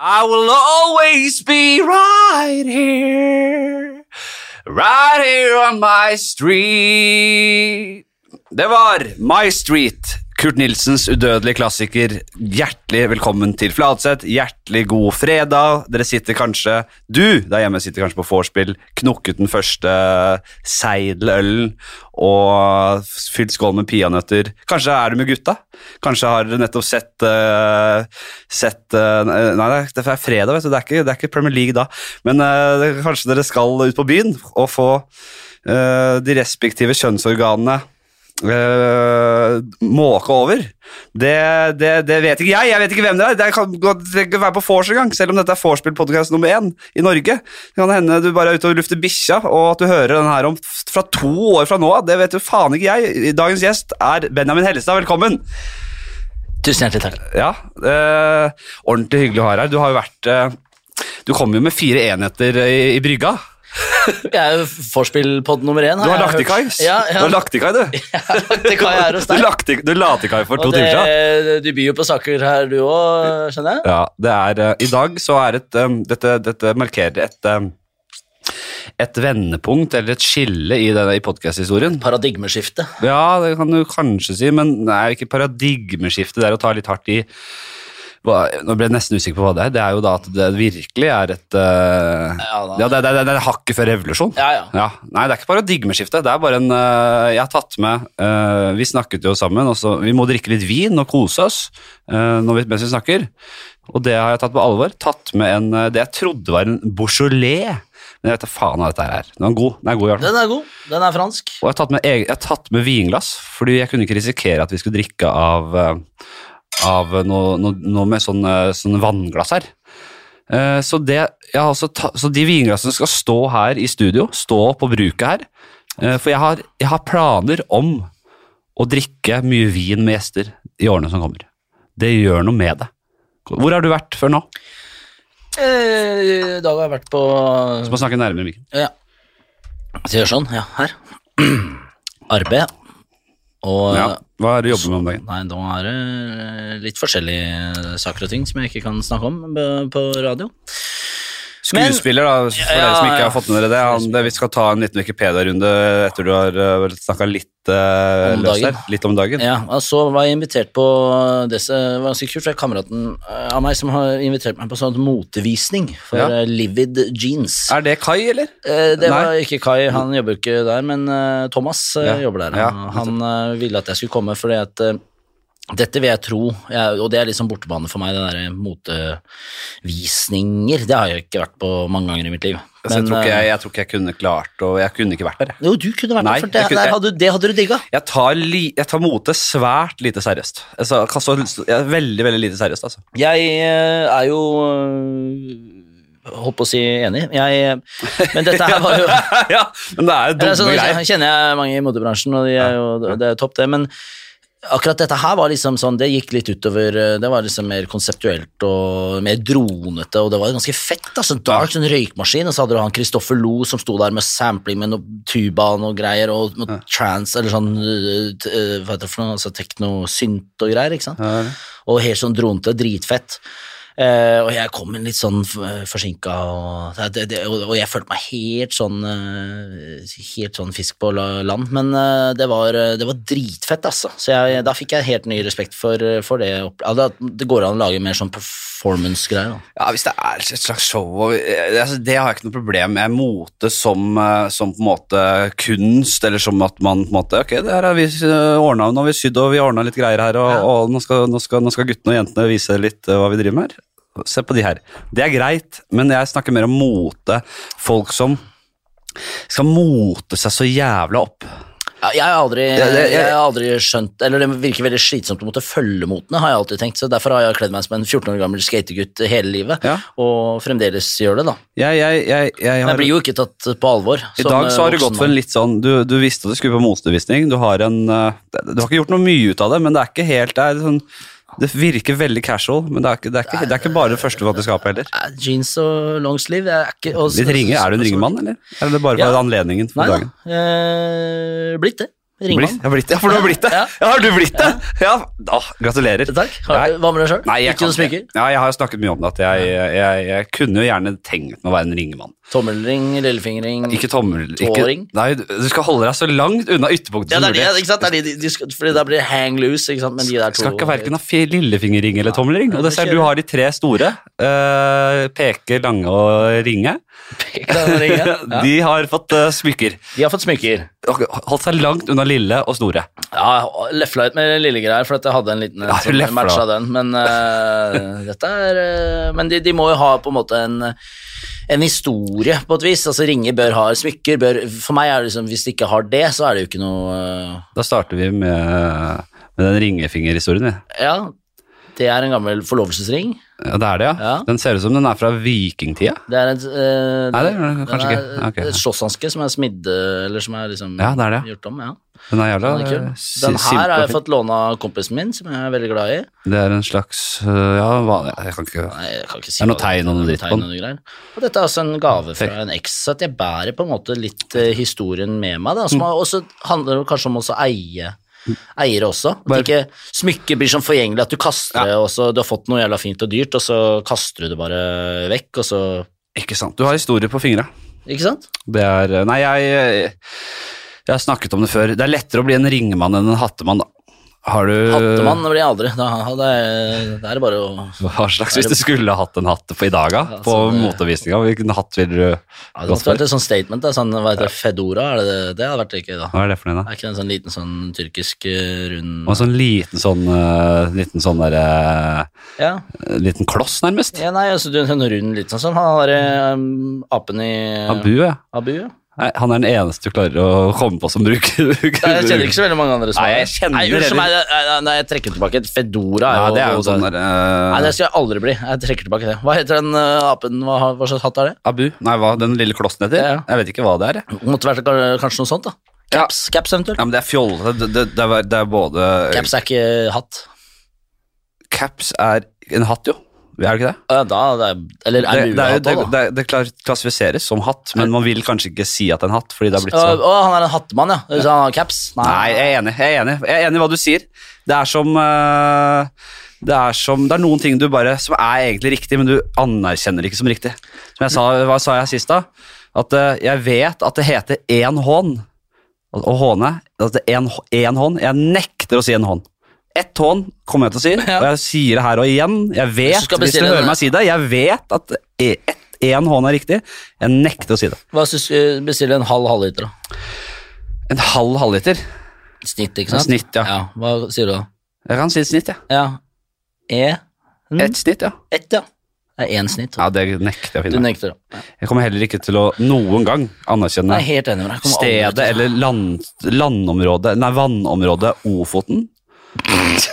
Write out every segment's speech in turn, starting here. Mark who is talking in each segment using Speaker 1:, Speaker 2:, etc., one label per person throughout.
Speaker 1: I will always be right here. Right here on my street. Det var My Street. Kurt Nilsens udødelige klassiker. Hjertelig velkommen til Fladseth. Hjertelig god fredag. Dere sitter kanskje, du der hjemme sitter kanskje på vorspiel, knokket den første seidelølen og fylt skål med peanøtter. Kanskje er du med gutta? Kanskje har dere nettopp sett eh, sett eh, Nei, det er- det er fredag, vet du. Det er ikke, det er ikke Premier League da. Men eh, det- kanskje dere skal ut på byen og få eh, de respektive kjønnsorganene eh, måke over. Det, det, det vet ikke jeg. Jeg vet ikke hvem det er. Det kan godt det kan være på vors en gang, selv om dette er vorspiel-podkast nummer én i Norge. Det kan hende du bare er ute og lufter bikkja, og at du hører den her om f- fra to år fra nå av. Det vet du faen ikke jeg. Dagens gjest er Benjamin Hellestad. Velkommen.
Speaker 2: Tusen hjertelig takk.
Speaker 1: Ja, eh, ordentlig hyggelig å ha deg her. Du har jo vært eh, Du kom jo med fire enheter i, i brygga.
Speaker 2: Jeg er jo vorspiel-pod nummer én.
Speaker 1: Du har
Speaker 2: jeg
Speaker 1: lagt i
Speaker 2: hørt.
Speaker 1: kai.
Speaker 2: Ja, ja.
Speaker 1: Du har lagt i kai, du.
Speaker 2: Jeg har lagt i kai her hos
Speaker 1: Du
Speaker 2: deg.
Speaker 1: lagt i- du la til kai for to
Speaker 2: Og
Speaker 1: timer siden.
Speaker 2: det, du byr jo på saker her, du òg, skjønner jeg?
Speaker 1: Ja, det er, eh, I dag så er et, eh, dette, dette markerer et, eh, et vendepunkt, eller et skille i, denne- i podcast-historien.
Speaker 2: Paradigmeskifte.
Speaker 1: Ja, det kan du kanskje si, men det er jo ikke paradigmeskifte. Det er å ta litt hardt i hva, Nå ble jeg nesten usikker på hva det er. Det er jo da at det virkelig er et eh,
Speaker 2: Ja da.
Speaker 1: ja, det, det, det, det er hakket før revolusjon.
Speaker 2: Ja, ja.
Speaker 1: Ja, Nei, det er ikke paradigmeskifte. Det er bare en eh, Jeg har tatt med eh, Vi snakket jo sammen, og så Vi må drikke litt vin og kose oss eh, når vi, mens vi snakker. Og det har jeg tatt på alvor. Tatt med en eh, det jeg trodde var en Beaujolais. Men jeg vet da faen hva dette her er. Den er god. Den er god i hvert fall.
Speaker 2: Den er god. Den er fransk.
Speaker 1: Og jeg har tatt med, eg- jeg har tatt med vinglass, fordi jeg kunne ikke risikere at vi skulle drikke av, eh, av noe, noe, noe med sånn, eh, sånn vannglass her. Eh, Så, det, jeg har også ta, så de vinglassene skal stå her i studio, stå på bruket her. Eh, For jeg har, jeg har planer om å drikke mye vin med gjester i årene som kommer. Det gjør noe med det. Hvor har du vært før nå?
Speaker 2: Eh, I dag har jeg vært på
Speaker 1: Du må snakke nærmere mikken.
Speaker 2: Ja. Så jeg gjør sånn. Ja, her. Arbeid. Og
Speaker 1: Ja, hva er det du jobber med om dagen?
Speaker 2: Nei, nå er det litt forskjellige saker og ting som jeg ikke kan snakke om eh, på radio. Men-
Speaker 1: Skuespiller, da, for
Speaker 2: Ja,
Speaker 1: dere som ikke
Speaker 2: ja.
Speaker 1: har fått med dere det. Han, det vi skal ta en liten Wikipedia-runde etter du har snakka litt eh,
Speaker 2: Om
Speaker 1: løs
Speaker 2: dagen.
Speaker 1: der. Litt om dagen.
Speaker 2: Ja, og så var jeg invitert på Det som var ganske kult, for det er kameraten eh, av meg som har invitert meg på sånn motevisning for
Speaker 1: Ja.
Speaker 2: eh, Livid Jeans.
Speaker 1: Er det Kai, eller?
Speaker 2: Eh, Det var
Speaker 1: Nei.
Speaker 2: ikke Kai, han jobber ikke der, men eh, Thomas eh,
Speaker 1: Ja,
Speaker 2: jobber der.
Speaker 1: ja,
Speaker 2: han eh, ville at jeg skulle komme fordi at eh, dette vil jeg tro, jeg, og det er liksom bortebane for meg, det der eh, motevisninger. Det har jeg ikke vært på mange ganger i mitt liv.
Speaker 1: Altså, jeg,
Speaker 2: Men,
Speaker 1: tror ikke
Speaker 2: eh,
Speaker 1: jeg, jeg tror ikke jeg kunne klart og Jeg kunne ikke vært der, jeg.
Speaker 2: Jo, du kunne vært
Speaker 1: Nei,
Speaker 2: der, for det,
Speaker 1: jeg kunne-
Speaker 2: der hadde, det hadde du digga.
Speaker 1: Jeg tar, li, jeg tar mote svært lite seriøst. Altså, altså, jeg er veldig, veldig lite seriøst, altså.
Speaker 2: Jeg eh, er jo eh, Holdt på å si enig. Jeg, eh, men dette her var jo
Speaker 1: ja, men det er jo dumme
Speaker 2: altså, Nå
Speaker 1: greier.
Speaker 2: kjenner jeg mange i motebransjen, og de er jo, det er topp, det. Men akkurat dette her var liksom sånn Det gikk litt utover eh, Det var liksom mer konseptuelt og mer dronete, og det var ganske fett. da, sånn dark, sånn røykmaskin, og så hadde du han Kristoffer Lo som sto der med sampling med noe tuba og noe greier, og noe trans, eller sånn eh, t- eh, Hva heter det for noe? Altså teknosynt og greier, ikke sant?
Speaker 1: Ja,
Speaker 2: og helt sånn dronete, dritfett. Eh, og jeg kom inn litt sånn f- forsinka, og, det, det, og, og jeg følte meg helt sånn eh, Helt sånn fisk på la- land. Men eh, det, var, eh, det var dritfett, altså. Så jeg, da fikk jeg helt ny respekt for, for det. opp- Ja, det, det går an å lage mer sånn performance-greier. da.
Speaker 1: Ja, hvis det er et slags show og, eh, altså, Det har jeg ikke noe problem med. Mote som, eh, som på en måte kunst, eller som at man på en måte Ok, det her har vi ordna, nå har vi sydd og vi ordna litt greier her, og,
Speaker 2: Ja.
Speaker 1: og nå, skal, nå, skal, nå skal guttene og jentene vise litt eh, hva vi driver med her. Se på de her. Det er greit, men jeg snakker mer om mote. Folk som skal mote seg så jævla opp.
Speaker 2: Ja, jeg, har aldri,
Speaker 1: Ja, det- jeg-
Speaker 2: jeg har aldri skjønt Eller det virker veldig slitsomt å måtte følge motene, har jeg alltid tenkt. Så derfor har jeg kledd meg som en 14 år gammel skategutt hele livet,
Speaker 1: Ja.
Speaker 2: og fremdeles gjør det, da.
Speaker 1: Jeg, jeg, jeg, jeg
Speaker 2: Jeg
Speaker 1: har
Speaker 2: blir jo ikke tatt på alvor.
Speaker 1: I dag
Speaker 2: eh,
Speaker 1: så har du gått for en litt sånn Du, du visste at du skulle på motevisning. Du har en eh, Du har ikke gjort noe mye ut av det, men det er ikke helt Det, er sånn, det virker veldig casual, men det er ikke, det er ikke, det er ikke bare det første fatteskapet heller.
Speaker 2: Jeans og longsleeve. Jeg er ikke og-
Speaker 1: Litt ringe, Er du en ringemann, eller? Eller er det bare for
Speaker 2: Ja.
Speaker 1: anledningen for
Speaker 2: Nei da.
Speaker 1: dagen?
Speaker 2: Eh, blitt det. Ring
Speaker 1: Blitt,
Speaker 2: han.
Speaker 1: jeg har blitt det. Ja, for du har blitt det.
Speaker 2: Ja.
Speaker 1: Ja, har du blitt det? Ja, da, gratulerer.
Speaker 2: Takk. Har,
Speaker 1: Nei.
Speaker 2: hva med deg sjøl?
Speaker 1: Nei, jeg
Speaker 2: Ikke
Speaker 1: kan
Speaker 2: noe smykker?
Speaker 1: Ja, jeg har jo snakket mye om det, at jeg, jeg, jeg kunne jo gjerne tenkt meg å være en ringemann.
Speaker 2: Tommelring, lillefingerring
Speaker 1: Ikke tommel... Ikke,
Speaker 2: Tåring?
Speaker 1: nei, du skal holde deg så langt unna ytterpunktet
Speaker 2: Ja,
Speaker 1: som
Speaker 2: det er
Speaker 1: mulig.
Speaker 2: det, ikke sant? Det er de, de, de, skal- fordi da blir det hang loose, ikke sant? Men de der to eh,
Speaker 1: Skal ikke verken ha fe- lillefingerring eller tommelring. Og
Speaker 2: det
Speaker 1: det ser
Speaker 2: skjer.
Speaker 1: du har de tre store. eh, peke, lange og ringe.
Speaker 2: De,
Speaker 1: De har fått eh, smykker.
Speaker 2: de har fått smykker.
Speaker 1: Og Holdt seg langt unna lille og store.
Speaker 2: Ja, lefla litt med lille greier, for at jeg hadde en liten en
Speaker 1: Ja,
Speaker 2: som
Speaker 1: lefla.
Speaker 2: matcha den. Men eh, dette er eh, Men de, de må jo ha på en måte en, en historie, på et vis. Altså ringer bør ha smykker. Bør, for meg er det liksom Hvis de ikke har det, så er det jo ikke noe eh,
Speaker 1: Da starter vi med, med den ringefingerhistorien. vi.
Speaker 2: eh, Ja, det er en gammel forlovelsesring.
Speaker 1: Ja, det er det, ja.
Speaker 2: Ja.
Speaker 1: Den ser ut som den er fra vikingtida.
Speaker 2: Det er et eh,
Speaker 1: Nei, det er det kanskje
Speaker 2: den
Speaker 1: ikke. Ja, ok.
Speaker 2: Et slåsshanske som er smidd eh, Eller som er liksom
Speaker 1: Ja, det er det, ja.
Speaker 2: gjort om. ja
Speaker 1: Den er jævla
Speaker 2: Den, er kul.
Speaker 1: eh, si-
Speaker 2: den
Speaker 1: simpel
Speaker 2: her har
Speaker 1: og
Speaker 2: jeg
Speaker 1: fin.
Speaker 2: fått låne av kompisen min, som jeg er veldig glad i.
Speaker 1: Det er en slags eh, Ja, hva Jeg kan ikke
Speaker 2: Nei, jeg kan ikke
Speaker 1: Det
Speaker 2: si
Speaker 1: er noe
Speaker 2: hva
Speaker 1: tegn og noe dritt på
Speaker 2: tegn
Speaker 1: den.
Speaker 2: og noe greier. Og dette er også en gave fra en eks, så at jeg bærer på en måte litt eh, historien med meg. Da,
Speaker 1: Mm.
Speaker 2: som har- Og så handler det kanskje om også å eie eiere også. At
Speaker 1: Bare-
Speaker 2: ikke smykket blir sånn forgjengelig, at du kaster det også. Du har fått noe jævla fint og dyrt, og så kaster du det bare vekk, og så
Speaker 1: Ikke sant. Du har historie på fingra.
Speaker 2: Ikke sant?
Speaker 1: Det er eh, Nei, jeg eh, Jeg har snakket om det før. Det er lettere å bli en ringemann enn en hattemann, da. Har du
Speaker 2: Hattemann blir jeg aldri. Da, da, er- da er det bare å
Speaker 1: Hva slags Hvis du skulle hatt en hatt på i dag, da?
Speaker 2: Ja,
Speaker 1: På
Speaker 2: sånn, eh,
Speaker 1: motevisninga, hvilken hatt ville du
Speaker 2: ja, Det
Speaker 1: gått
Speaker 2: måtte vært
Speaker 1: for?
Speaker 2: et sånt statement. Da, sånn, hva heter det, Fedora? Er det, det, det hadde vært ikke da.
Speaker 1: Hva er det for noe, da?
Speaker 2: Er ikke det en sånn liten sånn tyrkisk eh, rund
Speaker 1: Og sånn liten sånn eh, Liten sånn derre
Speaker 2: Ja,
Speaker 1: Liten kloss, nærmest.
Speaker 2: ja nei, altså du er en rund liten sånn. Han har eh, um, apen i
Speaker 1: Abu, ja.
Speaker 2: Abu, ja.
Speaker 1: Nei, han er den eneste du klarer å komme på som bruker
Speaker 2: Nei, jeg kjenner ikke så veldig mange andre som
Speaker 1: Nei,
Speaker 2: har
Speaker 1: jeg
Speaker 2: det.
Speaker 1: kjenner
Speaker 2: Nei, unnskyld meg,
Speaker 1: heller-
Speaker 2: nei, nei, nei, jeg trekker tilbake. Fedora er
Speaker 1: Ja,
Speaker 2: jo
Speaker 1: det er jo sånn der
Speaker 2: Nei,
Speaker 1: eh,
Speaker 2: det skal jeg aldri bli. Jeg trekker tilbake det. Hva heter den eh, apen? Hva, har- hva slags hatt er det?
Speaker 1: Abu? Nei, hva den lille klossen heter?
Speaker 2: Ja, ja.
Speaker 1: Jeg vet ikke hva det er. jeg.
Speaker 2: Måtte vært ka- kanskje noe sånt, da.
Speaker 1: Ja.
Speaker 2: Caps, caps eventuelt.
Speaker 1: Ja, men det er fjollete. Det, det, det, er- det er både
Speaker 2: Caps er ikke hatt.
Speaker 1: Caps er en hatt, jo. Er det ikke det?
Speaker 2: Ja, Da, det er, eller
Speaker 1: Det, det,
Speaker 2: er
Speaker 1: er jo-
Speaker 2: mulig hatt
Speaker 1: det,
Speaker 2: òg, da.
Speaker 1: det, det klar- klassifiseres som hatt, men man vil kanskje ikke si at det er en hatt, fordi det har blitt
Speaker 2: Å,
Speaker 1: sånn.
Speaker 2: å, han er en hattemann, ja. Så han har caps?
Speaker 1: Nei, jeg er enig. Jeg er enig Jeg er enig i hva du sier. Det er som eh, det er, som, det er noen ting du bare som er egentlig riktig, men du anerkjenner det ikke som riktig. Som jeg sa, Hva sa jeg sist, da? At eh, jeg vet at det heter én hån og og håne. At det er én hå- én hån. Jeg nekter å si en hån. Ett hån kommer jeg til å si,
Speaker 2: Ja.
Speaker 1: og jeg sier det her og igjen. Jeg
Speaker 2: Hvis du
Speaker 1: vet,
Speaker 2: skal
Speaker 1: hvis du
Speaker 2: bestille
Speaker 1: hører
Speaker 2: en-
Speaker 1: meg si det, jeg vet at e, én hån er riktig. Jeg nekter å si det.
Speaker 2: Hva syns du bestiller en halv halvliter, da?
Speaker 1: En halv halvliter.
Speaker 2: Snitt, ikke
Speaker 1: En
Speaker 2: sant?
Speaker 1: Snitt, ja.
Speaker 2: Ja, hva sier du da?
Speaker 1: Jeg kan si et snitt, jeg.
Speaker 2: Ja, E Mm.
Speaker 1: Et snitt, ja.
Speaker 2: Ett, ja. Det er én snitt.
Speaker 1: Ja, det nekter jeg å
Speaker 2: Du
Speaker 1: finne.
Speaker 2: nekter, da.
Speaker 1: Jeg kommer heller ikke til å noen gang
Speaker 2: Jeg
Speaker 1: anerkjenne
Speaker 2: er helt enig med deg. Jeg kommer aldri til å-
Speaker 1: stedet eller land, landområdet, nei, vannområdet Ofoten.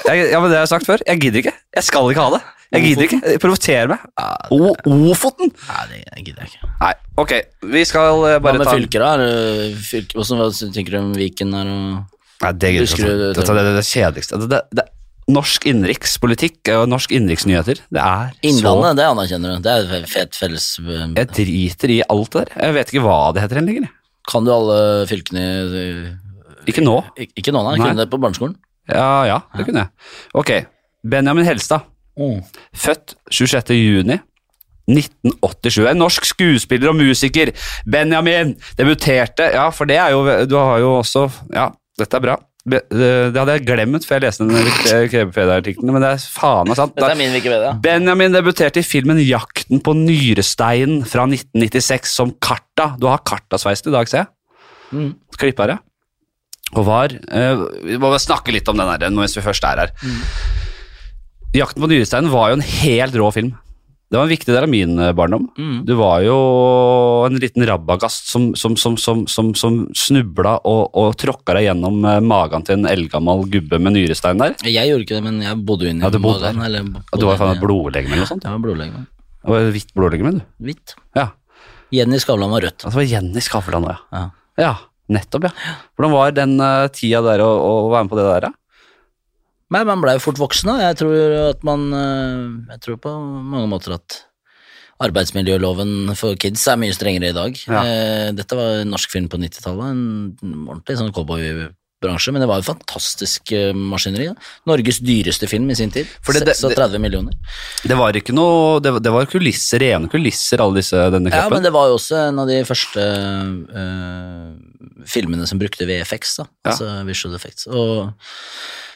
Speaker 1: Jeg, ja, men det har jeg sagt før. Jeg gidder ikke. Jeg skal ikke ha det. Jeg gidder ikke. Det provoserer meg. O Ofoten!
Speaker 2: Nei, det gidder jeg ikke.
Speaker 1: Nei, ok. Vi skal eh,
Speaker 2: Hva
Speaker 1: bare
Speaker 2: med
Speaker 1: ta
Speaker 2: fylker, da? Er det Fylke, hvordan, hva tenker du om Viken her og
Speaker 1: Nei, det gidder jeg ikke. altså.
Speaker 2: Buskerud,
Speaker 1: Dette er det, det kjedeligste. Altså, Det, det, det, norsk innenrikspolitikk og norsk innenriksnyheter, det er så
Speaker 2: Innlandet, det anerkjenner du. Det er et fet felles eh,
Speaker 1: Jeg driter i alt det der. Jeg vet ikke hva det heter lenger. jeg.
Speaker 2: Kan du alle fylkene
Speaker 1: Ikke nå.
Speaker 2: Ik- Ikke nå,
Speaker 1: Nei.
Speaker 2: nei. Kunne det på barneskolen?
Speaker 1: Ja, ja, det kunne jeg. Ok, Benjamin Helstad, Mm. født 26. juni 1987. En norsk skuespiller og musiker. Benjamin debuterte Ja, for det er jo Du har jo også Ja, dette er bra. Be- eh, Det det hadde jeg glemt før jeg leste den Krepefedet-artikkelen, men det er faen meg sant.
Speaker 2: Dette
Speaker 1: Da-
Speaker 2: er min Wikipedia.
Speaker 1: Benjamin debuterte i filmen 'Jakten på nyresteinen' fra 1996 som Karta. Du har Karta-sveisen i dag, ser jeg.
Speaker 2: Mm.
Speaker 1: Klippa det. Og var eh, Vi må bare snakke litt om den her nå, hvis vi først er her. 'Jakten på nyresteinen' var jo en helt rå film. Det var en viktig del av min eh, barndom.
Speaker 2: Mm.
Speaker 1: Du var jo en liten rabagast som, som, som, som, som, som snubla og, og tråkka deg gjennom eh, magen til en eldgammel gubbe med nyrestein der.
Speaker 2: Jeg gjorde ikke det, men jeg bodde jo inne i
Speaker 1: Ja, du bodde
Speaker 2: magen,
Speaker 1: der.
Speaker 2: eller
Speaker 1: Og du var
Speaker 2: bodde
Speaker 1: faen
Speaker 2: inne,
Speaker 1: et blodlegeme eller noe sånt.
Speaker 2: Ja, Ja, blodlegeme.
Speaker 1: Det var et Hvitt blodlegeme, du.
Speaker 2: Hvitt.
Speaker 1: Ja.
Speaker 2: Jenny Skavlan var rødt.
Speaker 1: Altså, det var Jenny Skavlan, da, ja.
Speaker 2: Ja.
Speaker 1: Ja, nettopp, ja. Hvordan var den eh, tida der å, å være med på det der, da?
Speaker 2: Nei, man blei jo fort voksen, og jeg tror at man eh, Jeg tror på mange måter at arbeidsmiljøloven for kids er mye strengere i dag.
Speaker 1: Ja.
Speaker 2: Eh, Dette var en norsk film på 90-tallet. En ordentlig sånn popbransje, men det var jo fantastisk eh, maskineri. Da. Norges dyreste film i sin tid.
Speaker 1: For det- det-
Speaker 2: 36 millioner.
Speaker 1: Det var ikke noe Det, var- det var kulisser, rene kulisser, alle disse, denne
Speaker 2: Ja, men
Speaker 1: kroppen.
Speaker 2: det var jo også en av de første eh, filmene som brukte VFX, da.
Speaker 1: Ja.
Speaker 2: Altså visual effects. Og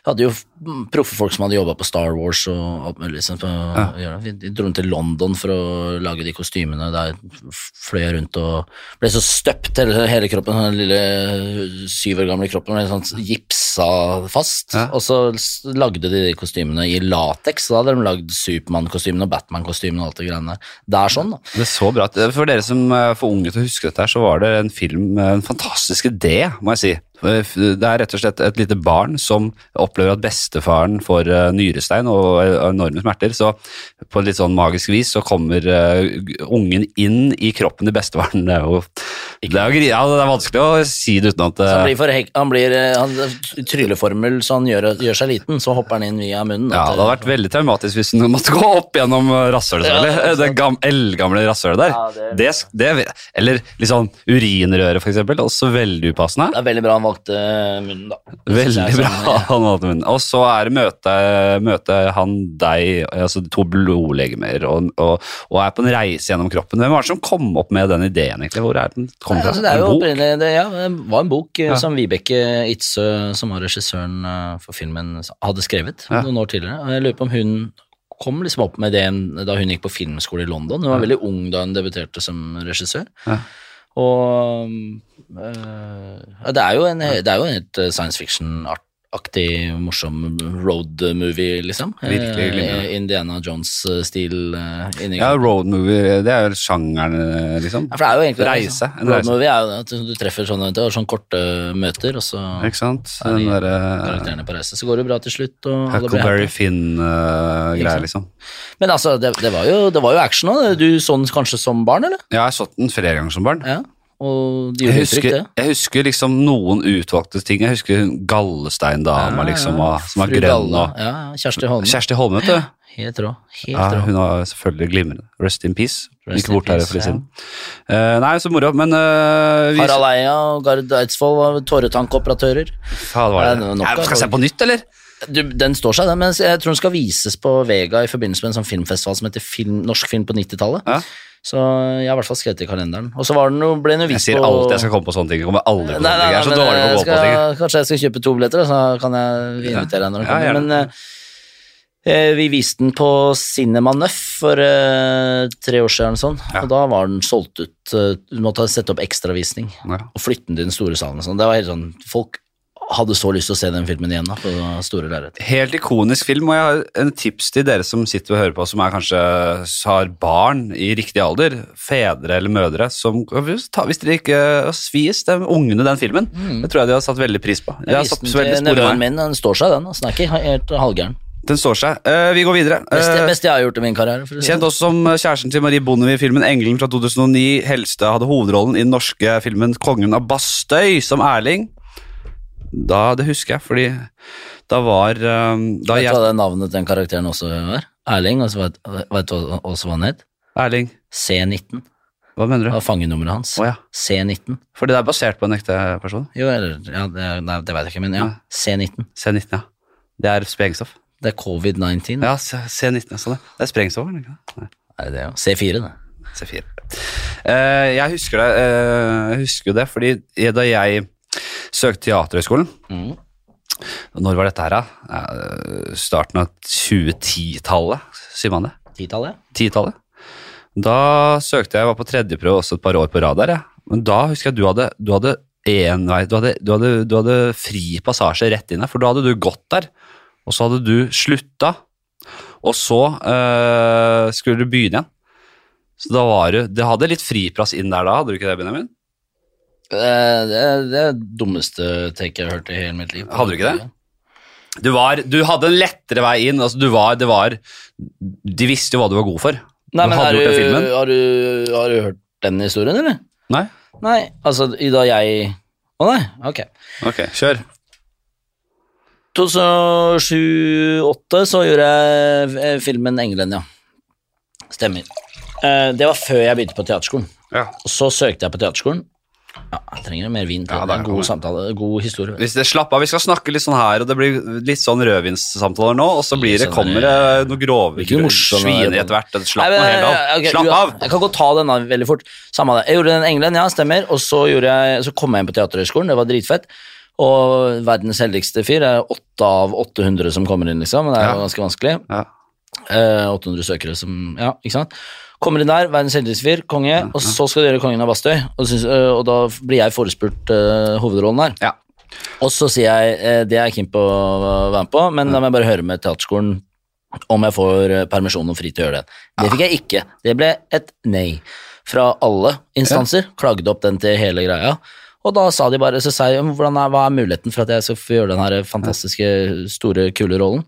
Speaker 2: jeg hadde jo f- proffe folk som hadde jobba på Star Wars og alt mulig. Liksom, på, å gjøre det. Vi dro rundt til London for å lage de kostymene. Der f- fløy jeg rundt og ble så støpt hele, hele kroppen, den lille syv år gamle kroppen, ble sånn gipsa fast.
Speaker 1: Ja.
Speaker 2: Og så s- lagde de de kostymene i lateks. Da hadde de lagd Supermann-kostymene og Batman-kostymene og alt det greiene der. Det er sånn, da.
Speaker 1: Det er så bra. ut. For dere som er for unge til å huske dette, her, så var det en film, en fantastisk idé, må jeg si. Det er rett og slett et lite barn som opplever at bestefaren får eh, nyrestein og eh, enorme smerter. Så på et litt sånn magisk vis så kommer eh, ungen inn i kroppen til bestefaren. Det er jo, det er jo gri- ja, det er vanskelig å si det uten at
Speaker 2: Så han
Speaker 1: eh,
Speaker 2: blir, for hek han blir eh, han, trylleformel, så han gjør, gjør seg liten, så hopper han inn via munnen.
Speaker 1: ja, Det hadde vært veldig traumatisk hvis den måtte gå opp gjennom eh, rasshølet.
Speaker 2: Ja,
Speaker 1: selvfølgelig.
Speaker 2: ikke sant.
Speaker 1: det gam, eldgamle rasshølet der.
Speaker 2: Ja, det er-
Speaker 1: det, sk- det, eller litt sånn urinrøret, for eksempel. Også veldig upassende.
Speaker 2: Det er veldig bra han valgte munnen, da. Det
Speaker 1: Veldig
Speaker 2: er
Speaker 1: bra.
Speaker 2: sånn, eh,
Speaker 1: han hadde munnen. Og så er det møte, møte han deg, altså to blodlegemer, og, og, og er på en reise gjennom kroppen. Hvem var det som kom opp med den ideen, egentlig? Hvor er den kom
Speaker 2: Nei,
Speaker 1: fra?
Speaker 2: altså, det, er jo
Speaker 1: En bok?
Speaker 2: opprinnelig- det ja, det var en bok eh,
Speaker 1: Ja.
Speaker 2: som Vibeke Itzøe, som var regissøren eh, for filmen, hadde skrevet
Speaker 1: Ja.
Speaker 2: noen år tidligere. Og Jeg lurer på om hun kom liksom opp med ideen da hun gikk på filmskole i London. Hun var veldig ung da hun debuterte som regissør.
Speaker 1: Ja.
Speaker 2: Og eh, ja, det, er jo en, det er jo en helt eh, science fiction-aktig, morsom road movie, liksom. Eh,
Speaker 1: Virkelig glimrende.
Speaker 2: Indiana Jones-stil eh, inni
Speaker 1: ja, road movie, det er jo sjangeren, liksom.
Speaker 2: ja, for det er jo egentlig det,
Speaker 1: Reise,
Speaker 2: liksom.
Speaker 1: en
Speaker 2: Road
Speaker 1: reise.
Speaker 2: movie er jo det, at du treffer sånne, det er sånne korte møter, og så
Speaker 1: Ikke sant?
Speaker 2: er de
Speaker 1: Den derre
Speaker 2: karakterene på reise. Så går det bra til slutt, og alle blir
Speaker 1: Huckleberry
Speaker 2: happy. Ikke
Speaker 1: Finn-greia,
Speaker 2: sant?
Speaker 1: liksom.
Speaker 2: Men altså, det, det, var jo, det var jo action òg. Du så den kanskje som barn, eller?
Speaker 1: Ja, jeg har sett den flere ganger som barn.
Speaker 2: Ja. Og det
Speaker 1: Jeg
Speaker 2: gjorde
Speaker 1: husker,
Speaker 2: inntrykk, det.
Speaker 1: jeg husker liksom noen utvalgte ting. Jeg husker hun gallesteindama,
Speaker 2: Ja,
Speaker 1: liksom,
Speaker 2: ja.
Speaker 1: og, som er
Speaker 2: Ah, Fru
Speaker 1: grønn.
Speaker 2: Galla.
Speaker 1: Og.
Speaker 2: Ja, ja, Kjersti Holme.
Speaker 1: Kjersti Holme, vet du.
Speaker 2: Helt rå. Helt
Speaker 1: Ja,
Speaker 2: rå.
Speaker 1: hun var selvfølgelig glimrende. Rest in peace. Hun
Speaker 2: Rest
Speaker 1: Gikk
Speaker 2: in
Speaker 1: bort her
Speaker 2: peace,
Speaker 1: for litt
Speaker 2: ja.
Speaker 1: siden. Eh, nei, så moro, men eh, vi,
Speaker 2: Harald Eia og Gard Eidsvoll var tåretankoperatører.
Speaker 1: Faen, var det.
Speaker 2: Nei, det var nok
Speaker 1: Nei,
Speaker 2: av-
Speaker 1: skal jeg se på nytt, eller?
Speaker 2: Du, den står seg, den, men jeg tror den skal vises på Vega i forbindelse med en sånn filmfestival som heter film, Norsk film på 90-tallet.
Speaker 1: Ja.
Speaker 2: Så jeg har i hvert fall skrevet det i kalenderen. Og så var den jo, ble den jo
Speaker 1: Jeg
Speaker 2: vist
Speaker 1: sier
Speaker 2: på
Speaker 1: alltid jeg skal komme på sånne ting. Jeg kommer aldri på sånne ting. Jeg er så
Speaker 2: men,
Speaker 1: dårlig på å
Speaker 2: eh,
Speaker 1: gå på
Speaker 2: skal,
Speaker 1: ting.
Speaker 2: Kanskje jeg skal kjøpe to billetter, da, så kan jeg invitere deg når du
Speaker 1: Ja,
Speaker 2: kommer.
Speaker 1: gjerne.
Speaker 2: men eh, eh, vi viste den på Cinema Nøff for eh, tre år siden, eller sånn,
Speaker 1: Ja.
Speaker 2: og da var den solgt ut. eh, Du måtte sette opp ekstravisning
Speaker 1: Ja.
Speaker 2: og flytte den til den store salen. og Sånn. Det var helt sånn, Folk hadde så lyst til å se den filmen igjen da, på det store lerretet.
Speaker 1: Helt ikonisk film, og jeg har en tips til dere som sitter og hører på, som er kanskje har barn i riktig alder, fedre eller mødre, som hvis ta- hvis dere ikke Vis de ungene den filmen. Det tror jeg de har satt veldig pris på. De har
Speaker 2: Jeg
Speaker 1: satt
Speaker 2: viste Mm. den
Speaker 1: veldig
Speaker 2: til
Speaker 1: spor i
Speaker 2: nevøen
Speaker 1: meg.
Speaker 2: min, den står seg den. Altså. Den er ikke helt halvgæren.
Speaker 1: Den står seg. Eh, vi går videre.
Speaker 2: Beste,
Speaker 1: Eh,
Speaker 2: beste jeg har gjort i min karriere. For å si. det.
Speaker 1: Kjent også som kjæresten til Marie Bondevie i filmen 'Engelen' fra 2009. Helstad hadde hovedrollen i den norske filmen 'Kongen av Bastøy' som Erling. Da, Det husker jeg, fordi da var um, da
Speaker 2: Vet du
Speaker 1: jeg,
Speaker 2: hva sånn. det navnet til den karakteren også var? Erling, og så vet vet du hva- også hva han het?
Speaker 1: Erling,
Speaker 2: C19.
Speaker 1: hva mener du?
Speaker 2: Det
Speaker 1: Å
Speaker 2: var fangenummeret hans.
Speaker 1: ja.
Speaker 2: C19.
Speaker 1: For det er basert på en ekte person?
Speaker 2: Jo, eller ja, det, er- Nei, det vet jeg ikke, men ja.
Speaker 1: Nei.
Speaker 2: C19.
Speaker 1: C19, ja. Det er sprengstoff.
Speaker 2: Det er covid-19.
Speaker 1: Ja, C- C19, ja, sånn det. Det er sprengstoff, er det ikke det? Nei.
Speaker 2: Er det det, ja? C4, det.
Speaker 1: C4. Eh, jeg husker det, eh, jeg husker jo det, fordi jeg- da jeg søkte Teaterhøgskolen
Speaker 2: Mm.
Speaker 1: Når var dette her, da? Eh, Starten av 2010-tallet, sier man det?
Speaker 2: Titallet?
Speaker 1: 10-tallet. Da søkte jeg, var på tredjeprøve også et par år på rad der, jeg. Men da husker jeg du hadde, du hadde en vei, du hadde, du, hadde, du hadde fri passasje rett inn der, for da hadde du gått der, og så hadde du slutta, og så eh, skulle du begynne igjen. Så da var du, det hadde litt friplass inn der da, hadde du ikke det, Benjamin?
Speaker 2: Eh, Det er det er det dummeste take jeg har hørt i hele mitt liv.
Speaker 1: Hadde du ikke det? Du, var, du hadde en lettere vei inn, altså du var, det var, de visste jo hva du var god for.
Speaker 2: Nei,
Speaker 1: du
Speaker 2: men har
Speaker 1: hadde
Speaker 2: du,
Speaker 1: gjort den filmen.
Speaker 2: har, du, har du hørt den historien, eller?
Speaker 1: Nei?
Speaker 2: Nei, altså i da jeg Å nei, ok.
Speaker 1: Ok, kjør.
Speaker 2: 2007-2008 så gjorde jeg eh, filmen 'Engelen', ja. Stemmer. Eh, Det var før jeg begynte på teaterskolen.
Speaker 1: Ja.
Speaker 2: Og så søkte jeg på teaterskolen, Ja, jeg trenger mer vin til
Speaker 1: Ja,
Speaker 2: det.
Speaker 1: da
Speaker 2: er en
Speaker 1: kommer-
Speaker 2: god samtale, god historie.
Speaker 1: Hvis det slapp av, Vi skal snakke litt sånn her, og det blir litt sånn rødvinssamtaler nå. Og så blir det,
Speaker 2: Litt sånn,
Speaker 1: kommer det noe grove
Speaker 2: Blir ikke morsomme-
Speaker 1: svin i etter hvert. Det Slapp
Speaker 2: Nei,
Speaker 1: nå
Speaker 2: men,
Speaker 1: helt av.
Speaker 2: ok,
Speaker 1: Slapp
Speaker 2: ua-
Speaker 1: av!
Speaker 2: Jeg kan godt ta denne veldig fort. Samme av det. Jeg gjorde den engelen, ja, stemmer. Og så, gjorde jeg, så kom jeg inn på Teaterhøgskolen, det var dritfett. Og verdens heldigste fyr. Det er åtte av 800 som kommer inn, liksom. Det er jo
Speaker 1: Ja.
Speaker 2: ganske vanskelig.
Speaker 1: Ja.
Speaker 2: Eh, 800 søkere som Ja, ikke sant. Kommer inn der, verdens heldigste fyr, konge, og så skal du gjøre Kongen av Bastøy. Og, syns- eh, og da blir jeg forespurt eh, hovedrollen der.
Speaker 1: Ja.
Speaker 2: Og så sier jeg eh, det er jeg keen på å være med på, men da må jeg bare høre med teaterskolen om jeg får eh, permisjon og fri til å gjøre det. Det fikk jeg ikke. Det ble et nei fra alle instanser. Klagde opp den til hele greia. Og da sa de bare så sa jeg, "Men hvordan er, Hva er muligheten for at jeg skal få gjøre den her eh, fantastiske, store, kule rollen?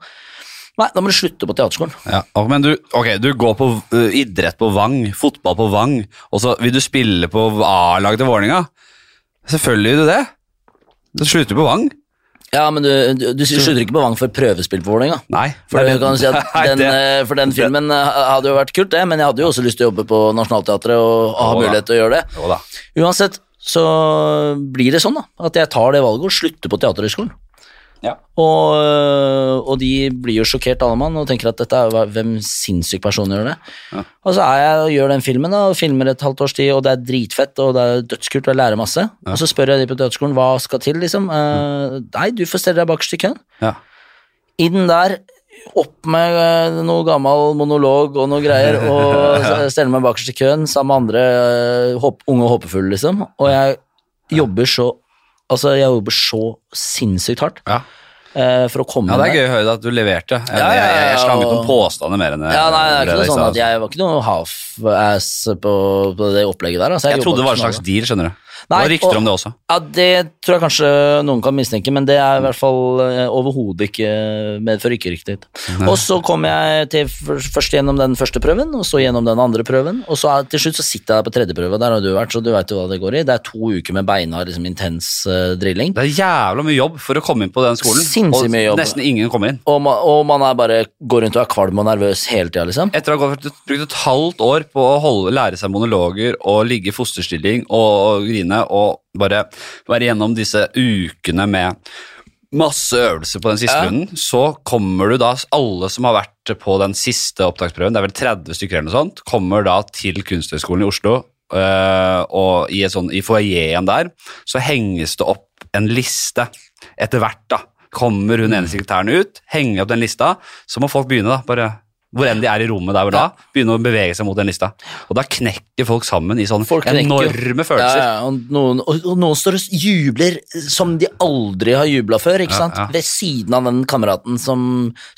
Speaker 2: Nei, da må du slutte på teaterskolen.
Speaker 1: Ja, og- men du, ok, du går på ø, idrett på Vang, fotball på Vang, og så vil du spille på A-laget til Vålerenga. Selvfølgelig vil du det. Du slutter på Vang.
Speaker 2: Ja, men du, du, du slutter ikke på Vang for prøvespill på Vålerenga.
Speaker 1: Nei.
Speaker 2: For,
Speaker 1: det er
Speaker 2: det, kan du si at
Speaker 1: Nei,
Speaker 2: den,
Speaker 1: det-
Speaker 2: eh, for den filmen eh, hadde jo vært kult, det, men jeg hadde jo også lyst til å jobbe på Nationaltheatret og ha
Speaker 1: Jo da.
Speaker 2: mulighet til å gjøre det.
Speaker 1: Jo da.
Speaker 2: Uansett så blir det sånn da, at jeg tar det valget og slutter på Teaterhøgskolen.
Speaker 1: Ja.
Speaker 2: Og, øh, og de blir jo sjokkert alle mann og tenker at dette er, hva- hvem sinnssyk person gjør det.
Speaker 1: Ja.
Speaker 2: Og så er jeg og gjør den filmen da, og filmer et halvt års tid, og det er dritfett, og det er dødskult, og jeg lærer masse. Og så spør jeg de på teaterskolen hva skal til, liksom. Eh,
Speaker 1: Mm.
Speaker 2: nei, du får stelle deg bakerst i køen.
Speaker 1: Ja.
Speaker 2: Inn der, opp med eh, noe gammel monolog og noe greier, og s- stelle meg bakerst i køen sammen med andre eh, håp, unge og håpefulle, liksom. Og jeg jobber så Altså, jeg jobber så sinnssykt hardt
Speaker 1: Ja.
Speaker 2: eh, for å komme
Speaker 1: ja, det er
Speaker 2: der.
Speaker 1: gøy å høre at du leverte. Jeg,
Speaker 2: Ja, ja, ja,
Speaker 1: jeg, jeg, jeg slang ut
Speaker 2: og-
Speaker 1: noen påstander mer enn altså. jeg-
Speaker 2: Ja, nei, det er ikke
Speaker 1: jeg
Speaker 2: noe
Speaker 1: sa.
Speaker 2: sånn at jeg var ikke noe half-ass på, på det opplegget der. Altså,
Speaker 1: Jeg trodde det var en
Speaker 2: jobbet
Speaker 1: slags deal, skjønner du.
Speaker 2: Nei,
Speaker 1: det var rykter
Speaker 2: og-
Speaker 1: om det også.
Speaker 2: Ja, det tror jeg kanskje noen kan mistenke, men det er i hvert fall eh, overhodet ikke eh, medfører ikke riktig. Og så kom jeg til f- først gjennom den første prøven, og så gjennom den andre prøven, og så er, til slutt så sitter jeg der på tredje prøve, der har du vært, så du veit jo hva det går i. Det er to uker med beinhard, liksom intens eh, drilling.
Speaker 1: Det er jævla mye jobb for å komme inn på den skolen,
Speaker 2: Sinnssykt mye jobb.
Speaker 1: og nesten ingen kommer inn.
Speaker 2: Og man, og man er bare går rundt og er kvalm og nervøs hele tida, liksom.
Speaker 1: Etter å ha gått- brukt et halvt år på å holde, lære seg monologer og ligge i fosterstilling og, og grine og bare være gjennom disse ukene med masse øvelser på den siste
Speaker 2: Ja.
Speaker 1: runden, så kommer du da, alle som har vært på den siste opptaksprøven, det er vel 30 stykker eller noe sånt, kommer da til Kunsthøgskolen i Oslo, øh, og i, et sånn, i foajeen der, så henges det opp en liste etter hvert da. Kommer hun ene sekretæren ut, henger opp den lista, så må folk begynne da, bare hvor enn de er i rommet der og da, begynne å bevege seg mot den lista. Og da knekker folk sammen i sånne
Speaker 2: Folk knekker.
Speaker 1: enorme
Speaker 2: Ja,
Speaker 1: følelser.
Speaker 2: ja, og, noen, og, og noen står og s- jubler eh, som de aldri har jubla før, ikke
Speaker 1: Ja,
Speaker 2: sant?
Speaker 1: ja.
Speaker 2: Ved siden av den kameraten som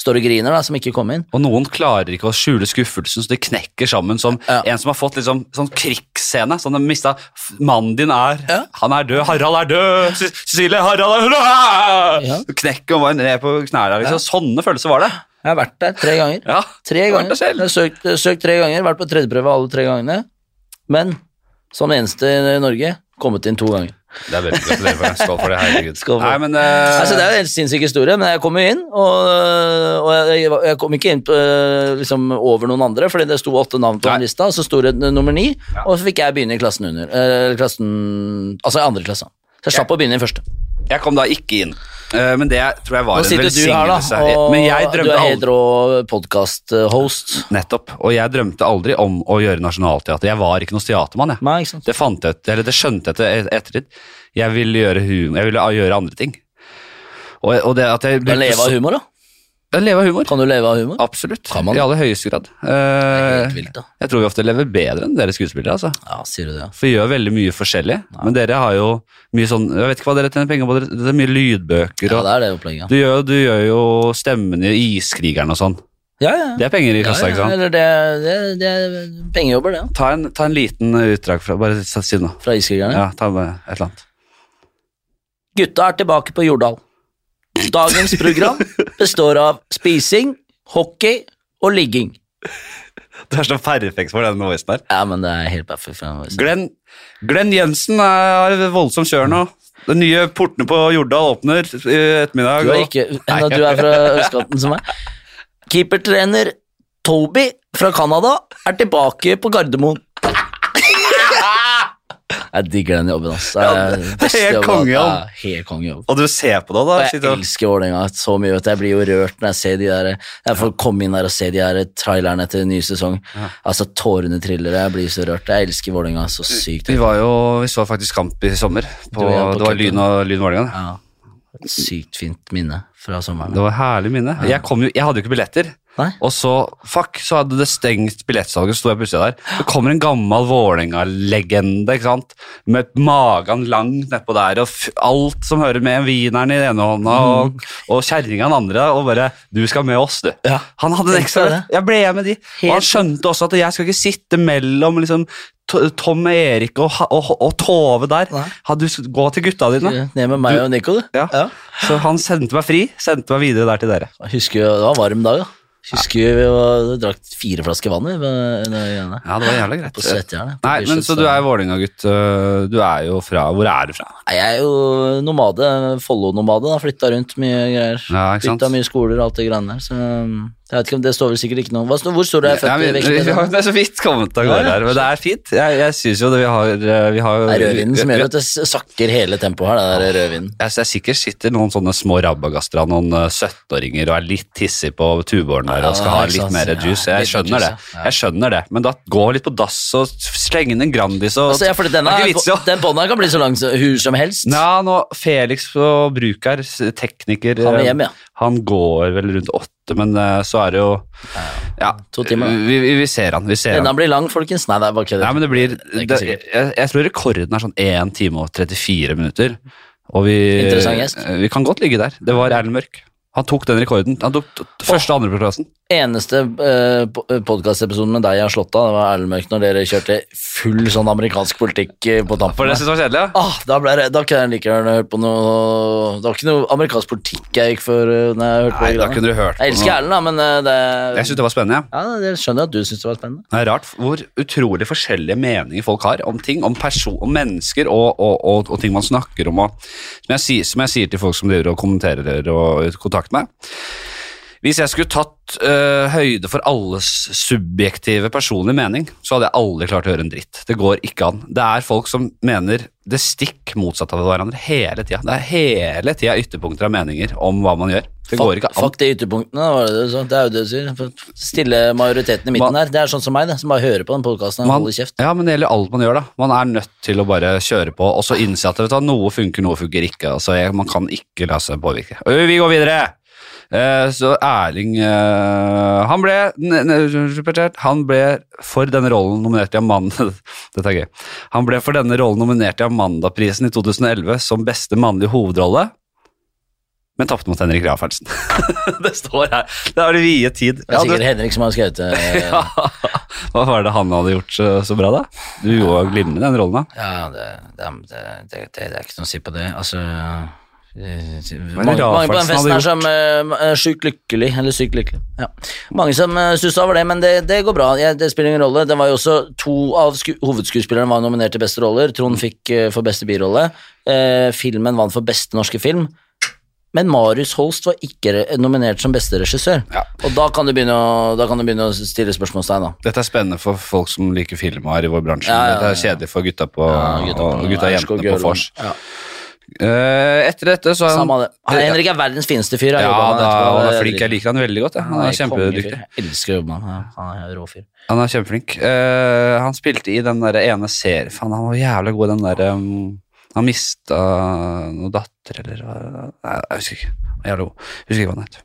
Speaker 2: står og griner, da, som ikke kom inn.
Speaker 1: Og noen klarer ikke å skjule skuffelsen, så de knekker sammen som
Speaker 2: Ja.
Speaker 1: en som har fått liksom, sånn krigsscene. Sånn de mista f- Mannen din er Han er død. Harald er død. Ce- Cecilie, Harald er
Speaker 2: Ja.
Speaker 1: død! Knekker og var ned på knærne. der, Liksom. Sånne følelser var det.
Speaker 2: Jeg har vært der tre ganger.
Speaker 1: Ja.
Speaker 2: Tre
Speaker 1: har vært
Speaker 2: ganger.
Speaker 1: der selv.
Speaker 2: Jeg har søkt, søkt tre ganger, vært på tredjeprøve alle tre gangene. Men som eneste i Norge kommet inn to ganger.
Speaker 1: Det er veldig gratulerer for det. Skål for det. Herregud.
Speaker 2: Skål for
Speaker 1: Nei,
Speaker 2: det.
Speaker 1: men eh,
Speaker 2: Altså, det er jo en helt sinnssyk historie, men jeg kom jo inn, og, og jeg, jeg kom ikke inn på, liksom, over noen andre, fordi det sto åtte navn på
Speaker 1: Nei.
Speaker 2: den lista, og så sto det n- nummer ni,
Speaker 1: Ja.
Speaker 2: og så fikk jeg begynne i klassen under, eh, klassen, altså i andre klassen. Så jeg slapp å begynne i første.
Speaker 1: Jeg kom da ikke inn. Eh, men det tror jeg var
Speaker 2: Nå
Speaker 1: en
Speaker 2: sitter du her da,
Speaker 1: velsignelse.
Speaker 2: og
Speaker 1: Men jeg
Speaker 2: du
Speaker 1: drømte
Speaker 2: er
Speaker 1: aldri
Speaker 2: helt rå podcast-host.
Speaker 1: Nettopp. Og jeg drømte aldri om å gjøre nasjonalteater. Jeg var ikke noen teatermann, jeg.
Speaker 2: Nei, ikke sant?
Speaker 1: Det, fant jeg, ut- eller det skjønte jeg etter ettertid. Jeg ville gjøre humor. Jeg ville gjøre andre ting. Og, og det at jeg
Speaker 2: Du kan leve av humor da.
Speaker 1: humor. Leve av humor.
Speaker 2: Kan du leve av humor?
Speaker 1: Absolutt.
Speaker 2: Kan man?
Speaker 1: I aller høyeste grad.
Speaker 2: Helt
Speaker 1: Eh,
Speaker 2: vilt da.
Speaker 1: jeg tror vi ofte lever bedre enn dere skuespillere, altså.
Speaker 2: Ja, sier du det, ja.
Speaker 1: For vi gjør veldig mye forskjellig. Men dere har jo mye sånn Jeg vet ikke hva dere tjener penger på. dere- Det er mye lydbøker
Speaker 2: Ja,
Speaker 1: og
Speaker 2: det er det opplegget.
Speaker 1: du gjør, du gjør jo stemmen i Iskrigeren og sånn.
Speaker 2: Ja, ja.
Speaker 1: Det er penger i
Speaker 2: Ja,
Speaker 1: kassa, ikke
Speaker 2: ja,
Speaker 1: sant?
Speaker 2: eller det, det, det er pengejobber det, ja.
Speaker 1: Ta en, ta en liten utdrag fra Bare si det nå.
Speaker 2: fra iskrigerne.
Speaker 1: Ja, ta med et eller annet.
Speaker 2: Gutta er tilbake på Jordal. Dagens program består av spising, hockey og ligging.
Speaker 1: Du er så perfekt for den voicen der.
Speaker 2: Ja, men det er helt perfekt. for en voice.
Speaker 1: Glenn, Glenn Jensen er er voldsom kjør nå. De nye portene på Jordal åpner i ettermiddag.
Speaker 2: Du er
Speaker 1: og-
Speaker 2: ikke Enda du er fra østkanten som meg. Keepertrener Toby fra Canada er tilbake på Gardermoen. Det Jeg digger den jobben, ass.
Speaker 1: Ja, det-
Speaker 2: Det er den
Speaker 1: det er
Speaker 2: beste
Speaker 1: helt
Speaker 2: jobben,
Speaker 1: kongejobb.
Speaker 2: ja, Helt kongejobb.
Speaker 1: Og du ser på det, da.
Speaker 2: Og jeg
Speaker 1: sitter og-
Speaker 2: elsker Vålerenga så mye. Vet du. Jeg blir jo rørt når jeg ser de der Jeg får komme inn der og se de her trailerne til ny sesong. Altså, tårene triller. Jeg blir så rørt. Jeg elsker Vålerenga så sykt.
Speaker 1: Vi var jo, vi så faktisk kamp i sommer. På,
Speaker 2: Du og jeg på
Speaker 1: det var
Speaker 2: Køppen.
Speaker 1: Lyn og Lyn Vålerenga. det.
Speaker 2: Ja. Et sykt fint minne fra
Speaker 1: Det
Speaker 2: sommeren.
Speaker 1: var herlig minne. Jeg, kom jo, jeg hadde jo ikke billetter.
Speaker 2: Nei?
Speaker 1: Og så, fuck, så hadde det stengt billettsalget, så sto jeg plutselig der. Det kommer en gammel Vålerenga-legende, ikke sant? Med magen lang nedpå der, og f alt som hører med, wieneren i den ene hånda,
Speaker 2: Mm.
Speaker 1: og, og kjerringa i den andre, og bare, du skal med oss, du.
Speaker 2: Ja.
Speaker 1: Han hadde en
Speaker 2: Tenk
Speaker 1: ekstra
Speaker 2: deg
Speaker 1: billett. Jeg ble med de. Og han skjønte også at jeg skal ikke sitte mellom liksom, To- Tom og Erik og, Ha- og, og Tove der.
Speaker 2: Nei.
Speaker 1: Ha- Du skal gå til gutta dine.
Speaker 2: Ned med meg og Nico, du.
Speaker 1: Ja. Så han sendte meg fri, sendte meg videre der til dere.
Speaker 2: Jeg Husker jo, Det var varm dag, da. Husker jo vi var, drakk fire flasker vann vi, med- med greiene.
Speaker 1: Ja, det var jævlig greit.
Speaker 2: på Svettjernet. på
Speaker 1: Nei, men
Speaker 2: Bislett,
Speaker 1: Så du er Vålerenga-gutt. øh, Du er jo fra Hvor er du fra?
Speaker 2: Nei, Jeg er jo nomade, Follo-nomade. da, Flytta rundt mye greier.
Speaker 1: Ja, ikke sant?
Speaker 2: Flytta mye skoler og alt det greiene der. Så jeg vet ikke om det står vel sikkert ikke noe Hva, står- Hvor står det? Jeg er
Speaker 1: Ja,
Speaker 2: født
Speaker 1: vi,
Speaker 2: i
Speaker 1: vi, vi har,
Speaker 2: Vekstbyen.
Speaker 1: det er så vidt kommet av gårde
Speaker 2: Ja, ja.
Speaker 1: her, men det er fint. Jeg, jeg syns jo det vi har, øh, vi har
Speaker 2: Det er rødvinen som
Speaker 1: vi-
Speaker 2: gjør at det s- sakker hele tempoet her. Det der rødvinen.
Speaker 1: Jeg, jeg sikkert sitter noen sånne små rabagaster av noen eh, 17-åringer og er litt hissig på tuboren der
Speaker 2: Ja,
Speaker 1: og skal ha
Speaker 2: ikke
Speaker 1: litt
Speaker 2: sant.
Speaker 1: mer
Speaker 2: Ja,
Speaker 1: juice. Jeg
Speaker 2: litt
Speaker 1: skjønner det,
Speaker 2: juice, ja. Ja.
Speaker 1: jeg skjønner det. men da gå litt på dass og slenge inn en Grandis og
Speaker 2: Altså, ja, fordi
Speaker 1: Det
Speaker 2: denne,
Speaker 1: er ikke vits i å
Speaker 2: den bånda her kan bli så lang som hvor som helst.
Speaker 1: Nja, nå Felix på bruk her, s- tekniker
Speaker 2: Han er
Speaker 1: eh,
Speaker 2: hjemme, ja.
Speaker 1: Han går vel rundt åtte, men eh, så er det jo Ja,
Speaker 2: To timer, da.
Speaker 1: Vi, vi, vi ser han. Vi ser
Speaker 2: Denne
Speaker 1: han.
Speaker 2: blir lang, folkens. Nei, det er bare kødd.
Speaker 1: Nei, men det blir
Speaker 2: er
Speaker 1: det,
Speaker 2: ikke
Speaker 1: jeg,
Speaker 2: sikkert.
Speaker 1: jeg tror rekorden er sånn 1 time og 34 minutter. Og vi,
Speaker 2: Interessant gjest.
Speaker 1: vi kan godt ligge der. Det var Erlend Mørk. Han tok den rekorden. Han tok t- t- første- og andreplassen.
Speaker 2: Eneste uh, podkastepisoden med deg jeg har slått av, det var Erlend Mørk, når dere kjørte full sånn amerikansk politikk eh, på
Speaker 1: For
Speaker 2: tampen.
Speaker 1: det syns jeg var kjedelig, ja.
Speaker 2: Ah, da, ble det, da kunne jeg like gjerne hørt på noe Det var ikke noe amerikansk politikk jeg gikk for eh, når jeg
Speaker 1: Nei,
Speaker 2: hørte på
Speaker 1: da
Speaker 2: det greiene.
Speaker 1: kunne du hørt på
Speaker 2: Jeg elsker
Speaker 1: noe.
Speaker 2: Erlend, da, men eh, det
Speaker 1: Jeg syns det var spennende. Ja.
Speaker 2: Ja, det skjønner jeg at du syns det var spennende.
Speaker 1: Det er rart hvor utrolig forskjellige meninger folk har om ting, om, perso om mennesker og, og, og, og ting man snakker om. Og, som, jeg sier, som jeg sier til folk som driver og kommenterer og kontakter meg. Hvis jeg skulle tatt eh, høyde for alles subjektive personlige mening, så hadde jeg aldri klart å høre en dritt. Det går ikke an. Det er folk som mener det stikk motsatte av hverandre hele tida. Det er hele tida ytterpunkter av meninger om hva man gjør. Det går ikke an.
Speaker 2: Fuck de ytterpunktene, var det du sa. Det er jo det du sier. Stille majoriteten i midten
Speaker 1: Man-
Speaker 2: der. Det er sånn som meg, det, som bare hører på den podkasten og
Speaker 1: Man,
Speaker 2: holder kjeft.
Speaker 1: ja, men det gjelder alt man gjør, da. Man er nødt til å bare kjøre på, og så innse at vet du, hva, noe funker, noe funker ikke. Altså, jeg, man kan ikke la seg påvirke. Øy, Vi går videre! Eh, så Erling eh, Han ble ne, ne, repetert, Han ble for denne rollen nominert i Amanda Dette er gøy. Han ble for denne rollen nominert i Amandaprisen i 2011 som beste mannlige hovedrolle, men tapte mot Henrik Rafaelsen. det står her. Det har du viet tid.
Speaker 2: Det er
Speaker 1: Ja, du-
Speaker 2: sikkert Henrik som har skrevet eh, det.
Speaker 1: ja. Hva var det han hadde gjort så, så bra, da? Du gjorde jo glimrende den rollen, da.
Speaker 2: Ja, det, det, det, det, det er ikke noe å si på det. Altså eh,
Speaker 1: er
Speaker 2: mange,
Speaker 1: rart
Speaker 2: mange
Speaker 1: faktisk
Speaker 2: på den
Speaker 1: han
Speaker 2: festen
Speaker 1: hadde
Speaker 2: er som uh, sjukt lykkelig, eller sykt lykkelig. Ja. Mange som uh, stussa over det, men det, det går bra. Jeg, det spiller ingen rolle. Det var jo også To av sku, hovedskuespillerne var nominert til beste roller. Trond fikk eh, for beste birolle. Eh, filmen vant for beste norske film. Men Marius Holst var ikke re- nominert som beste regissør.
Speaker 1: Ja.
Speaker 2: Og da kan du begynne å, da kan du begynne å stille spørsmålstegn, da.
Speaker 1: Dette er spennende for folk som liker film og er i vår bransje.
Speaker 2: Ja, ja, ja.
Speaker 1: Dette er kjedelig for gutta på
Speaker 2: Ja,
Speaker 1: og gutta og jentene på
Speaker 2: Aurskog Gjørland.
Speaker 1: vors.
Speaker 2: Ja,
Speaker 1: Eh, etter dette så er han
Speaker 2: samme av det. Han, Henrik er verdens fineste fyr.
Speaker 1: Ja,
Speaker 2: jeg
Speaker 1: da,
Speaker 2: jobber med etterpå.
Speaker 1: han er
Speaker 2: Det
Speaker 1: flink. Jeg liker han veldig godt. jeg. Han er kjempedyktig.
Speaker 2: kongefyr. Jeg elsker å jobbe med han. Ja, Han er rå fyr.
Speaker 1: Han er kjempeflink. Eh, han spilte i den der ene serien Faen, han var jævla god i den derre Han mista noen datter, eller hva Nei, jeg husker ikke. Han var Jævla god. Jeg husker ikke hva han het.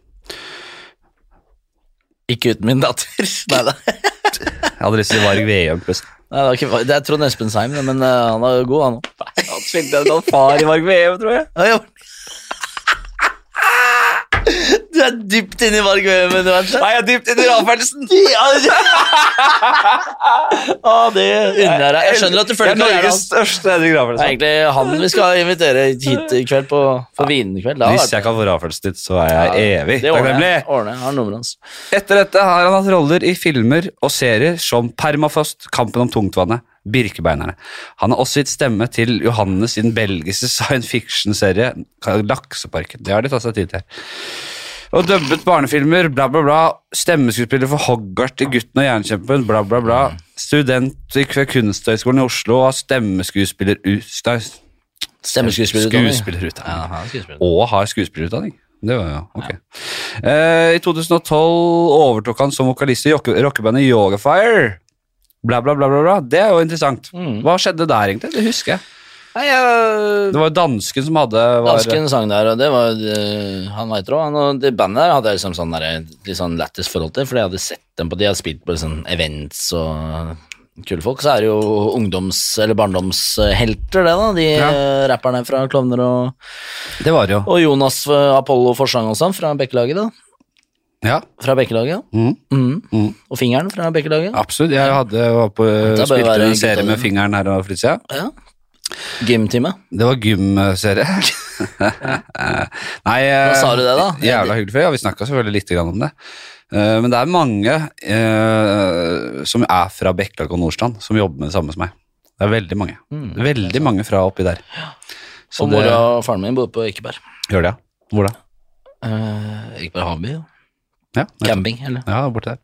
Speaker 2: Ikke uten min datter. Nei da.
Speaker 1: Jeg hadde lyst til å si Varg Veum, plutselig.
Speaker 2: Nei, det, er ikke, det er Trond Espen Seim, det, men eh, han er jo god, han òg.
Speaker 1: Han spilte en far i Varg Veum, tror jeg.
Speaker 2: Du er dypt inne i Varg Veum-universet.
Speaker 1: Nei, jeg er dypt inni Rafelsen!
Speaker 2: Ah, det unner jeg deg. Jeg skjønner at du følger
Speaker 1: Det er
Speaker 2: karrieren
Speaker 1: Norges
Speaker 2: hans.
Speaker 1: største Henrik
Speaker 2: Det er
Speaker 1: Rafelsen.
Speaker 2: egentlig han vi skal invitere hit i kveld på, på vinkveld. Det hadde
Speaker 1: Hvis
Speaker 2: vært-
Speaker 1: jeg kan få Rafelsen dit, så er jeg evig
Speaker 2: Det ordner
Speaker 1: takknemlig.
Speaker 2: jeg. Ordner jeg. Har nummeret hans.
Speaker 1: Etter dette har han hatt roller i filmer og serier som Permafrost, Kampen om tungtvannet, Birkebeinerne. Han har også gitt stemme til Johannes i den belgiske science fiction-serie Lakseparken. Det har de tatt seg tid til. Og dubbet barnefilmer, bla, bla, bla. Stemmeskuespiller for Hoggart i 'Gutten og jernkjempen', bla, bla, bla. Student i- ved Kunsthøgskolen i Oslo og stemmeskuespiller ut- nei,
Speaker 2: Stemmeskuespillerutdanning. Ja,
Speaker 1: Skuespillerutdanning.
Speaker 2: han er skuespiller.
Speaker 1: Og har skuespillerutdanning. Det var jo, ok. Eh, I 2012 overtok han som vokalist i jokke- rockebandet Yogafire. Bla, bla, bla, bla, bla. Det er jo interessant.
Speaker 2: Mm.
Speaker 1: Hva skjedde der, egentlig? Det husker jeg.
Speaker 2: Nei, jeg-
Speaker 1: Det var jo dansken som hadde var,
Speaker 2: Dansken sang der, og det var eh, Han veit det òg. han, Og det bandet der hadde jeg liksom sånn der, litt sånn lættis forhold til, fordi jeg hadde sett dem på De hadde spilt på sånn events og kule folk. Så er det jo ungdoms- eller barndomshelter, det, da. De
Speaker 1: Ja.
Speaker 2: eh, rapperne fra Klovner og,
Speaker 1: Det var det jo.
Speaker 2: og Jonas eh, Apollo Forsang og sånn, fra Bekkelaget, da.
Speaker 1: Ja,
Speaker 2: Fra Bekkelaget, ja.
Speaker 1: Mhm.
Speaker 2: Mhm.
Speaker 1: Mhm.
Speaker 2: Og fingeren fra Bekkelaget.
Speaker 1: absolutt. Jeg hadde, var på,
Speaker 2: bør
Speaker 1: spilte
Speaker 2: være
Speaker 1: en serie
Speaker 2: gutta
Speaker 1: med
Speaker 2: dine.
Speaker 1: fingeren her og fritida.
Speaker 2: Ja. Gymtime.
Speaker 1: Det var gymserie. Nei eh,
Speaker 2: Hva sa du det, da?
Speaker 1: Jævla hyggelig. for- Ja, vi snakka selvfølgelig litt grann om det. Eh, Men det er mange eh, som er fra Bekkelaget og Nordstrand, som jobber med det samme som meg. Det er veldig mange.
Speaker 2: Mm,
Speaker 1: veldig mange fra oppi der. Så
Speaker 2: Og
Speaker 1: det
Speaker 2: mora og faren min bodde på Ekeberg.
Speaker 1: gjør det, ja. Hvor da?
Speaker 2: Eh, Ekeberg Havby. ja.
Speaker 1: Ja, nettopp.
Speaker 2: Camping, eller?
Speaker 1: ja, borte der.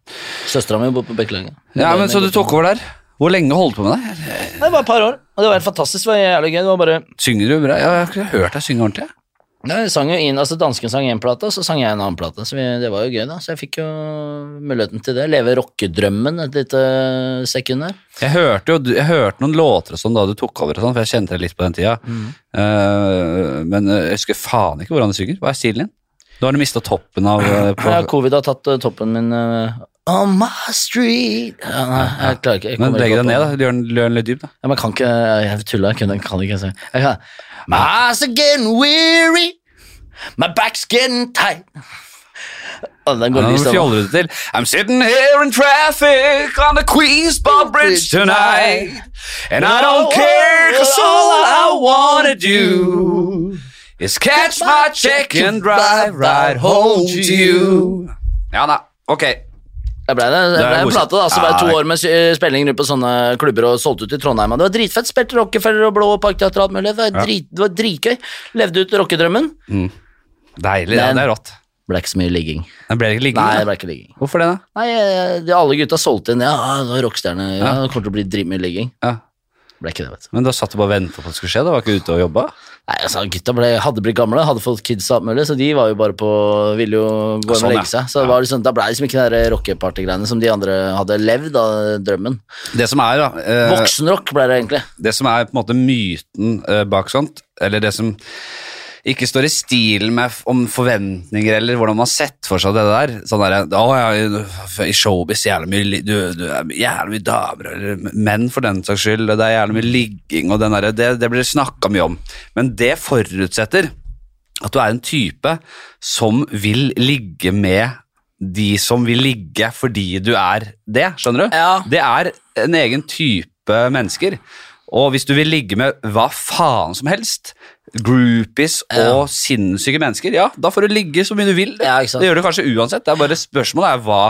Speaker 2: Søstera mi bor på Bekkelaget.
Speaker 1: Ja, men Så du tok over der? Hvor lenge holdt du på med det?
Speaker 2: Det var et par år, og det var helt fantastisk. Det var jævlig gøy. Det var bare
Speaker 1: Synger du bra? Jeg har ikke hørt deg synge ordentlig. jeg.
Speaker 2: Nei, jeg sang jo inn, altså Dansken sang én plate, og så sang jeg en annen plate. Så vi, det var jo gøy, da. Så jeg fikk jo muligheten til det. Leve rockedrømmen et lite sekund der.
Speaker 1: Jeg hørte jo jeg hørte noen låter og sånn da du tok over, og sånn, for jeg kjente deg litt på den tida. Eh, men jeg husker faen ikke hvordan du synger. Hva er stilen din? Nå har du mista toppen av eh, på,
Speaker 2: Ja, Covid har tatt eh, toppen min eh, On my street ja, Nei, jeg klarer ikke. Jeg
Speaker 1: Men
Speaker 2: kommer
Speaker 1: legg deg
Speaker 2: ikke opp
Speaker 1: ned,
Speaker 2: på
Speaker 1: da. Gjør den, gjør den litt dyp, da.
Speaker 2: Ja, men jeg kan ikke Jeg tuller, jeg kunne, kan ikke. Så. Jeg kan My eyes are getting weary, my back's getting tight. Å, den går
Speaker 1: Nå
Speaker 2: lyst av.
Speaker 1: fjoller du til. I'm sitting here in traffic on the Queens Bar Bridge tonight. And I don't care, cause all I wanna do is catch my check and drive right home to you. Ja da. Ok.
Speaker 2: Det ble, det, det
Speaker 1: er
Speaker 2: ble en
Speaker 1: godkjent.
Speaker 2: plate, da. Så ble det
Speaker 1: Ja,
Speaker 2: to
Speaker 1: det-
Speaker 2: år med eh, spilling rundt på sånne klubber og solgt ut i Trondheim. Og det var dritfett. Spilte Rockefeller og Blå Parkteater og alt mulig. Det var, drit, det var dritgøy. Levde ut rockedrømmen.
Speaker 1: Deilig. Ja,
Speaker 2: Men-
Speaker 1: det er rått.
Speaker 2: Ble ikke så mye ligging.
Speaker 1: Den ble ikke
Speaker 2: Nei,
Speaker 1: liggende.
Speaker 2: det ble ikke ligging.
Speaker 1: da. Hvorfor det, da?
Speaker 2: Nei, eh, de, alle gutta solgte inn. Ja, det var rockestjerne. Ja, det kommer til å bli dritmye ligging.
Speaker 1: Ja.
Speaker 2: Ble ikke det, vet du.
Speaker 1: Men da satt du bare og venta på at det skulle skje? Da var ikke ute og jobba?
Speaker 2: Nei, altså, gutta ble, hadde blitt gamle, hadde fått kids og alt mulig, så de var jo bare på Ville jo gå hjem
Speaker 1: sånn,
Speaker 2: og
Speaker 1: ja.
Speaker 2: legge seg. Så det var liksom, da ble det liksom ikke de der rockepartygreiene som de andre hadde levd av drømmen.
Speaker 1: Det som er, da, eh,
Speaker 2: Voksenrock ble det egentlig.
Speaker 1: det som er på en måte myten eh, bak sånt, eller det som ikke står i stil med f- om forventninger eller hvordan man har sett for seg det der. Sånn der, å, ja, I showbiz jævlig mye, li- du, du er jævlig mye damer, eller menn for den saks skyld, og det er jævlig mye ligging og den der, det, det blir snakka mye om. Men det forutsetter at du er en type som vil ligge med de som vil ligge fordi du er det, skjønner du?
Speaker 2: Ja.
Speaker 1: Det er en egen type mennesker. Og hvis du vil ligge med hva faen som helst, groupies og sinnssyke mennesker, ja, da får du ligge så mye du vil.
Speaker 2: Ja, ikke sant.
Speaker 1: Det gjør du kanskje uansett. Det er bare spørsmålet er hva,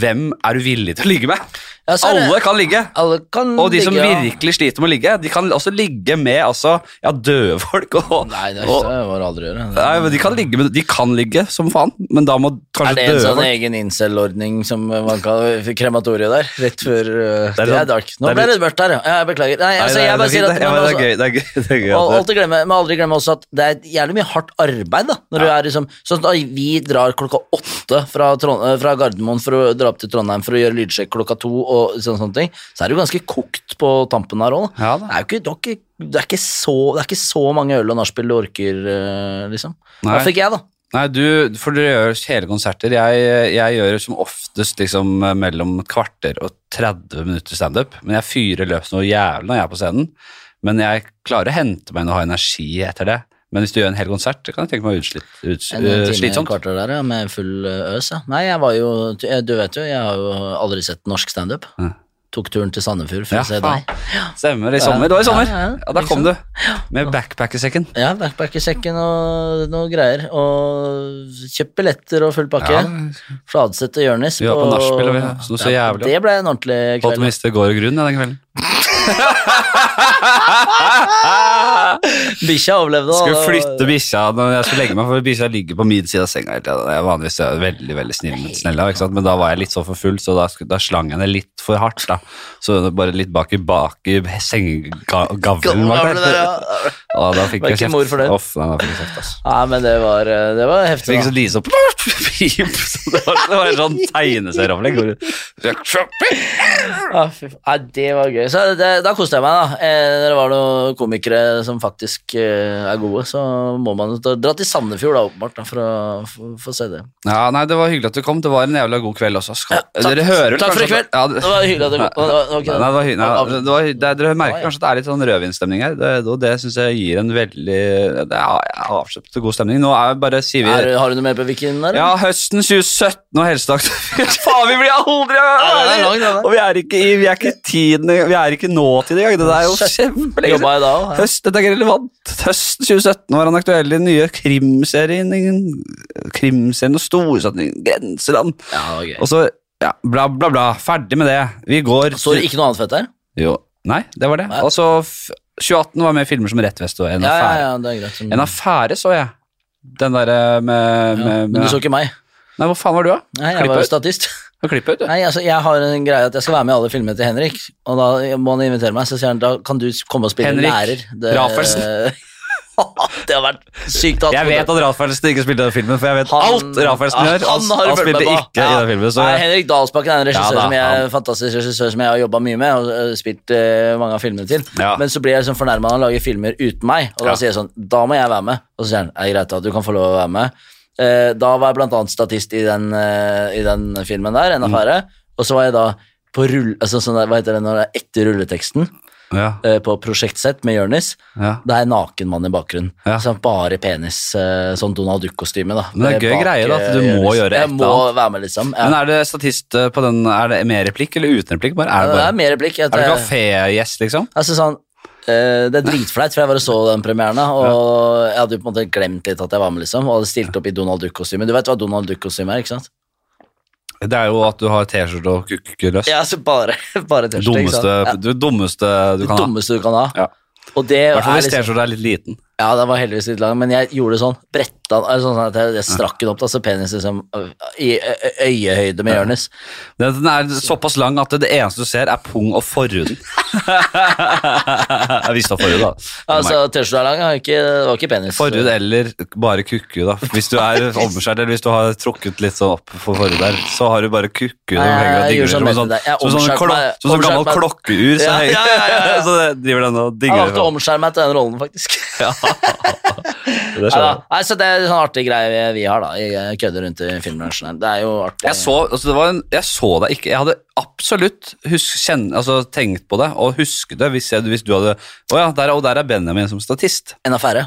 Speaker 1: hvem er du villig til å ligge med?
Speaker 2: Ja, så er det-
Speaker 1: Alle kan ligge.
Speaker 2: Alle kan
Speaker 1: Og de som
Speaker 2: ligge, ja.
Speaker 1: virkelig sliter med å ligge, de kan også ligge med altså, ja, døde folk. Og,
Speaker 2: Nei, det
Speaker 1: og,
Speaker 2: skal jeg bare aldri gjøre.
Speaker 1: nei, men de, kan ligge med, de kan ligge som faen, men da må
Speaker 2: Er
Speaker 1: kanskje
Speaker 2: det
Speaker 1: døde
Speaker 2: en sånn
Speaker 1: folk
Speaker 2: egen incel-ordning som man kan Krematoriet der, rett før uh,
Speaker 1: er
Speaker 2: Det
Speaker 1: sånn-
Speaker 2: er dark.
Speaker 1: det
Speaker 2: Nå
Speaker 1: er
Speaker 2: ble det mørkt her, ja. Ja, Jeg beklager. Nei,
Speaker 1: Nei,
Speaker 2: altså,
Speaker 1: nei, det
Speaker 2: jeg
Speaker 1: er
Speaker 2: bare sier
Speaker 1: fint,
Speaker 2: at
Speaker 1: det. Ja,
Speaker 2: men
Speaker 1: men det
Speaker 2: altså-
Speaker 1: er gøy. Det er gøy. Det er gøy
Speaker 2: Og
Speaker 1: at det-
Speaker 2: alltid glemme, men aldri glemme også at det er jævlig mye hardt arbeid. da Når du er liksom Sånn at vi drar klokka åtte fra, Trond, eh, fra Gardermoen for å dra opp til Trondheim for å gjøre lydsjekk klokka to, og sånne, sånne ting så er det jo ganske kokt på tampen her òg.
Speaker 1: Ja da.
Speaker 2: det, er jo ikke- det, er ikke- det, er ikke så- det er ikke så mange øl og nachspiel du orker, eh, liksom.
Speaker 1: Nei.
Speaker 2: Hva fikk jeg, da?
Speaker 1: Nei, du, for dere gjør hele konserter. Jeg, jeg gjør som oftest liksom mellom et kvarter og 30 minutter standup. Men jeg fyrer løs noe jævlig når jeg er på scenen. Men jeg klarer å hente meg inn og ha energi etter det. Men hvis du gjør en hel konsert, det kan jeg tenke meg utslitt, uts,
Speaker 2: En time
Speaker 1: øh, slitsomt.
Speaker 2: Slitsomt. kvarter der, ja, med full eh, øs. Ja. Nei, jeg var jo eh, Du vet jo, jeg har jo aldri sett norsk standup.
Speaker 1: Ja.
Speaker 2: Tok turen til Sandefjord for
Speaker 1: Ja,
Speaker 2: å se
Speaker 1: faen.
Speaker 2: deg.
Speaker 1: Stemmer. I sommer. Det var i sommer.
Speaker 2: Ja, ja, ja.
Speaker 1: Ja, da kom du. Med backpack i sekken.
Speaker 2: Ja, backpackersekken og noe greier. Og kjøpt billetter og full pakke. Ja. Fladseth og Jonis.
Speaker 1: Vi var på nachspiel, og vi- så det så jævlig ut.
Speaker 2: Det ble en
Speaker 1: Holdt
Speaker 2: ordentlig
Speaker 1: på å
Speaker 2: kveld.
Speaker 1: miste gård og grunn ja, den kvelden.
Speaker 2: Bikkja overlevde. da.
Speaker 1: Skulle
Speaker 2: Det var-
Speaker 1: flytte bikkja når jeg skulle legge meg, for bikkja ligger på min side av senga. hele tiden. Jeg er vanligvis er jeg veldig veldig snill med snella, ikke sant? men da var jeg litt så for full, så da, skulle- da slang jeg det litt for hardt. da. Så det bare litt bak i, bak i sengegavlen. var
Speaker 2: Gamle
Speaker 1: det.
Speaker 2: der, ja.
Speaker 1: Og da fikk
Speaker 2: Var
Speaker 1: jeg
Speaker 2: ikke
Speaker 1: kjeft.
Speaker 2: mor for det.
Speaker 1: Uff, nei, da fikk jeg kjeft, altså.
Speaker 2: Nei, men det var, eh, det var
Speaker 1: Så
Speaker 2: heftig.
Speaker 1: fikk
Speaker 2: da.
Speaker 1: sånn lyse opp pip, så Det var, det var en sånn tegneserieopplegg. hvor du-
Speaker 2: Ja, Ah, fy faen. Nei, det var gøy. Så det, da koste jeg meg, da. Eh, det var noen komikere som faktisk eh, er gode, så må man da, dra til Sandefjord, da, åpenbart, da, for å for, for å se det.
Speaker 1: Ja, nei, Det var hyggelig at du kom. Det var en jævla god kveld også. Skal,
Speaker 2: takk.
Speaker 1: dere hører vel
Speaker 2: Takk for i
Speaker 1: kanskje at-
Speaker 2: kveld. Det var hyggelig at du- det var- det var ikke-
Speaker 1: Nei, det var hy-
Speaker 2: av-
Speaker 1: nei, det var hy- det- Dere
Speaker 2: Ja,
Speaker 1: merker
Speaker 2: ja.
Speaker 1: kanskje at det er litt sånn rødvinstemning her. Det, og det syns jeg gir en veldig Det er avsløpt og god stemning. Nå er bare sier
Speaker 2: Er,
Speaker 1: vi
Speaker 2: har du noe mer på Viken? Der,
Speaker 1: ja, høsten 2017 og helsedagen Faen, vi blir aldri
Speaker 2: det er langt, det der.
Speaker 1: Og vi er ikke i vi er ikke i tiden Vi er ikke nåtid engang. Det der er jo kjempelenge siden.
Speaker 2: Jobba i dag òg?
Speaker 1: Høst, dette er ikke relevant. Høsten 2017 var han aktuell i den nye krimserien Krimserien og storsatsingen Grenseland.
Speaker 2: Ja, det var gøy.
Speaker 1: Og så ja, bla, bla, bla. Ferdig med det. Vi går
Speaker 2: Så det ikke noe annet fett der?
Speaker 1: Jo. Nei, det var det.
Speaker 2: Nei.
Speaker 1: Og så f- 2018 var med i filmer som Rett vest og En
Speaker 2: Ja, ja,
Speaker 1: affære.
Speaker 2: ja, det er greit. som-
Speaker 1: En affære så jeg. Den derre med,
Speaker 2: ja.
Speaker 1: med,
Speaker 2: Men du
Speaker 1: med
Speaker 2: så ikke meg?
Speaker 1: Nei, hvor faen var du, da?
Speaker 2: Nei, jeg
Speaker 1: Klipp
Speaker 2: var jo
Speaker 1: ut.
Speaker 2: statist.
Speaker 1: Og klippet, du.
Speaker 2: Nei, altså, jeg har en greie at jeg skal være med i alle filmene til Henrik, og da må han invitere meg, så sier han da kan du komme og spille
Speaker 1: Henrik
Speaker 2: lærer.
Speaker 1: Rafelsen.
Speaker 2: det har vært sykt at
Speaker 1: Jeg vet at Ralf Ellefsen ikke spilte den filmen, for jeg vet
Speaker 2: Han-
Speaker 1: alt Ralf Ellefsen
Speaker 2: Ja,
Speaker 1: gjør.
Speaker 2: han
Speaker 1: Han,
Speaker 2: har
Speaker 1: han,
Speaker 2: du fulgt
Speaker 1: spilte
Speaker 2: med på.
Speaker 1: ikke i
Speaker 2: Ja.
Speaker 1: den filmen. Så
Speaker 2: Nei, Henrik Dalsbakken er en regissør
Speaker 1: Ja da,
Speaker 2: som jeg,
Speaker 1: han-
Speaker 2: fantastisk regissør som jeg har jobba mye med og øh, spilt øh, mange av filmene til.
Speaker 1: Ja.
Speaker 2: Men så blir jeg liksom fornærma når han lager filmer uten meg, og da
Speaker 1: Ja.
Speaker 2: sier jeg sånn Da må jeg være med. Og så sier han er greit, da, du kan få lov å være med. Eh, da var jeg blant annet statist i den, eh, i den filmen der, en affære.
Speaker 1: Mm.
Speaker 2: Og så var jeg da på rull... Altså, sånn der, hva heter det når det er etter rulleteksten?
Speaker 1: ja,
Speaker 2: eh, på prosjektsett med Jonis.
Speaker 1: ja.
Speaker 2: Det er en naken mann i bakgrunnen.
Speaker 1: Ja.
Speaker 2: Så bare penis, eh, sånn Donald Duck-kostyme. da.
Speaker 1: Men det er gøy
Speaker 2: Bak,
Speaker 1: greie, da, at du
Speaker 2: eh,
Speaker 1: må
Speaker 2: Jonis.
Speaker 1: gjøre et
Speaker 2: Jeg må
Speaker 1: eller
Speaker 2: være med, liksom. Ja.
Speaker 1: Men er det statist eh, på den Er det med replikk eller uten replikk? Bare, er
Speaker 2: det,
Speaker 1: det bare
Speaker 2: er mer replikk. Jeg,
Speaker 1: Er du
Speaker 2: jeg,
Speaker 1: kafégjest, liksom?
Speaker 2: synes han, eh, det er dritflaut, for jeg var og så den premieren, da, og jeg hadde jo på en måte glemt litt at jeg var med, liksom, og hadde stilt opp i Donald Duck-kostyme. Du vet hva Donald Duck-kostyme er, ikke sant?
Speaker 1: Det er jo at du har T-skjorte og kukkeløs.
Speaker 2: Ja, så bare, bare tørste, ikke sant?
Speaker 1: dummeste,
Speaker 2: Ja,
Speaker 1: Du dummeste du
Speaker 2: det
Speaker 1: kan ha.
Speaker 2: dummeste du kan ha.
Speaker 1: Ja.
Speaker 2: Og det
Speaker 1: I
Speaker 2: er
Speaker 1: hvert fall hvis
Speaker 2: liksom,
Speaker 1: T-skjorta er litt liten.
Speaker 2: ja, den var heldigvis litt lang, men jeg gjorde det sånn, bretta den, eller sånn at jeg, jeg strakk den opp, da, så penis liksom, ø- i ø- ø- øyehøyde med Jonis.
Speaker 1: Den den er såpass lang at det eneste du ser, er pung og forhuden. Hvis du har forhud, da.
Speaker 2: Altså, tørste er lang, jeg har ikke, det var ikke penis.
Speaker 1: Forhud eller bare kukku, da. Hvis du er omskjært, eller hvis du har trukket litt sånn opp for forhud der, så har du bare kukku som
Speaker 2: Nei,
Speaker 1: henger og
Speaker 2: jeg
Speaker 1: dingler.
Speaker 2: gjorde
Speaker 1: Som
Speaker 2: sånn
Speaker 1: en sånn,
Speaker 2: med det der. Jeg
Speaker 1: som en sånn,
Speaker 2: omskjærte
Speaker 1: klo-
Speaker 2: meg-
Speaker 1: som en sånn gammel
Speaker 2: omskjærte meg-
Speaker 1: klokkeur, så,
Speaker 2: Ja,
Speaker 1: henger-
Speaker 2: ja, ja, ja, ja.
Speaker 1: så det driver den og
Speaker 2: Jeg har
Speaker 1: dingler.
Speaker 2: alltid omskjært meg til den rollen, faktisk.
Speaker 1: Det skjønner
Speaker 2: Neida.
Speaker 1: jeg.
Speaker 2: Nei, så Det er en sånn artig greie vi, vi har, da. Jeg kødder rundt i filmbransjen. her. Det er jo artig.
Speaker 1: Jeg så, altså det var en, jeg så deg ikke Jeg hadde absolutt husk, kjenn, altså tenkt på det og husket det hvis, jeg, hvis du hadde Å ja, der, er- og der er Benjamin som statist.
Speaker 2: En affære.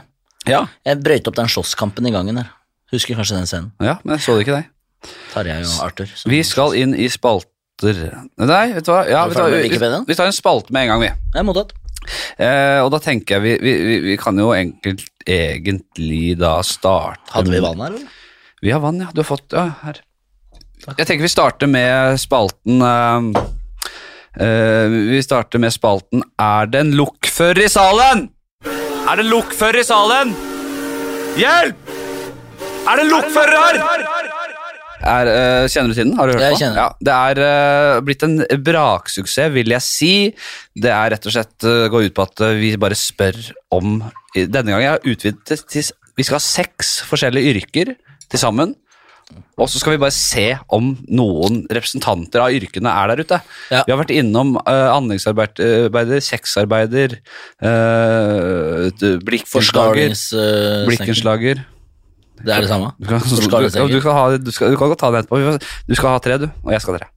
Speaker 1: Ja.
Speaker 2: Jeg brøyt opp den slåsskampen i gangen der. Husker kanskje den scenen.
Speaker 1: ja, men jeg så det ikke, nei.
Speaker 2: Tarjei og Arthur. som-
Speaker 1: Vi skal inn i spalter Nei, vet du hva? Ja,
Speaker 2: Er
Speaker 1: vet
Speaker 2: du
Speaker 1: du hva?
Speaker 2: ferdig med
Speaker 1: Vi, vi,
Speaker 2: Wikipedia?
Speaker 1: vi tar en spalte med en gang, vi.
Speaker 2: Det er mottatt.
Speaker 1: Eh, og da tenker jeg vi, vi, vi, vi kan jo enkelt, egentlig da starte
Speaker 2: Hadde vi vann her, eller?
Speaker 1: Vi har vann, ja. Du har fått Ja, her. Jeg tenker vi starter med spalten eh, eh, Vi starter med spalten Er det en lokfører i salen? Er det en lokfører i salen? Hjelp! Er det en lokfører her? Er, eh, kjenner du til den? Har du hørt
Speaker 2: Jeg
Speaker 1: på?
Speaker 2: kjenner den.
Speaker 1: Ja, det er eh, blitt en braksuksess, vil jeg si. Det er rett og slett eh, går ut på at eh, vi bare spør om i- Denne gangen jeg har utvidet det til Vi skal ha seks forskjellige yrker til sammen. Og så skal vi bare se om noen representanter av yrkene er der ute.
Speaker 2: Ja.
Speaker 1: Vi har vært innom uh, anleggsarbeider, eh, sexarbeider, eh, t- blikkenslager
Speaker 2: Forskalingsstenger.
Speaker 1: Blikkenslager.
Speaker 2: eh, Det er det samme.
Speaker 1: Du kan, du,
Speaker 2: Forskalingsstenger.
Speaker 1: ja, du, skal ha, du, skal, du kan godt ta den etterpå. Vi får- Du skal ha tre, du, og jeg skal ha tre.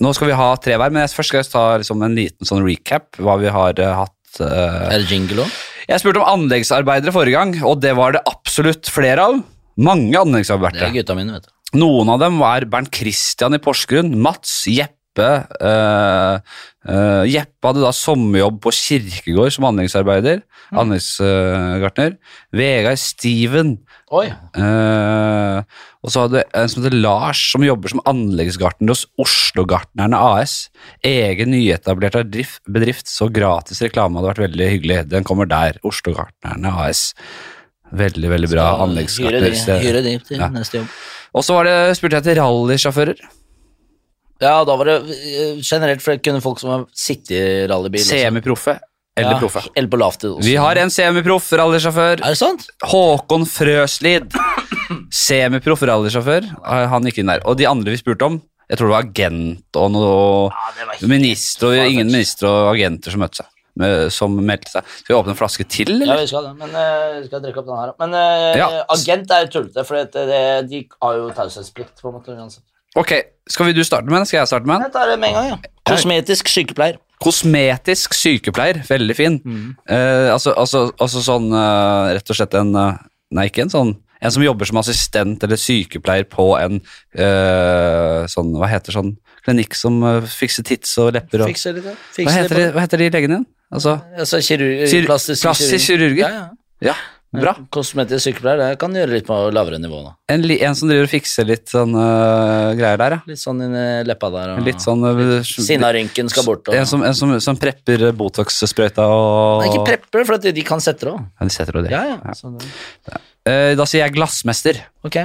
Speaker 1: Nå skal vi ha tre hver, men jeg, først skal jeg ta liksom, en liten sånn recap hva vi har eh, hatt. eh.
Speaker 2: Er det jingle òg?
Speaker 1: Jeg spurte om anleggsarbeidere forrige gang, og det var det absolutt flere av. Mange
Speaker 2: Det er
Speaker 1: anleggsarbeidere.
Speaker 2: gutta mine, vet du.
Speaker 1: Noen av dem var Bernt Christian i Porsgrunn, Mats, Jeppe Jeppe eh, eh, Jeppe hadde da sommerjobb på Kirkegård som anleggsarbeider. Anleggsgartner. Vegard Steven
Speaker 2: Oi.
Speaker 1: Eh, og så hadde en som heter Lars, som jobber som anleggsgartner hos Oslogartnerne AS. Egen nyetablert drif- bedrift, så gratis reklame hadde vært veldig hyggelig. Den kommer der. Oslogartnerne AS. Veldig, veldig bra
Speaker 2: Hyre de,
Speaker 1: anleggsgartner.
Speaker 2: hyre de til
Speaker 1: Ja.
Speaker 2: neste jobb.
Speaker 1: Og så var det, spurte jeg etter rallysjåfører.
Speaker 2: Ja, da var det eh, generelt for det kunne folk som har sittet i rallybil. også.
Speaker 1: Semiproffe eller
Speaker 2: ja,
Speaker 1: proffe.
Speaker 2: Eller på lavtid også.
Speaker 1: Vi har en semiproff rallysjåfør.
Speaker 2: Er det sant?
Speaker 1: Håkon Frøslid. Semiproff rallysjåfør. Eh, Han gikk inn der. Og de andre vi spurte om, jeg tror det var agent og noe
Speaker 2: Ja, det var
Speaker 1: Minister, og ingen ministre og agenter som møtte seg. med- Som meldte seg. Skal vi åpne en flaske til,
Speaker 2: Ja,
Speaker 1: eller?
Speaker 2: vi skal det, men eh, vi skal drikke opp den her. Men eh,
Speaker 1: Ja.
Speaker 2: agent er jo tullete, for det, det, de har jo taushetsplikt. på en måte uansett.
Speaker 1: Ok, Skal vi du starte med den? Skal jeg starte med den?
Speaker 2: Jeg tar det med en gang, ja. Kosmetisk sykepleier.
Speaker 1: Kosmetisk sykepleier. Veldig fin.
Speaker 2: Mm.
Speaker 1: Eh, altså, altså, altså sånn eh, Rett og slett en eh, Nei, ikke en sånn En som jobber som assistent eller sykepleier på en eh, sånn Hva heter sånn klinikk som eh, fikser tits og lepper og
Speaker 2: Fikser litt, ja.
Speaker 1: Hva
Speaker 2: Fikser
Speaker 1: heter, de, hva heter de legene igjen? Altså,
Speaker 2: Altså kirurg,
Speaker 1: Kir-
Speaker 2: plastisk,
Speaker 1: plastisk kirurger.
Speaker 2: Ja, ja.
Speaker 1: ja, bra.
Speaker 2: Kosmetisk sykepleier det kan gjøre litt på lavere nivå. da.
Speaker 1: En, li- en som driver og fikser litt sånn eh, greier der, ja.
Speaker 2: Litt sånn inni leppa der. Og...
Speaker 1: Litt sånn eh,
Speaker 2: Sinnarynken skal bort. Og...
Speaker 1: En som, en som, som prepper Botox-sprøyta og
Speaker 2: Nei, ikke prepper, for at de kan sette det òg.
Speaker 1: Ja, de setter jo det.
Speaker 2: Ja, ja. Sånn, ja.
Speaker 1: Eh, da sier jeg glassmester.
Speaker 2: ok.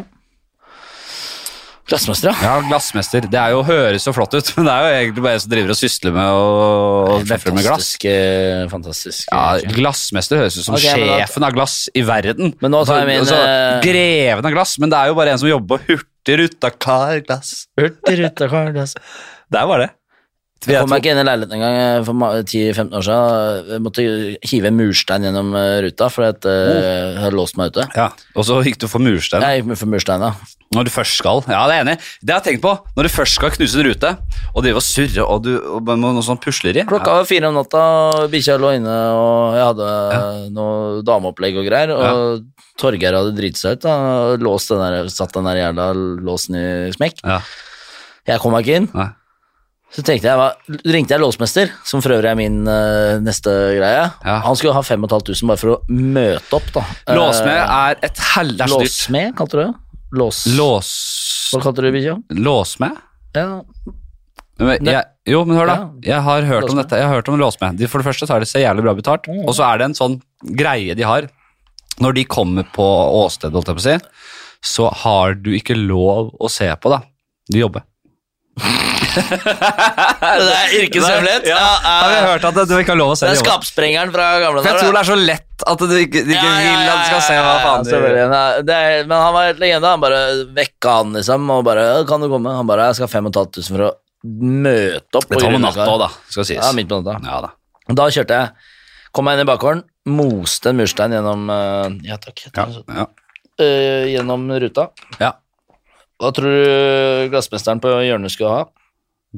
Speaker 2: Glassmester, ja.
Speaker 1: Ja, glassmester. Det er jo høres så flott ut, men det er jo egentlig bare jeg som driver og sysler med og og lefler med glass.
Speaker 2: Fantastisk, eh, fantastisk.
Speaker 1: Ja, Glassmester høres ut som
Speaker 2: Ok, men da-
Speaker 1: sjefen av glass i verden. Altså,
Speaker 2: Men nå tar jeg min, eh,
Speaker 1: Greven av glass, men det er jo bare en som jobber på Hurtigruta Glass.
Speaker 2: Hurtigruta-glass.
Speaker 1: Det er bare det.
Speaker 2: Jeg kom meg ikke inn i leiligheten engang eh, for ma- 10-15 år siden. Jeg måtte hive en murstein gjennom eh, ruta fordi at,
Speaker 1: Oh.
Speaker 2: eh, jeg hadde låst meg ute.
Speaker 1: Ja, Og så gikk du for murstein.
Speaker 2: Jeg gikk med for murstein, ja.
Speaker 1: Når du først skal Ja, det er jeg enig. i. Det har jeg tenkt på. Når du først skal knuse en rute, og drive og surre og, du, og med noe sånn pusleri
Speaker 2: Klokka var fire om natta, og bikkja lå inne, og jeg hadde eh, noe dameopplegg og greier. Og Torgeir hadde driti seg ut, da. og Låst den der, satt den der jævla låsen i smekk.
Speaker 1: Ja.
Speaker 2: Jeg kom meg ikke inn.
Speaker 1: Nei.
Speaker 2: Så tenkte jeg, hva- ringte jeg låsmester, som for øvrig er min eh, neste greie.
Speaker 1: Ja.
Speaker 2: Han skulle ha 5500 bare for å møte opp, da. Eh,
Speaker 1: Låsmed er et hell... Det er så dyrt.
Speaker 2: Låsmed, kalte du det? Lås...
Speaker 1: Lås...
Speaker 2: Hva kalte du bikkja?
Speaker 1: Låsmed?
Speaker 2: Ja.
Speaker 1: Men
Speaker 2: Nei.
Speaker 1: Jeg, jo, men hør da. Jeg har hørt om
Speaker 2: Låsmed.
Speaker 1: dette. Jeg har hørt om låsmed. De, for det første så er det så jævlig bra betalt,
Speaker 2: Mm.
Speaker 1: og så er det en sånn greie de har. Når de kommer på åstedet, holdt jeg på å si, så har du ikke lov å se på, da. De jobber.
Speaker 2: Det er yrkeshemmelighet?
Speaker 1: Ja, Har jeg hørt at du ikke har lov å se de
Speaker 2: Det er
Speaker 1: jobber?
Speaker 2: skapsprengeren fra gamle
Speaker 1: For jeg tror
Speaker 2: da.
Speaker 1: det er så lett at du ikke, du ikke
Speaker 2: Ja, ja,
Speaker 1: vil at du skal se hva
Speaker 2: ja, ja,
Speaker 1: faen
Speaker 2: ja, selvfølgelig. Nei, det er, men han var helt legende. Han bare vekka han, liksom, og bare «Ja, 'Kan du komme?' Han bare 'Jeg skal ha 5500 for å møte opp'.
Speaker 1: Det
Speaker 2: på
Speaker 1: tar med
Speaker 2: Grünerløkka».
Speaker 1: natta òg, da. Skal sies.
Speaker 2: Ja, midt på natta.
Speaker 1: Ja, da.
Speaker 2: Og Da kjørte jeg. Kom jeg inn i bakgården, moste en murstein gjennom eh, Ja, takk.
Speaker 1: Ja, ja.
Speaker 2: Eh, gjennom ruta.
Speaker 1: ja.
Speaker 2: Hva tror du glassmesteren på hjørnet skulle ha?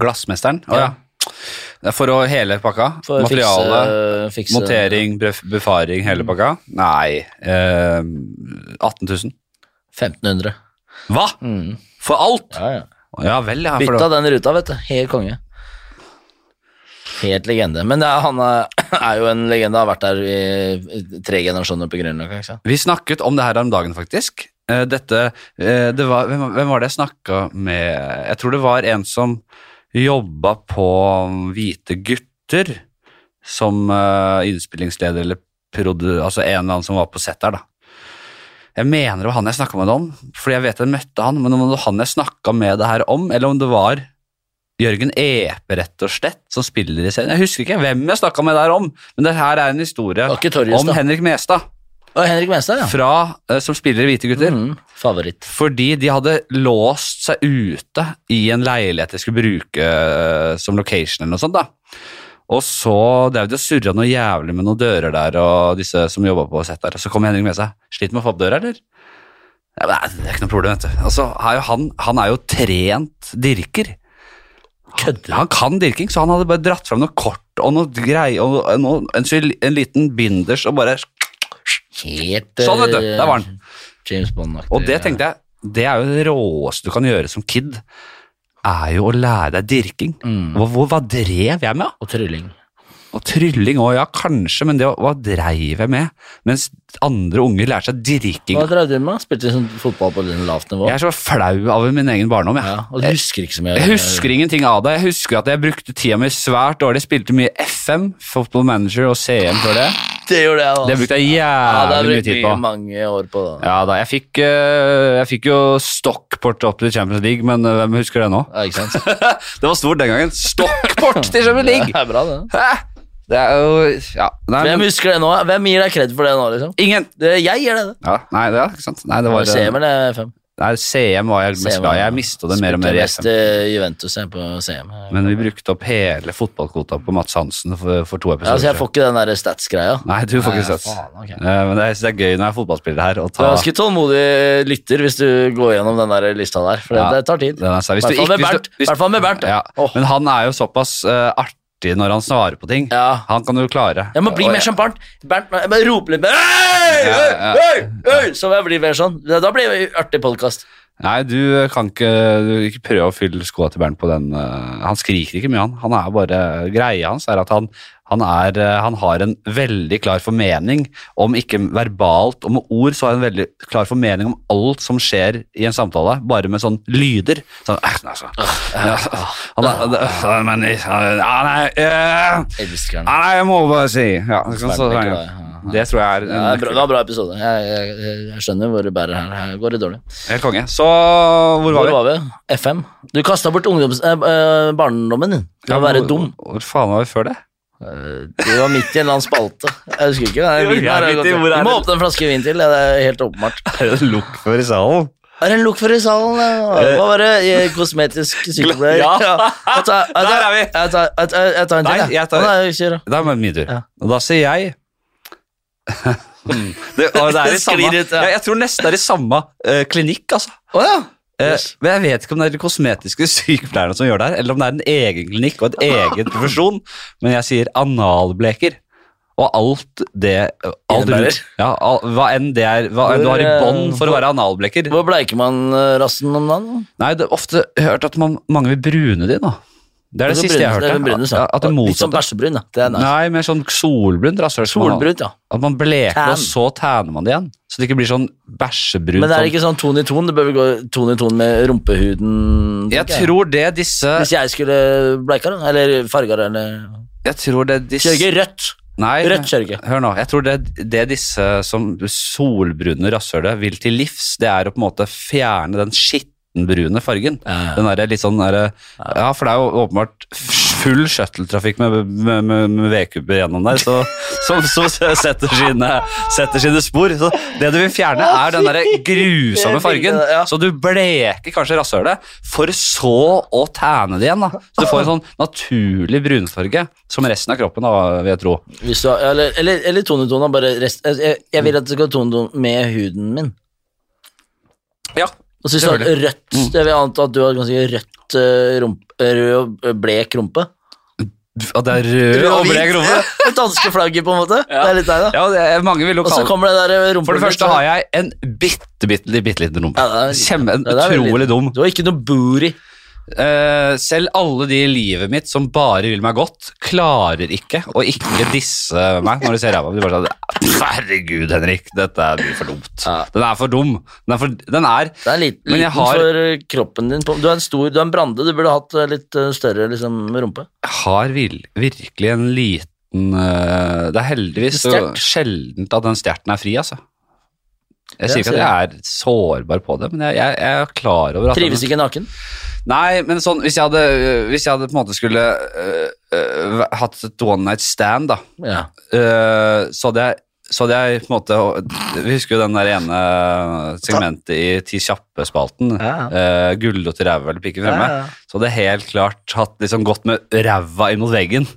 Speaker 1: Glassmesteren. Å ja. Det er For å hele pakka?
Speaker 2: For å
Speaker 1: Materiale,
Speaker 2: fikse,
Speaker 1: eh,
Speaker 2: fikse
Speaker 1: montering, bref- befaring, hele pakka? Nei eh, 18 000.
Speaker 2: 1500.
Speaker 1: Hva?!
Speaker 2: Mm.
Speaker 1: For alt?!
Speaker 2: Ja, ja.
Speaker 1: Ja vel, ja. For
Speaker 2: Bytta
Speaker 1: det.
Speaker 2: den ruta, vet du. Helt konge. Helt legende. Men det er, han er, er jo en legende, har vært der i tre generasjoner på Grünerløkka. ikke sant?
Speaker 1: Vi snakket om det her om dagen, faktisk. Eh, Dette eh, det var, hvem, hvem var det jeg snakka med Jeg tror det var en som jobba på um, Hvite gutter som eh, innspillingsleder eller produ... Altså en eller annen som var på set der, da. Jeg mener det var han jeg snakka med det om, fordi jeg vet jeg møtte han, men om det var han jeg snakka med det her om, eller om det var Jørgen Epe, rett og slett, som spiller i serien. Jeg husker ikke hvem jeg snakka med det her om, men det her er en historie
Speaker 2: Det var ikke Torjus,
Speaker 1: om
Speaker 2: da.
Speaker 1: Henrik Mestad
Speaker 2: Og Henrik Mestad, ja.
Speaker 1: fra, eh, som spiller i Hvite gutter.
Speaker 2: Mm, favoritt.
Speaker 1: Fordi de hadde låst seg ute i en leilighet de skulle bruke eh, som location eller noe sånt. da. Og så drev de og surra noe jævlig med noen dører der, og disse som jobba på sett der. Og så kom Henrik med seg. Sliter med å få opp døra, eller? Ja, men nei, det er ikke noe problem, vet du. Altså, er jo han, han er jo trent dirker.
Speaker 2: Kødder
Speaker 1: Han kan dirking, så han hadde bare dratt fram noe kort og noe grei, og noe, en, syl- en liten binders og bare
Speaker 2: Helt
Speaker 1: Sånn, vet du. Der var han.
Speaker 2: eh, James Bond-aktig.
Speaker 1: Og det tenkte jeg, det er jo det råeste du kan gjøre som kid. er jo å lære deg dirking.
Speaker 2: Mm.
Speaker 1: Hva, hvor- hva drev jeg med? da?
Speaker 2: Og trylling.
Speaker 1: Og trylling òg, ja, kanskje, men det, var- hva dreiv jeg med? Mens andre unger lærer seg dirking.
Speaker 2: Hva drev du med? Spilte sånn fotball på litt lavt nivå?
Speaker 1: Jeg er så flau av min egen barndom, jeg.
Speaker 2: Ja, og du husker ikke så mye? av
Speaker 1: Jeg
Speaker 2: det.
Speaker 1: husker ingenting av det. Jeg husker at jeg brukte tida mi svært dårlig. Spilte mye FM, Football Manager og CM før det.
Speaker 2: Det gjorde jeg, da.
Speaker 1: Det brukte jeg
Speaker 2: ja, det har
Speaker 1: jævlig mye
Speaker 2: brukt
Speaker 1: tid på.
Speaker 2: mye mange år på det.
Speaker 1: Ja da, jeg fikk, eh, jeg fikk jo Stockport opp til Champions League, men eh, hvem husker det nå?
Speaker 2: Ja, ikke sant?
Speaker 1: Det var stort den gangen. Stockport til Champions
Speaker 2: Det
Speaker 1: League!
Speaker 2: er bra, det.
Speaker 1: Hæ? Det er jo Ja. Nei,
Speaker 2: Hvem
Speaker 1: men,
Speaker 2: husker det nå? Hvem gir deg kred for det nå, liksom?
Speaker 1: ingen.
Speaker 2: Det, jeg gir deg det.
Speaker 1: Ja, nei, det er ikke sant. Nei, det
Speaker 2: Det
Speaker 1: var,
Speaker 2: var CM eller FM?
Speaker 1: nei, CM var jeg mest
Speaker 2: CM,
Speaker 1: glad i. Jeg mista det mer og mer i FM.
Speaker 2: Spilte mest eh, i Juventus jeg, på altså, CM.
Speaker 1: Men vi brukte opp hele fotballkvota på Mats Hansen for, for to
Speaker 2: Ja,
Speaker 1: episoder.
Speaker 2: altså, jeg får ikke den der stats-greia.
Speaker 1: Nei, du får ikke
Speaker 2: Nei,
Speaker 1: sett.
Speaker 2: faen, ok.
Speaker 1: Eh, Men jeg synes det er gøy når jeg er fotballspiller her å
Speaker 2: Du er
Speaker 1: ta
Speaker 2: ganske tålmodig lytter hvis du går gjennom den der lista der, for det,
Speaker 1: Ja,
Speaker 2: det tar tid.
Speaker 1: den er sær. Hvis du
Speaker 2: Hvertfall
Speaker 1: ikke- hvis
Speaker 2: med
Speaker 1: du-
Speaker 2: Bernt.
Speaker 1: hvis-
Speaker 2: Hvertfall med Bernt.
Speaker 1: ja.
Speaker 2: Åh.
Speaker 1: Men han er jo såpass eh, artig når han svarer på ting.
Speaker 2: Ja.
Speaker 1: Han kan du klare.
Speaker 2: Jeg må bli
Speaker 1: Og
Speaker 2: mer som Bernt. Bernt jeg bare roper litt mer «Øy,
Speaker 1: Ja, ja.
Speaker 2: øy, øy, øy!» Så må jeg blir mer sånn. Da blir det artig podkast.
Speaker 1: Nei, du kan ikke, du, ikke prøve å fylle skoa til Bernt på den. eh, han skriker ikke mye, han. Han er bare, Greia hans er at han, han, er, eh, han har en veldig klar formening, om ikke verbalt og med ord, så har han en veldig klar formening om alt som skjer i en samtale, bare med sånn lyder. Sånn, «Æh, nei, så- ja, han er, øh, men, øh, ja, nei, øh,
Speaker 2: Elsker den.
Speaker 1: Nei, jeg må bare si ja, så, så,
Speaker 2: Sverme ikke
Speaker 1: ja.
Speaker 2: deg, ja.
Speaker 1: Det tror jeg er
Speaker 2: Ja,
Speaker 1: en
Speaker 2: bra- det var en bra episode. Jeg, jeg, jeg skjønner hvor det bærer her. Her går det dårlig.
Speaker 1: helt konge. Så hvor var
Speaker 2: Hvor
Speaker 1: vi?
Speaker 2: var vi? FM. Du kasta bort ungdoms, eh, eh, barndommen din. Det
Speaker 1: Ja,
Speaker 2: å være
Speaker 1: hvor-
Speaker 2: dum.
Speaker 1: Hvor faen var vi før det?
Speaker 2: Eh, Det var midt i en eller annen spalte. Jeg husker ikke.
Speaker 1: Jo,
Speaker 2: Nei, vinen
Speaker 1: jeg
Speaker 2: her er
Speaker 1: vet
Speaker 2: godt.
Speaker 1: ikke, hvor er
Speaker 2: Vi må
Speaker 1: det?
Speaker 2: åpne en flaske vin til. ja, Det er helt åpenbart.
Speaker 1: Er det lukk for i salen?
Speaker 2: Er det en lukt for i salen? ja? Hva var det? Eh, Kosmetisk sykepleier?
Speaker 1: Ja.
Speaker 2: Jeg tar- jeg tar-
Speaker 1: Der er vi.
Speaker 2: Jeg tar, jeg tar, jeg tar en til,
Speaker 1: Nei, jeg tar-
Speaker 2: Å, nei, kjør, da.
Speaker 1: Det er min tur.
Speaker 2: Ja.
Speaker 1: Og da sier jeg det, og det er i samme
Speaker 2: Sklir ut, ja.
Speaker 1: ja, Jeg tror nesten det er i samme eh, klinikk, altså.
Speaker 2: Å ja.
Speaker 1: Eh,
Speaker 2: Yes.
Speaker 1: Men jeg vet ikke om det er de kosmetiske sykepleierne som gjør det her, eller om det er en egen klinikk og en egen profesjon, men jeg sier analbleker. Og alt det eh, alt
Speaker 2: Innebærer.
Speaker 1: rundt, ja, al, Hva enn det er hva enn du har
Speaker 2: Hvor,
Speaker 1: i bånd for å
Speaker 2: eh,
Speaker 1: være analbleker.
Speaker 2: Hvor bleiker man eh, rassen om dagen?
Speaker 1: Nei, det er ofte hørt at man, mange vil brune de, da. Det er det, siste jeg
Speaker 2: bruneste-
Speaker 1: hørte.
Speaker 2: den bruneste,
Speaker 1: ja,
Speaker 2: ja.
Speaker 1: at det
Speaker 2: Litt sånn
Speaker 1: motsatte.
Speaker 2: bæsjebrun, da. Det er nice.
Speaker 1: Nei, mer sånn solbrunt rasshøl. som man har.
Speaker 2: Solbrunt, ja.
Speaker 1: At man bleker,
Speaker 2: Tan.
Speaker 1: og så tanner man det igjen. Så det ikke blir sånn bæsjebrunt.
Speaker 2: Men det er
Speaker 1: sånn-
Speaker 2: ikke sånn ton i ton. Det bør vel gå ton i ton med rumpehuden.
Speaker 1: Jeg
Speaker 2: tenker
Speaker 1: tror det disse
Speaker 2: Hvis jeg skulle bleika, da. Eller farga, det, eller
Speaker 1: Jeg tror det disse
Speaker 2: Kjører ikke rødt.
Speaker 1: Nei,
Speaker 2: Rødt kjører ikke.
Speaker 1: hør nå. Jeg tror det, det disse som solbrune rasshølet vil til livs, det er å på en måte fjerne den skittenbrune fargen.
Speaker 2: Ja.
Speaker 1: Den derre litt sånn derre Ja, for det er jo åpenbart full shuttle-trafikk med, med, med, med vedkubber gjennom der, så, som så setter sine, setter sine spor. Så det du vil fjerne, er den derre grusomme fargen.
Speaker 2: Ja.
Speaker 1: Så du bleker kanskje rasshølet, for så å tæne det igjen, da. Så du får en sånn naturlig brunfarge, som resten av kroppen, da, vil jeg tro.
Speaker 2: Hvis du har, eller, eller, eller tonetona, bare rest jeg- jeg, jeg vil at det skal tonetone med huden min.
Speaker 1: Ja,
Speaker 2: Og så hvis du har
Speaker 1: Selvfølgelig. Mm.
Speaker 2: rødt Jeg vil anta at du har ganske rødt eh, rump, rød og eh, blek rumpe.
Speaker 1: At det er rød og blek rumpe.
Speaker 2: Det danske flagget, på en måte. Det er litt deg, da.
Speaker 1: Ja, det er, mange vil jo
Speaker 2: Og så
Speaker 1: kalle
Speaker 2: kommer det der eh, rumpa
Speaker 1: For det første har jeg en bitte, bitte, bitte liten rumpe.
Speaker 2: Ja, det er-
Speaker 1: Kjempe, en
Speaker 2: Ja, det er veldig
Speaker 1: utrolig dum.
Speaker 2: Du har ikke noe booty.
Speaker 1: Eh, selv alle de i livet mitt som bare vil meg godt, klarer ikke å ikke disse meg når de ser ræva mi. De bare sånn Herregud, Henrik, dette blir for dumt.
Speaker 2: Ja.
Speaker 1: Den er for dum. Den er for, den er,
Speaker 2: Det er litt,
Speaker 1: Men jeg
Speaker 2: liten
Speaker 1: har-
Speaker 2: for eh, kroppen din. på- Du er en stor, du er en brande. Du burde hatt eh, litt eh, større liksom, rumpe.
Speaker 1: jeg har vil, virkelig en liten eh, Det er heldigvis så
Speaker 2: Stjert.
Speaker 1: sjeldent at den stjerten er fri, altså. Jeg
Speaker 2: Ja,
Speaker 1: sier ikke at jeg er sårbar på det, men jeg, jeg, jeg er klar over at den-
Speaker 2: Trives ikke naken.
Speaker 1: Nei, men sånn, hvis jeg hadde, hvis jeg hadde på en måte skulle øh, øh, hatt et one night stand, da,
Speaker 2: Ja.
Speaker 1: øh, så, hadde jeg, så hadde jeg på en måte Vi husker jo den der ene segmentet i Ti kjappe-spalten.
Speaker 2: Ja,
Speaker 1: øh, Gulrot i ræva eller pikken fremme.
Speaker 2: Ja, ja.
Speaker 1: Så hadde jeg helt klart hatt liksom gått med ræva inn mot veggen.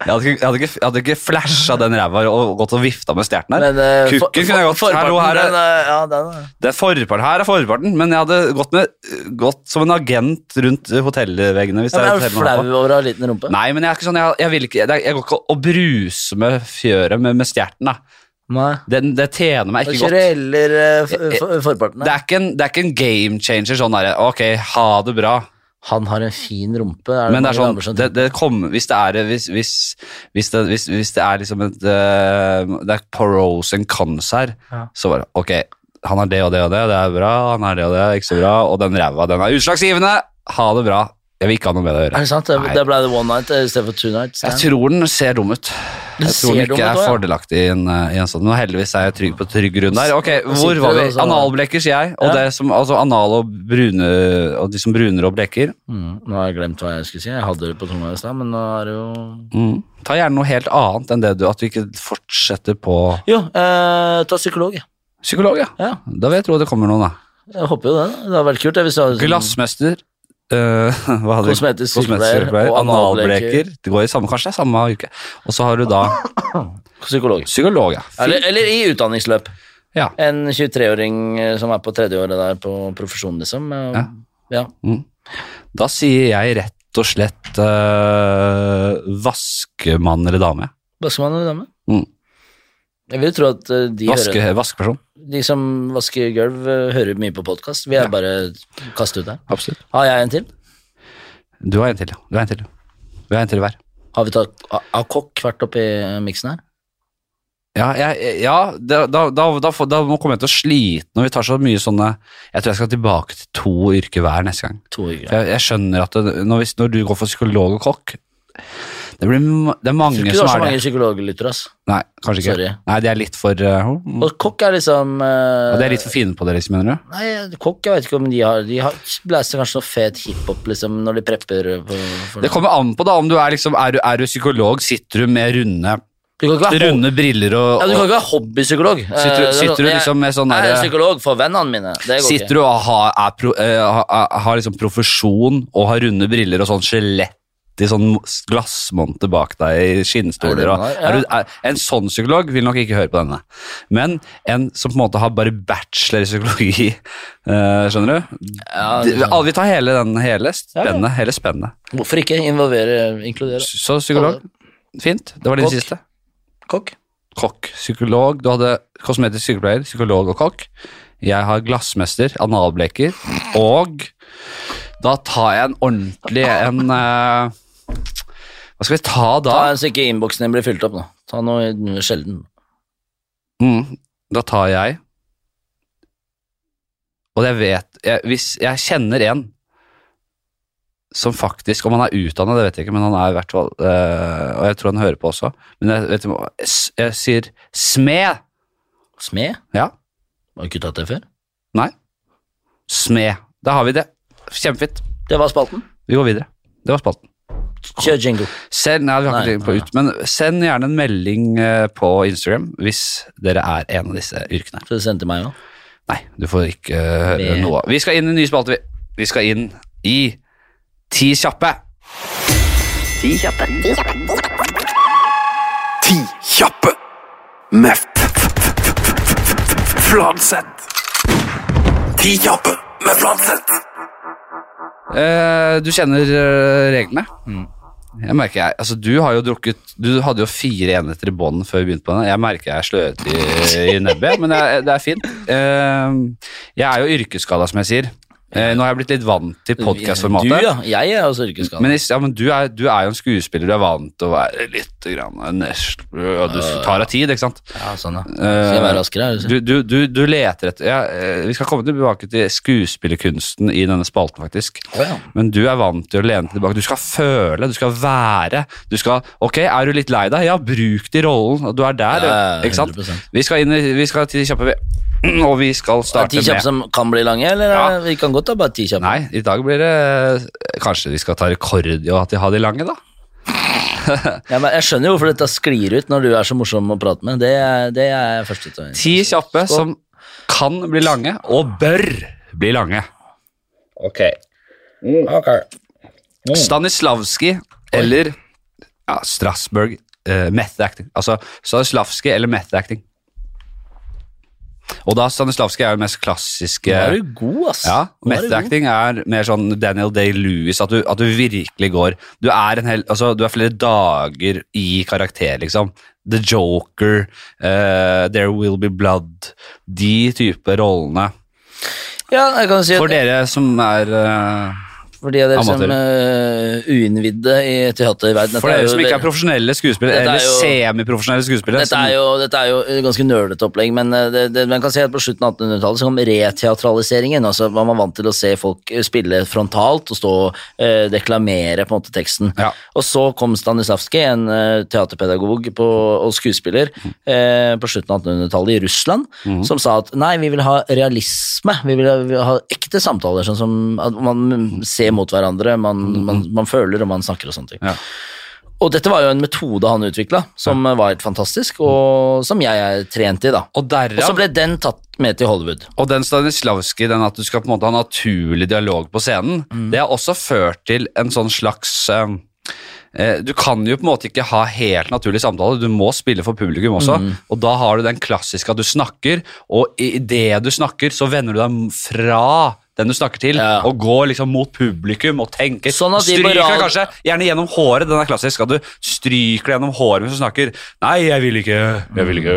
Speaker 1: Jeg hadde ikke, jeg hadde ikke, jeg hadde ikke flasha den ræva og gått og vifta med stjerten her.
Speaker 2: Men eh,
Speaker 1: Kukken
Speaker 2: for-
Speaker 1: kunne jeg
Speaker 2: for-
Speaker 1: godt- Hallo, her er-
Speaker 2: den, eh, ja, den er
Speaker 1: Det er forparten, her er forparten, men jeg hadde gått, med, gått som en agent rundt hotellveggene. Hvis
Speaker 2: Ja,
Speaker 1: det
Speaker 2: men
Speaker 1: er
Speaker 2: er du
Speaker 1: hotell man er på.
Speaker 2: flau over å ha liten rumpe?
Speaker 1: Nei, men jeg er ikke sånn, jeg, jeg vil ikke, jeg, jeg går ikke og bruser med fjøret med, med stjerten, da.
Speaker 2: Nei.
Speaker 1: Det, det tjener meg
Speaker 2: Da
Speaker 1: ikke godt.
Speaker 2: kjører jeg heller eh, f- f- forparten.
Speaker 1: Det
Speaker 2: her.
Speaker 1: er ikke en, det er ikke en game changer sånn derre, ok, ha det bra.
Speaker 2: Han har en fin rumpe. Er
Speaker 1: Men det er
Speaker 2: mange
Speaker 1: sånn,
Speaker 2: damer som
Speaker 1: det, det kom, hvis det er hvis, hvis, hvis, det, hvis, hvis det er liksom et eh, Det er pros and cons her,
Speaker 3: Ja.
Speaker 1: så bare ok, han har det og det og det, det er bra, han har det og det, ikke så bra, og den ræva, den er utslagsgivende, ha det bra. Jeg vil ikke ha noe med det å
Speaker 2: Er
Speaker 1: gjøre.
Speaker 2: det sant? Det,
Speaker 1: Nei.
Speaker 2: det ble det one night eh, i stedet for two nights.
Speaker 1: Jeg tror den ser dum ut. Jeg
Speaker 2: ser
Speaker 1: tror den ikke
Speaker 2: dum ut
Speaker 1: er
Speaker 2: også, ja.
Speaker 1: fordelaktig i en, eh, i en sånn. Men heldigvis er jeg trygg på trygg grunn der. Ok, hvor
Speaker 2: sitter
Speaker 1: var vi?
Speaker 2: det også-
Speaker 1: Analblekker, sier jeg. Og
Speaker 2: Ja.
Speaker 1: det som, altså anal og brune, og de som bruner og blekker.
Speaker 2: Mm, nå har jeg glemt hva jeg skulle si. Jeg hadde det på tunga i stad, men nå er det jo
Speaker 1: Mm. Ta gjerne noe helt annet enn det du, at du ikke fortsetter på
Speaker 2: Jo, eh, ta psykolog. jeg.
Speaker 1: psykolog, ja.
Speaker 2: Ja,
Speaker 1: Da vil jeg tro det kommer noen, da.
Speaker 2: jeg håper jo det. da. Det hadde vært kult. det, Hvis du hadde sånn-
Speaker 1: Glassmester. eh, hva hadde vi?
Speaker 2: Kosmetisk
Speaker 1: Kosmetisk
Speaker 2: sykepleier og analbleker.
Speaker 1: Analbleker. Det går i samme, kanskje det er samme uke. Og så har du da
Speaker 2: Psykolog.
Speaker 1: psykolog, ja. Fy-
Speaker 2: Eller, eller i utdanningsløp.
Speaker 1: ja.
Speaker 2: En 23-åring eh, som er på tredjeåret der på profesjonen, liksom. eh,
Speaker 1: Ja.
Speaker 2: ja.
Speaker 1: Da sier jeg rett og slett eh, vaskemann eller dame.
Speaker 2: Vaskemann eller dame?
Speaker 1: Mm.
Speaker 2: Jeg vil jo tro at eh, de,
Speaker 1: Vaske,
Speaker 2: hører,
Speaker 1: vaskeperson.
Speaker 2: de som vasker gulv, eh, hører mye på podkast. Vi er bare kastet ut der.
Speaker 1: Absolutt.
Speaker 2: Har jeg en til?
Speaker 1: Du har en til, ja. Du har en til. Vi har en til hver.
Speaker 2: Har vi tatt har- har kokk vært oppi miksen her?
Speaker 1: Ja, jeg, ja da, da, da, da, får- da må- kommer jeg til å slite når vi tar så mye sånne Jeg tror jeg skal tilbake til to yrker hver neste gang.
Speaker 2: To
Speaker 1: For
Speaker 2: yrker.
Speaker 1: jeg, jeg skjønner at det, når, hvis, når du går for psykolog og kokk det, blir, ma- det er
Speaker 2: Jeg
Speaker 1: mange
Speaker 2: tror ikke du
Speaker 1: som
Speaker 2: har så
Speaker 1: er
Speaker 2: mange
Speaker 1: det.
Speaker 2: psykologlyttere, ass.
Speaker 1: Nei, kanskje ikke.
Speaker 2: Sorry.
Speaker 1: Nei, de er litt for uh,
Speaker 2: Og kokk er liksom eh,
Speaker 1: De er litt for fine på det, liksom, mener du?
Speaker 2: Nei, kokk, jeg vet ikke om de har De har blæster kanskje noe fet hiphop, liksom, når de prepper på, for
Speaker 1: Det kommer an på da, om du er liksom Er du, er du psykolog, sitter du med runde,
Speaker 2: Du kan ikke være ho-
Speaker 1: runde briller og,
Speaker 2: ja, du kan
Speaker 1: og
Speaker 2: ikke være hobbypsykolog. Eh,
Speaker 1: sitter,
Speaker 2: det
Speaker 1: du-
Speaker 2: er sånn-
Speaker 1: sitter du
Speaker 2: jeg-
Speaker 1: liksom med sånn
Speaker 2: Jeg er
Speaker 1: derre
Speaker 2: psykolog for vennene mine. Det går
Speaker 1: Sitter
Speaker 2: ikke.
Speaker 1: du og har, er pro, eh, har- har, har liksom profesjon og har runde briller og sånn skjelett i sånn glassmonter bak deg i
Speaker 2: Er det
Speaker 1: skinnstoler.
Speaker 2: det
Speaker 1: Og,
Speaker 2: man har?
Speaker 1: er du, er, en sånn psykolog vil nok ikke høre på denne. Men en som på en måte har bare bachelor i psykologi, eh, skjønner du?
Speaker 2: Ja,
Speaker 1: De, alle- vi tar hele den, hele spennet. Hele spennet.
Speaker 2: Hvorfor ikke involvere, inkludere?
Speaker 1: Så psykolog, fint. Det var din
Speaker 2: Kokk.
Speaker 1: siste.
Speaker 2: Kokk?
Speaker 1: Kokk, psykolog. Du hadde kosmetisk sykepleier, psykolog og kokk. Jeg har glassmester, analbleker, og da tar jeg en ordentlig en eh, Hva skal vi ta da?
Speaker 2: Ta en så ikke innboksen din blir fylt opp nå. Ta noe noe sjelden.
Speaker 1: Mm, da tar jeg Og jeg vet jeg, Hvis jeg kjenner en som faktisk Om han er utdannet, det vet jeg ikke, men han er i hvert fall eh, Og jeg tror han hører på også. Men jeg, vet, du hva, jeg, s- jeg sier smed.
Speaker 2: Smed?
Speaker 1: Ja.
Speaker 2: Har du ikke tatt det før?
Speaker 1: Nei. Smed. Da har vi det. Kjempefint.
Speaker 2: Det var spalten.
Speaker 1: Vi går videre. Det var spalten.
Speaker 2: Kjør jingle.
Speaker 1: Send, nei, vi har
Speaker 2: Nei,
Speaker 1: ikke tid på
Speaker 2: nei.
Speaker 1: ut, men send gjerne en melding eh, på Instagram hvis dere er en av disse yrkene.
Speaker 2: Så du sendte meg òg.
Speaker 1: Nei, du får ikke eh, høre
Speaker 2: Med-
Speaker 1: noe av. Vi skal inn i en ny spalte. Vi, vi skal inn i Ti kjappe.
Speaker 4: Ti kjappe.
Speaker 5: Ti kjappe med f- f- f- f- f- f- Fladseth. Ti kjappe med Fladseth.
Speaker 1: Eh, du kjenner eh, reglene.
Speaker 2: Mm.
Speaker 1: Jeg merker jeg, altså Du har jo drukket Du hadde jo fire enheter i bånn før vi begynte på den. Jeg merker jeg er sløret i, i nebbet, men jeg, det er fint. Eh, jeg er jo yrkesskada, som jeg sier. Eh, nå har jeg blitt litt vant til
Speaker 2: Du,
Speaker 1: podkastformatet.
Speaker 2: ja. Jeg er også yrkesskada.
Speaker 1: Men, jeg- ja, men du, er, du er jo en skuespiller, du er vant til å være litt grann, nest- ja, Du tar deg tid, ikke sant?
Speaker 2: Ja, sånn, ja. Skal jeg være raskere? er
Speaker 1: Eh,
Speaker 2: det
Speaker 1: Du, du, du, du leter etter ja, eh, Vi skal komme tilbake til skuespillerkunsten i denne spalten, faktisk.
Speaker 2: Å, ja.
Speaker 1: Men du er vant til å lene deg tilbake. Du skal føle, du skal være. Du skal, ok, Er du litt lei deg? Ja, bruk det i rollen. og Du er der,
Speaker 2: Ja,
Speaker 1: ikke sant?
Speaker 2: 100%.
Speaker 1: Vi skal inn i vi skal til de kjappe, vi. Og vi skal
Speaker 2: Er det
Speaker 1: starte
Speaker 2: ti kjappe
Speaker 1: med
Speaker 2: som kan bli lange, eller?
Speaker 1: Ja.
Speaker 2: Vi kan godt ta bare ti kjappe.
Speaker 1: Nei, i dag blir det eh, Kanskje vi skal ta rekord i å ha de lange, da?
Speaker 2: Ja, men jeg skjønner jo hvorfor dette sklir ut når du er så morsom å prate med. Det er, det er jeg først ut av.
Speaker 1: Ti kjappe som kan bli lange, og bør bli lange. Ok. Mm,
Speaker 2: Mm.
Speaker 1: Stanislavski eller ja, Strasbourg eh, method acting. Altså Stanislavski eller method acting. Og da Stanislavski er jo den mest klassiske
Speaker 2: Nå er du god, ass.
Speaker 1: ja,
Speaker 2: Nå er du
Speaker 1: Method
Speaker 2: god.
Speaker 1: acting er mer sånn Daniel Day-Lewis, at, du- at du virkelig går Du er en hel, altså du er flere dager i karakter, liksom. The Joker, eh, There Will Be Blood, de type rollene.
Speaker 2: Ja, jeg kan si at
Speaker 1: For dere som er eh,
Speaker 2: For de av dere som
Speaker 1: Amatører.
Speaker 2: eh, uinnvidde i teaterverdenen dette
Speaker 1: For dere
Speaker 2: jo-
Speaker 1: som ikke er profesjonelle skuespillere,
Speaker 2: Dette er
Speaker 1: eller
Speaker 2: jo-
Speaker 1: semiprofesjonelle skuespillere
Speaker 2: Dette er, jo, dette er jo et ganske nølete opplegg, men eh, det, det, man kan si at på slutten av 1800-tallet så kom reteatraliseringen. altså Man var vant til å se folk eh, spille frontalt og stå og eh, deklamere på en måte teksten.
Speaker 1: Ja.
Speaker 2: Og så kom Stanislavskij, en eh, teaterpedagog på, og skuespiller, eh, på slutten av 1800-tallet i Russland, som sa at nei, vi vil ha realisme, vi vil ha, vi vil ha ekte samtaler, sånn som at man ser mot hverandre, man, man, man føler og man snakker og sånne ting.
Speaker 1: Ja.
Speaker 2: Og dette var jo en metode han utvikla, som var helt fantastisk, og som jeg er trent i, da.
Speaker 1: Og
Speaker 2: Og så
Speaker 1: derav
Speaker 2: ble den tatt med til Hollywood.
Speaker 1: Og den Stanislavski, den at du skal på en måte ha naturlig dialog på scenen,
Speaker 2: Mm.
Speaker 1: det har også ført til en sånn slags eh, eh, Du kan jo på en måte ikke ha helt naturlig samtale, du må spille for publikum også.
Speaker 2: Mm.
Speaker 1: Og da har du den klassiske at du snakker, og idet du snakker, så vender du deg fra den du snakker til,
Speaker 2: Ja.
Speaker 1: og går liksom mot publikum og tenker.
Speaker 2: Sånn at de
Speaker 1: stryker
Speaker 2: på rad-
Speaker 1: deg kanskje gjerne gjennom håret, den er klassisk. At du stryker deg gjennom håret mens du snakker. Nei, jeg vil ikke, jeg vil ikke.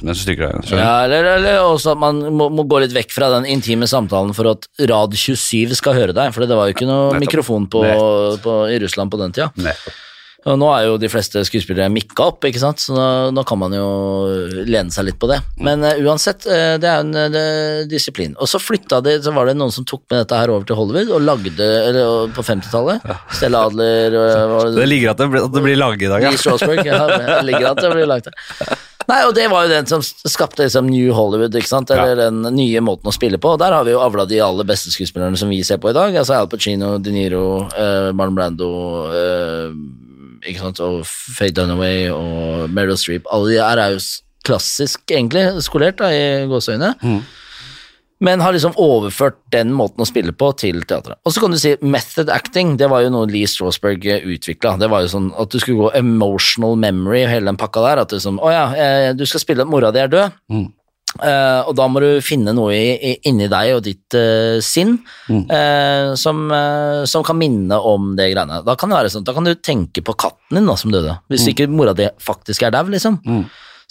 Speaker 1: Mens du stryker deg. skjønner du?
Speaker 2: Mm. Ja, eller, eller også at man må, må gå litt vekk fra den intime samtalen for at Rad 27 skal høre deg, for det var jo ikke noe
Speaker 1: Nettopp.
Speaker 2: mikrofon på, på, i Russland på den tida.
Speaker 1: Nei.
Speaker 2: Og nå er jo de fleste skuespillere mikka opp, ikke sant? så da, da kan man jo lene seg litt på det. Men eh, uansett, eh, det er en eh, disiplin. Og så flytta de, så var det noen som tok med dette her over til Hollywood og lagde eller, og på 50-tallet. Stella Adler og, eh,
Speaker 1: Det ligger at det, blir- at det blir laget i dag, ja.
Speaker 2: i Strasbourg. Ja, det ligger an til å bli lagt der. Nei, og det var jo den som skapte liksom New Hollywood, ikke sant? eller den nye måten å spille på. Og der har vi jo avla de aller beste skuespillerne som vi ser på i dag. Altså Al Pacino, De Niro, eh, Marlon Brando eh, ikke sant? og Faye Dunaway og Meryl Streep. Alle de her er jo s- klassisk, egentlig, skolert da, i gåseøyne. Men har liksom overført den måten å spille på til teatret. Og så kan du si method acting, det var jo noe Lee Strasberg utvikla. Det var jo sånn at du skulle gå emotional memory og hele den pakka der. At du sånn, å ja, eh, du skal spille at mora di er død. Eh, og da må du finne noe i, i, inni deg og ditt eh, sinn eh, som, eh, som kan minne om det greiene. Da kan det være sånn, da kan du tenke på katten din da, som døde. Hvis ikke mora di faktisk er dau, liksom.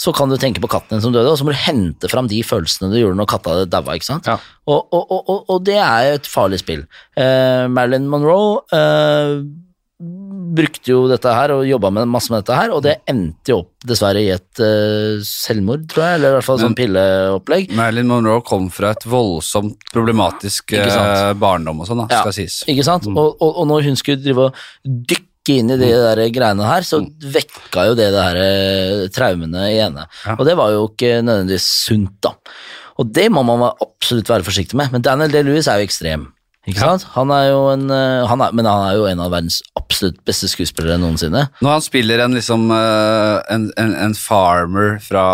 Speaker 2: Så kan du tenke på katten din som døde, og så må du hente fram de følelsene du gjorde når katta di daua. ikke sant?
Speaker 1: Ja.
Speaker 2: Og, og, og, og, og det er jo et farlig spill. Eh, Marilyn Monroe eh, brukte jo dette her og jobba med, masse med dette her, og det endte jo opp dessverre i et eh, selvmord, tror jeg, eller i hvert fall sånn pilleopplegg.
Speaker 1: Marilyn Monroe kom fra et voldsomt problematisk
Speaker 2: Ikke sant?
Speaker 1: eh, barndom og sånn, da,
Speaker 2: Ja,
Speaker 1: skal sies.
Speaker 2: Ikke sant? Og, og, og når hun skulle drive og dykke inn i de der greiene her, så vekka jo det det her eh, traumene i henne.
Speaker 1: Ja.
Speaker 2: Og det var jo ikke nødvendigvis sunt, da. Og det må man være- absolutt være forsiktig med. Men Daniel Day-Lewis er jo ekstrem. Ikke sant? Han er jo en, eh, han er, men han er jo en av verdens absolutt beste skuespillere noensinne.
Speaker 1: Når han spiller en, liksom, eh, en, en, en farmer fra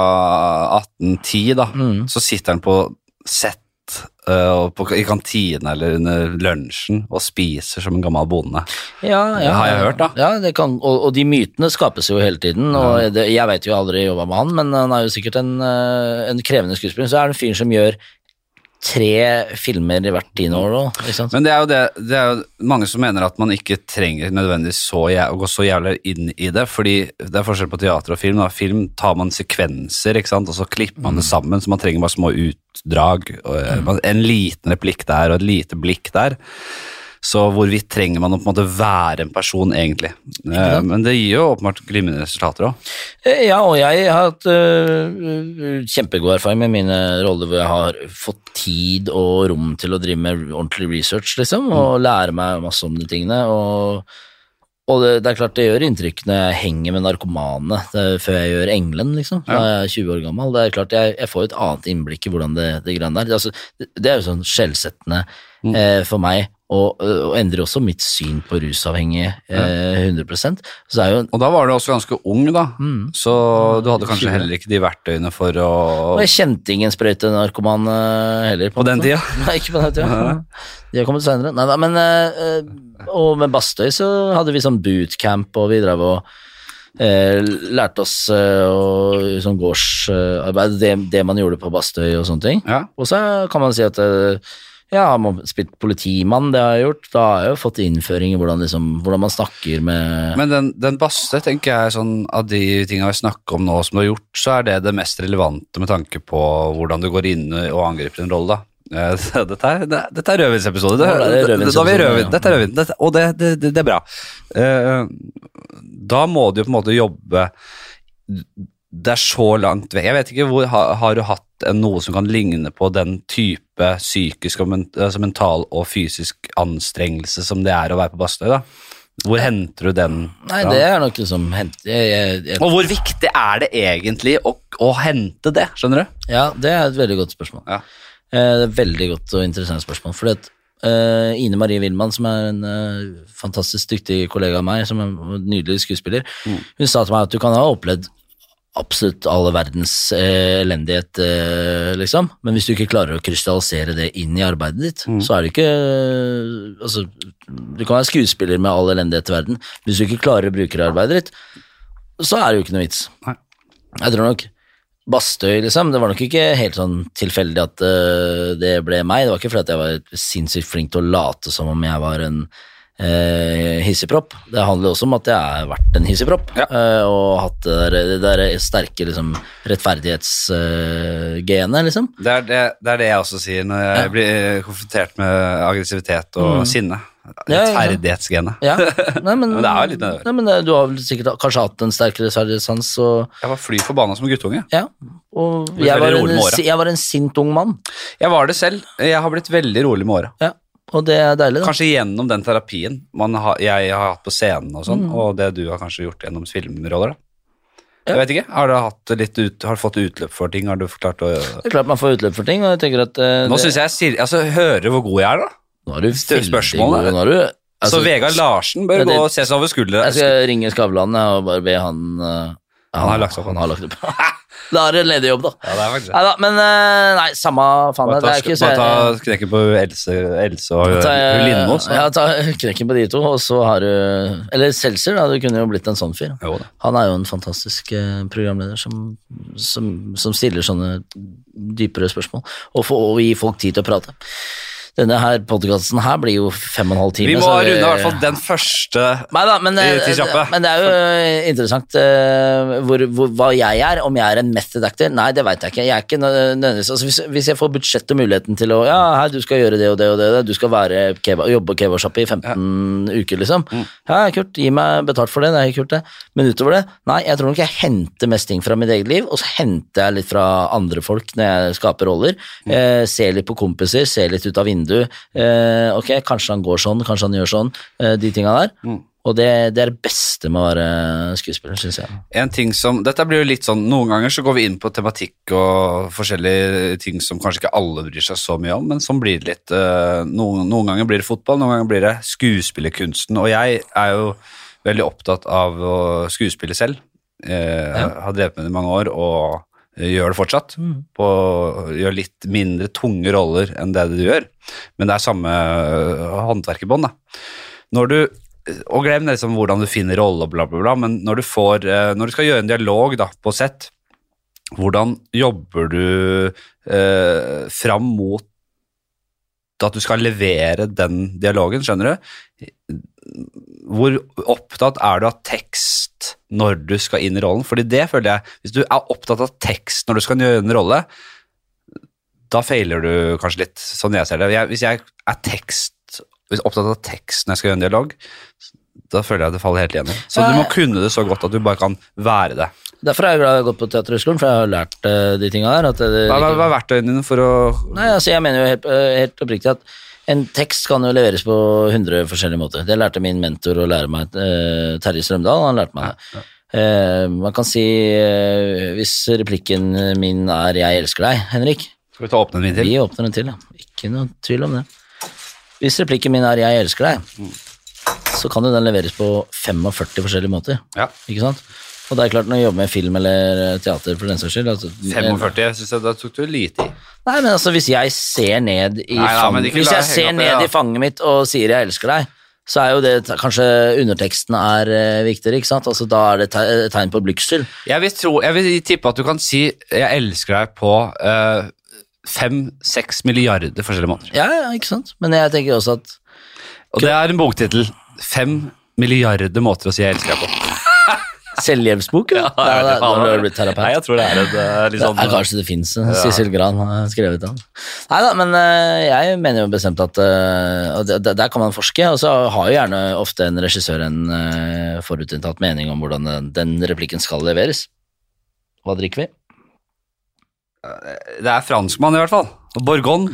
Speaker 1: 1810, da,
Speaker 2: Mm.
Speaker 1: så sitter han på sett eh, og på, i kantina eller under lunsjen og spiser som en gammel bonde.
Speaker 2: Ja,
Speaker 1: Det har jeg hørt, da.
Speaker 2: Ja, det kan, og, og de mytene skapes jo hele tiden. Og det, jeg vet jo jeg har aldri jobba med han, men han er jo sikkert en, eh, en krevende skuespiller. Så er det en fyr som gjør tre filmer i hvert tiende år nå. Ikke sant?
Speaker 1: Men det er jo det, det er jo mange som mener at man ikke trenger nødvendigvis så jæ- å gå så jævlig inn i det, fordi det er forskjell på teater og film. Da. Film tar man sekvenser, ikke sant, og så klipper man det sammen, så man trenger bare små utdrag. Og, eh, man- En liten replikk der og et lite blikk der. Så hvorvidt trenger man å på en måte være en person, egentlig? Eh, Men det gir jo åpenbart glimrende resultater òg.
Speaker 2: Eh, Ja, og jeg har hatt øh, kjempegod erfaring med mine roller hvor jeg har fått tid og rom til å drive med ordentlig research, liksom, og lære meg masse om de tingene. Og, og det, det er klart det gjør inntrykk når jeg henger med narkomane det, er før jeg gjør Engelen, liksom. Da er jeg 20 år gammel. Det er klart jeg, jeg får jo et annet innblikk i hvordan det, det greiene der. Det, altså, det, det er jo sånn skjellsettende eh, for meg. Og, og endrer også mitt syn på rusavhengige eh, 100 Så det er jo en
Speaker 1: Og da var du også ganske ung, da, så du hadde kanskje heller ikke de verktøyene for
Speaker 2: Og
Speaker 1: å
Speaker 2: jeg kjente ingen sprøytenarkoman eh, heller.
Speaker 1: På den
Speaker 2: en måte.
Speaker 1: tida?
Speaker 2: Nei, ikke på den tida. De har kommet senere. Nei, nei, men eh, eh, Og med Bastøy så hadde vi sånn bootcamp, og vi drev og eh, lærte oss eh, å- sånn gårdsarbeid, det, det man gjorde på Bastøy og sånne ting.
Speaker 1: Ja.
Speaker 2: Og så kan man si at eh, ja, har man spilt politimann, det har jeg gjort. Da har jeg jo fått innføring i hvordan, liksom, hvordan man snakker med
Speaker 1: Men den, den baste, tenker jeg, sånn, av de tingene vi snakker om nå som du har gjort, så er det det mest relevante med tanke på hvordan du går inn og angriper en rolle, da. Eh, så Dette er, det- dette er rødvinsepisode.
Speaker 2: Nå ble
Speaker 1: Det- det- da
Speaker 2: det
Speaker 1: har vi
Speaker 2: rødvinsepisode,
Speaker 1: rødvin.
Speaker 2: ja.
Speaker 1: Dette er rødvin, Dette- og det, det, det, det er bra. Eh, Da må du jo på en måte jobbe Det er så langt vekk. Jeg vet ikke, hvor, har, har du hatt en, noe som kan ligne på den type psykisk og men, altså mental og fysisk anstrengelse som det er å være på Bastøy? da? Hvor henter du den?
Speaker 2: Nei,
Speaker 1: fra?
Speaker 2: det er nok liksom hent- jeg, jeg, jeg,
Speaker 1: Og hvor viktig er det egentlig å, å hente det, skjønner du?
Speaker 2: Ja, det er et veldig godt spørsmål.
Speaker 1: Ja.
Speaker 2: Eh, det er et veldig godt og interessant spørsmål. Fordi at eh, Ine Marie Wilman, som er en eh, fantastisk dyktig kollega av meg, som er en nydelig skuespiller, hun sa til meg at du kan ha opplevd absolutt alle verdens eh, elendighet, eh, liksom, men hvis du ikke klarer å krystallisere det inn i arbeidet ditt, så er det ikke eh, Altså, du kan være skuespiller med all elendighet i verden, men hvis du ikke klarer å bruke det i arbeidet ditt, så er det jo ikke noe vits.
Speaker 1: Nei.
Speaker 2: Jeg tror nok Bastøy, liksom. Det var nok ikke helt sånn tilfeldig at øh, det ble meg. Det var ikke fordi at jeg var sinnssykt flink til å late som om jeg var en øh, hissigpropp. Det handler også om at jeg har vært en hissigpropp
Speaker 1: Ja.
Speaker 2: øh, og hatt det der, det der sterke liksom, rettferdighetsgenet, liksom.
Speaker 1: Det er det, det er det jeg også sier når jeg
Speaker 2: Ja.
Speaker 1: blir konfrontert med aggressivitet og sinne.
Speaker 2: Ja, ja, ja.
Speaker 1: Rettferdighetsgenet.
Speaker 2: Ja. Nei, men,
Speaker 1: Men det er jo litt det der.
Speaker 2: nei, men øh, du har vel sikkert kanskje hatt en sterk rettferdighetssans, og
Speaker 1: Jeg var fly forbanna som guttunge.
Speaker 2: ja. Og
Speaker 1: Blir veldig
Speaker 2: jeg var,
Speaker 1: rolig
Speaker 2: en,
Speaker 1: med året.
Speaker 2: jeg var en sint ung mann,
Speaker 1: Jeg var det selv. Jeg har blitt veldig rolig med åra.
Speaker 2: ja. og det er deilig. da.
Speaker 1: Kanskje gjennom den terapien man har, jeg har hatt på scenen og
Speaker 2: Mm.
Speaker 1: sånn, og det du har kanskje gjort gjennom filmroller, da. Jeg vet ikke. Har du, hatt litt ut, har du fått utløp for ting? Har du klart å
Speaker 2: Det er klart man får utløp for ting, og jeg tenker at øh,
Speaker 1: Nå
Speaker 2: det-
Speaker 1: syns jeg sier- Altså, hører du hvor god jeg er, da?
Speaker 2: Nå er du
Speaker 1: Større
Speaker 2: veldig
Speaker 1: spørsmål,
Speaker 2: god,
Speaker 1: er det?
Speaker 2: nå er du, altså,
Speaker 1: så Vegard Larsen bør
Speaker 2: men det- Altså,
Speaker 1: gå og se seg over skuldra.
Speaker 2: Jeg skal ringe Skavlan jeg, og bare be han eh,
Speaker 1: Han har lagt opp.
Speaker 2: Han har lagt opp. da er det en ledig jobb, da.
Speaker 1: Ja, det er faktisk det.
Speaker 2: Neida, men eh, nei, samme faen.
Speaker 1: Bare
Speaker 2: det
Speaker 1: ta,
Speaker 2: er ikke
Speaker 1: bare
Speaker 2: så-
Speaker 1: ta knekken på Else, Else og
Speaker 2: Ta, eh,
Speaker 1: hun Lindmo. så-
Speaker 2: Ja, ta knekken på de to, og så har du Eller Seltzer, da. Du kunne jo blitt en sånn fyr.
Speaker 1: Jo da.
Speaker 2: Han er jo en fantastisk eh, programleder som, som, som stiller sånne dypere spørsmål, og, får- og gir folk tid til å prate. Denne her podkasten her blir jo fem og en halv time.
Speaker 1: Vi må
Speaker 2: så
Speaker 1: runde i hvert fall den første
Speaker 2: Nei da, men,
Speaker 1: I- til
Speaker 2: eh,
Speaker 1: kjappe.
Speaker 2: men det er jo interessant eh, hvor, hvor, hva jeg er. Om jeg er en method actor? Nei, det veit jeg ikke. Jeg er ikke nø- nødvendigvis altså, hvis, hvis jeg får budsjett og muligheten til å Ja, hei, du skal gjøre det og det og det, og det. du skal være kebab, jobbe på kebabsjappe i 15 uker, liksom.
Speaker 1: Mm.
Speaker 2: Ja, kult. Gi meg betalt for det. Det er kult, det. Men utover det, nei, jeg tror nok jeg henter mest ting fra mitt eget liv, og så henter jeg litt fra andre folk når jeg skaper roller.
Speaker 1: Mm.
Speaker 2: Eh, ser litt på kompiser, ser litt ut av vinduet. Eh, ok, kanskje han går sånn, kanskje han gjør sånn. Eh, de tinga der. Og det, det er det beste med å være skuespiller, syns jeg.
Speaker 1: en ting som, Dette blir jo litt sånn Noen ganger så går vi inn på tematikk og forskjellige ting som kanskje ikke alle bryr seg så mye om, men sånn blir det litt. eh, Noen, noen ganger blir det fotball, noen ganger blir det skuespillerkunsten. Og jeg er jo veldig opptatt av å skuespille selv. Eh, Har drevet med det i mange år og eh, gjør det fortsatt. På, gjør litt mindre tunge roller enn det du gjør, men det er samme eh, håndverk i bånn, da når du og glem liksom hvordan du finner rolle og bla, bla, bla, men når du, får, eh, når du skal gjøre en dialog da, på sett, hvordan jobber du eh, fram mot at du skal levere den dialogen, skjønner du? Hvor opptatt er du av tekst når du skal inn i rollen? Fordi det føler jeg, hvis du er opptatt av tekst når du skal gjøre en rolle, da feiler du kanskje litt, sånn jeg ser det. Jeg, hvis jeg er tekst, hvis jeg er opptatt av tekst når jeg skal gjøre en dialog, da føler jeg det faller helt igjennom. Så du må kunne det så godt at du bare kan være det.
Speaker 2: Derfor er jeg glad jeg har gått på Teaterhøgskolen, for jeg har lært eh, de tinga der. At det,
Speaker 1: Hva hva- hva er verktøyene dine for å
Speaker 2: Nei, altså jeg mener jo helt, eh, helt oppriktig at en tekst kan jo leveres på 100 forskjellige måter. Det lærte min mentor å lære meg, eh, Terje Strømdal. Han lærte meg det. Eh, man kan si, eh, hvis replikken min er 'jeg elsker deg', Henrik
Speaker 1: Skal vi ta åpne den min til?
Speaker 2: Vi åpner den til, ja. Ikke noe tvil om det. Hvis replikken min er 'jeg elsker deg',
Speaker 1: Mm.
Speaker 2: så kan jo den leveres på 45 forskjellige måter.
Speaker 1: Ja.
Speaker 2: Ikke sant? Og det er klart, når jeg jobber med film eller eh, teater, for den saks skyld altså,
Speaker 1: 45, jeg synes jeg, da tok du lite i.
Speaker 2: Nei, men altså, hvis jeg ser ned i,
Speaker 1: Nei, nei,
Speaker 2: fanget-
Speaker 1: men ikke
Speaker 2: hvis
Speaker 1: la
Speaker 2: jeg
Speaker 1: det henge
Speaker 2: ser
Speaker 1: opp i det,
Speaker 2: ned
Speaker 1: da.
Speaker 2: i fanget mitt og sier jeg elsker deg, så er jo det t- Kanskje underteksten er eh, viktigere, ikke sant? Altså, da er det te- et tegn på blygsel.
Speaker 1: Jeg vil, tro, jeg vil tippe at du kan si 'jeg elsker deg' på fem-seks milliarder forskjellige måter.
Speaker 2: Ja, ja, ikke sant? Men jeg tenker også at
Speaker 1: Og det er en boktittel. Fem milliarder måter å si 'jeg elsker deg' på.
Speaker 2: Selvhjelpsbok, jo.
Speaker 3: Ja, jeg vet ikke
Speaker 2: da,
Speaker 3: faen.
Speaker 2: da har du blitt terapeut.
Speaker 3: Nei, jeg tror det er et eh, litt sånn
Speaker 2: ja, kanskje det fins. Sissel Gran har skrevet den. Nei da, men eh, jeg mener jo bestemt at eh, og der, der kan man forske, og så har jo gjerne ofte en regissør en eh, forutinntatt mening om hvordan den, den replikken skal leveres. Hva drikker vi?
Speaker 1: Det er franskmann i hvert fall. Borgon.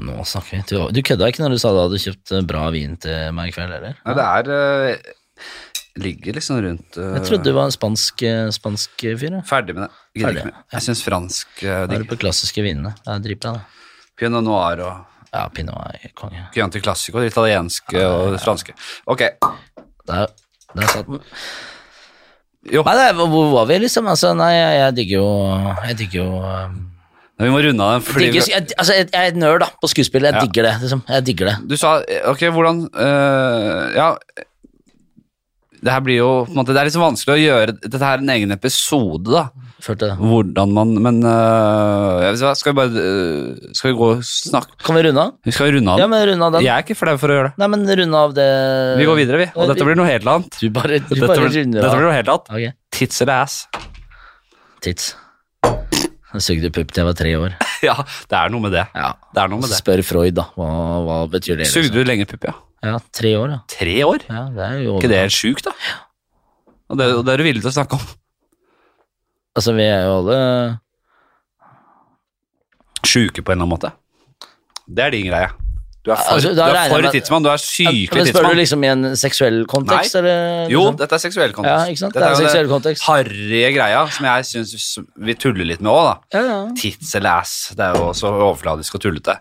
Speaker 2: Nå snakker vi. Du, du kødda ikke når du sa du hadde kjøpt eh, bra vin til meg i kveld, eller?
Speaker 1: Nei, det er eh, Ligger liksom rundt eh,
Speaker 2: Jeg trodde du var en spansk, eh, spansk fyr, ja.
Speaker 1: Ferdig med det. Gidder
Speaker 2: Ferdig,
Speaker 1: ikke mer. Jeg syns fransk eh,
Speaker 2: Hva er
Speaker 1: digg.
Speaker 2: det på klassiske vinene? Det er dritbra, det.
Speaker 1: Pinot noir og
Speaker 2: Ja, pinot er konge.
Speaker 1: Chianti Classico, det italienske og det franske. Ok,
Speaker 2: Der, der satt den.
Speaker 1: Jo.
Speaker 2: Nei, nei, hvor- hvor var vi, liksom? Altså, nei, jeg, jeg digger jo Jeg digger jo um,
Speaker 1: men vi må runde av den. fordi
Speaker 2: digger,
Speaker 1: vi-
Speaker 2: jeg, Altså, jeg, jeg er et nerd, da, på skuespill. Jeg
Speaker 1: Ja.
Speaker 2: digger det, liksom. Jeg digger det.
Speaker 1: Du sa eh, Ok, hvordan eh, Ja. Det her blir jo på en måte, Det er litt så vanskelig å gjøre dette her en egen episode, da.
Speaker 2: Følte det.
Speaker 1: Hvordan man Men eh, jeg vet ikke hva, skal vi bare eh, Skal vi gå og snakke
Speaker 2: Kan vi runde av?
Speaker 1: Vi skal runde av
Speaker 2: Ja,
Speaker 1: den.
Speaker 2: men runde av den.
Speaker 1: Jeg er ikke flau for å gjøre det.
Speaker 2: Nei, men runde av det
Speaker 1: Vi går videre, vi. Og
Speaker 2: Ja,
Speaker 1: dette blir noe helt annet.
Speaker 2: Du bare, du
Speaker 1: Dette
Speaker 2: bare
Speaker 1: blir,
Speaker 2: runder
Speaker 1: dette
Speaker 2: av.
Speaker 1: blir noe helt annet.
Speaker 2: Ok.
Speaker 1: Tits eller ass?
Speaker 2: Tits. Jeg sugde pupp til jeg var tre år.
Speaker 1: Ja, det er noe med det.
Speaker 2: Ja.
Speaker 1: Det er noe med det.
Speaker 2: Spør Freud, da. Hva, hva betyr det? liksom?
Speaker 1: Sugde du lenge pupp, ja?
Speaker 2: Ja, tre år, ja.
Speaker 1: Tre år?
Speaker 2: ja det er jo
Speaker 1: ikke det helt sjukt, da? Og det, og det er du villig til å snakke om.
Speaker 2: Altså, vi er jo alle
Speaker 1: Sjuke på en eller annen måte. Det er din greie. Du er for,
Speaker 2: Altså, da
Speaker 1: du
Speaker 2: regner
Speaker 1: er
Speaker 2: jeg
Speaker 1: for
Speaker 2: med-
Speaker 1: tidsmann. Du er sykelig
Speaker 2: Men spør du
Speaker 1: tidsmann.
Speaker 2: liksom i en seksuell kontekst,
Speaker 1: Nei.
Speaker 2: eller?
Speaker 1: Jo,
Speaker 2: liksom?
Speaker 1: dette er seksuell
Speaker 2: Ja,
Speaker 1: kontekst.
Speaker 2: ikke sant? Det
Speaker 1: Dette
Speaker 2: er en
Speaker 1: jo
Speaker 2: seksuell kontekst.
Speaker 1: harrige greia som jeg syns vi tuller litt med òg, da.
Speaker 2: Ja, ja.
Speaker 1: Tits eller ass, det er jo så overfladisk og tullete.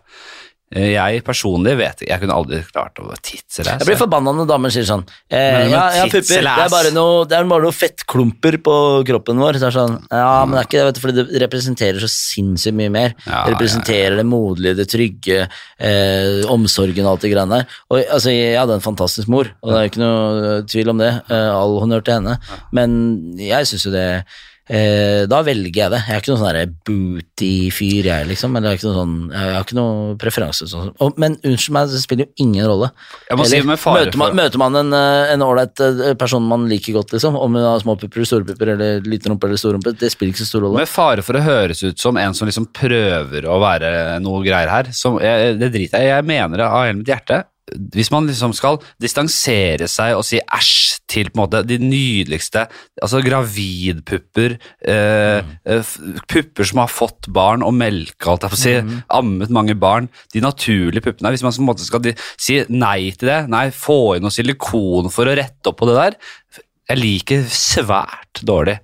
Speaker 1: Eh, Jeg personlig vet ikke, jeg kunne aldri klart å tits eller ass.
Speaker 2: Jeg blir forbanna når damer sier sånn eh,
Speaker 1: Men- men
Speaker 2: Ja, ja,
Speaker 1: tits
Speaker 2: pupper.
Speaker 1: eller
Speaker 2: Det er
Speaker 1: ass?
Speaker 2: bare noe, det er bare noe fettklumper på kroppen vår. Så er det sånn, ja, men det er ikke det, vet du, fordi det representerer så sinnssykt mye mer.
Speaker 1: Mm. Ja,
Speaker 2: det representerer det moderlige, det trygge, eh, omsorgen og alt det greiene der. Og altså, jeg hadde en fantastisk mor, og det er jo ikke noe tvil om det. Eh, all honnør til henne. Men jeg syns jo det Eh, da velger jeg det. Jeg er ikke noen sånn der booty-fyr, jeg, liksom. Eller jeg, er ikke noen sånn, jeg har ikke noen preferanse. Sånn. Og, men unnskyld meg, det spiller jo ingen rolle.
Speaker 1: Jeg må si
Speaker 2: Eller,
Speaker 1: med fare
Speaker 2: møter, man,
Speaker 1: for-
Speaker 2: møter man en eh, en ålreit eh, person man liker godt, liksom, om hun har små pupper, store pupper, eller liten rumpe eller stor rumpe, det spiller ikke så stor rolle.
Speaker 1: Med fare for å høres ut som en som liksom prøver å være noe greier her. Som, jeg, det driter jeg i. Jeg mener det av hele mitt hjerte. Hvis man liksom skal distansere seg og si æsj til på en måte de nydeligste Altså gravidpupper, eh, eh, f- pupper som har fått barn og melka, holdt jeg på å si, ammet mange barn De naturlige puppene. Hvis man på en måte skal di- si nei til det, nei, få inn noe silikon for å rette opp på det der Jeg liker svært dårlig.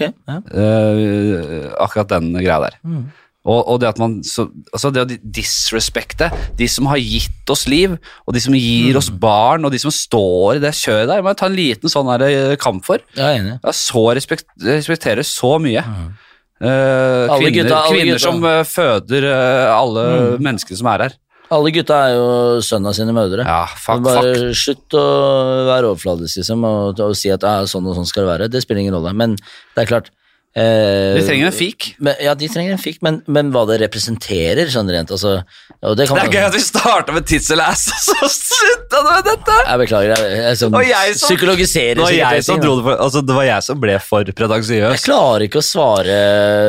Speaker 2: Ok, ja.
Speaker 1: Eh, akkurat den greia der. Og, og det at man så, altså det å di- disrespekte de som har gitt oss liv, og de som gir oss barn, og de som står i det kjøret der, må jeg ta en liten sånn her, eh, kamp for.
Speaker 2: Jeg er enig.
Speaker 1: Jeg så respekt, respekterer så mye. Eh,
Speaker 2: Alle
Speaker 1: kvinner
Speaker 2: gutta- alle
Speaker 1: kvinner
Speaker 2: gutta.
Speaker 1: som eh, føder eh, alle menneskene som er her.
Speaker 2: Alle gutta er jo sønn av sine mødre.
Speaker 1: Ja, fuck,
Speaker 2: bare
Speaker 1: fuck.
Speaker 2: slutt å være overfladisk liksom, og, og si at ja, sånn og sånn skal det være. Det spiller ingen rolle. Men det er klart eh,
Speaker 1: Vi trenger en fik.
Speaker 2: men, Ja, de trenger en fikk, men, men hva det representerer, sånn rent altså, og det, kan
Speaker 1: Det er
Speaker 2: man-
Speaker 1: gøy at vi starta med tits eller ass, og så slutta du med dette!
Speaker 2: Jeg beklager, jeg, jeg, sånn,
Speaker 1: Og jeg som-
Speaker 2: psykologiserer
Speaker 1: Det var,
Speaker 2: sikkert
Speaker 1: jeg
Speaker 2: det
Speaker 1: som
Speaker 2: ting, da.
Speaker 1: dro det, for, altså, det var jeg som ble for pretensiøs.
Speaker 2: Jeg klarer ikke å svare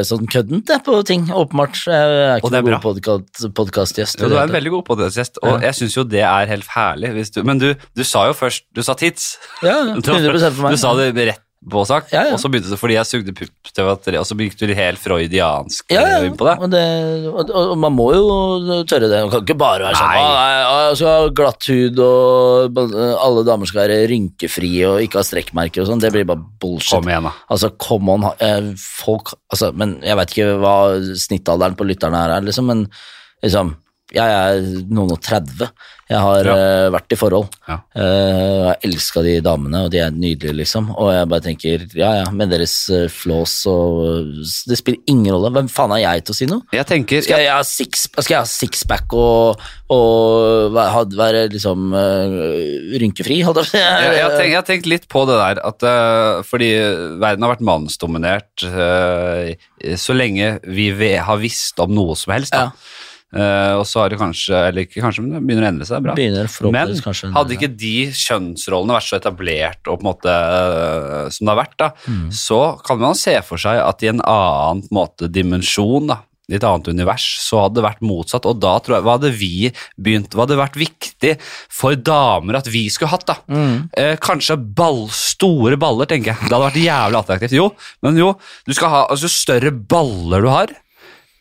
Speaker 2: sånn køddent jeg, på ting, åpenbart. Jeg er
Speaker 1: Og
Speaker 2: ikke
Speaker 1: det er
Speaker 2: noen god podkast- podkastgjest.
Speaker 1: Jo, du er en veldig god podkastgjest, og jeg syns jo det er helt herlig. Hvis du, men du, du sa jo først Du sa tits.
Speaker 2: Ja, ja, 100 for meg.
Speaker 1: Du sa det rett på sak,
Speaker 2: Ja, ja.
Speaker 1: og så begynte det fordi jeg sugde pupp til jeg var tre, og så gikk du helt freudiansk
Speaker 2: ja, ja.
Speaker 1: eh, inn på det.
Speaker 2: Og, det, og, og man må jo tørre det. Man kan ikke bare være sånn
Speaker 1: Nei.
Speaker 2: «Å, nei, å, Jeg skal ha glatt hud, og alle damer skal være rynkefrie og ikke ha strekkmerker og sånn. Det blir bare bullshit.
Speaker 1: Kom igjen, da.
Speaker 2: Altså, come on, ha- eh, folk altså, Men jeg vet ikke hva snittalderen på lytterne her er, liksom, men liksom Jeg er noen og 30. Jeg har
Speaker 1: Ja.
Speaker 2: eh, vært i forhold.
Speaker 1: Ja.
Speaker 2: Eh, og jeg elska de damene, og de er nydelige, liksom. Og jeg bare tenker ja ja, med deres eh, flås og eh, Det spiller ingen rolle. Hvem faen er jeg til å si noe?
Speaker 1: Jeg tenker
Speaker 2: Skal jeg ha six, skal jeg ha sixpack og, og væ- ha- være liksom eh, rynkefri, holdt jeg på å si? Eh,
Speaker 1: jeg, jeg, tenk, jeg har tenkt litt på det der, at, eh, fordi verden har vært mannsdominert eh, så lenge vi ve- har visst om noe som helst. Da. Eh, og så har det kanskje, eller ikke kanskje, men det begynner å endre seg. Bra.
Speaker 2: Begynner forhåpentligvis kanskje en-
Speaker 1: Men hadde ikke de kjønnsrollene vært så etablert og på en måte eh, som det har vært, da,
Speaker 2: Mm.
Speaker 1: så kan man se for seg at i en annen på en måte, dimensjon, da, i et annet univers, så hadde det vært motsatt. Og da tror jeg, hva hadde vi begynt, hva hadde vært viktig for damer at vi skulle hatt, da? Eh, kanskje ball, store baller, tenker jeg. Det hadde vært jævlig attraktivt. Jo, men jo, du skal ha, altså jo større baller du har,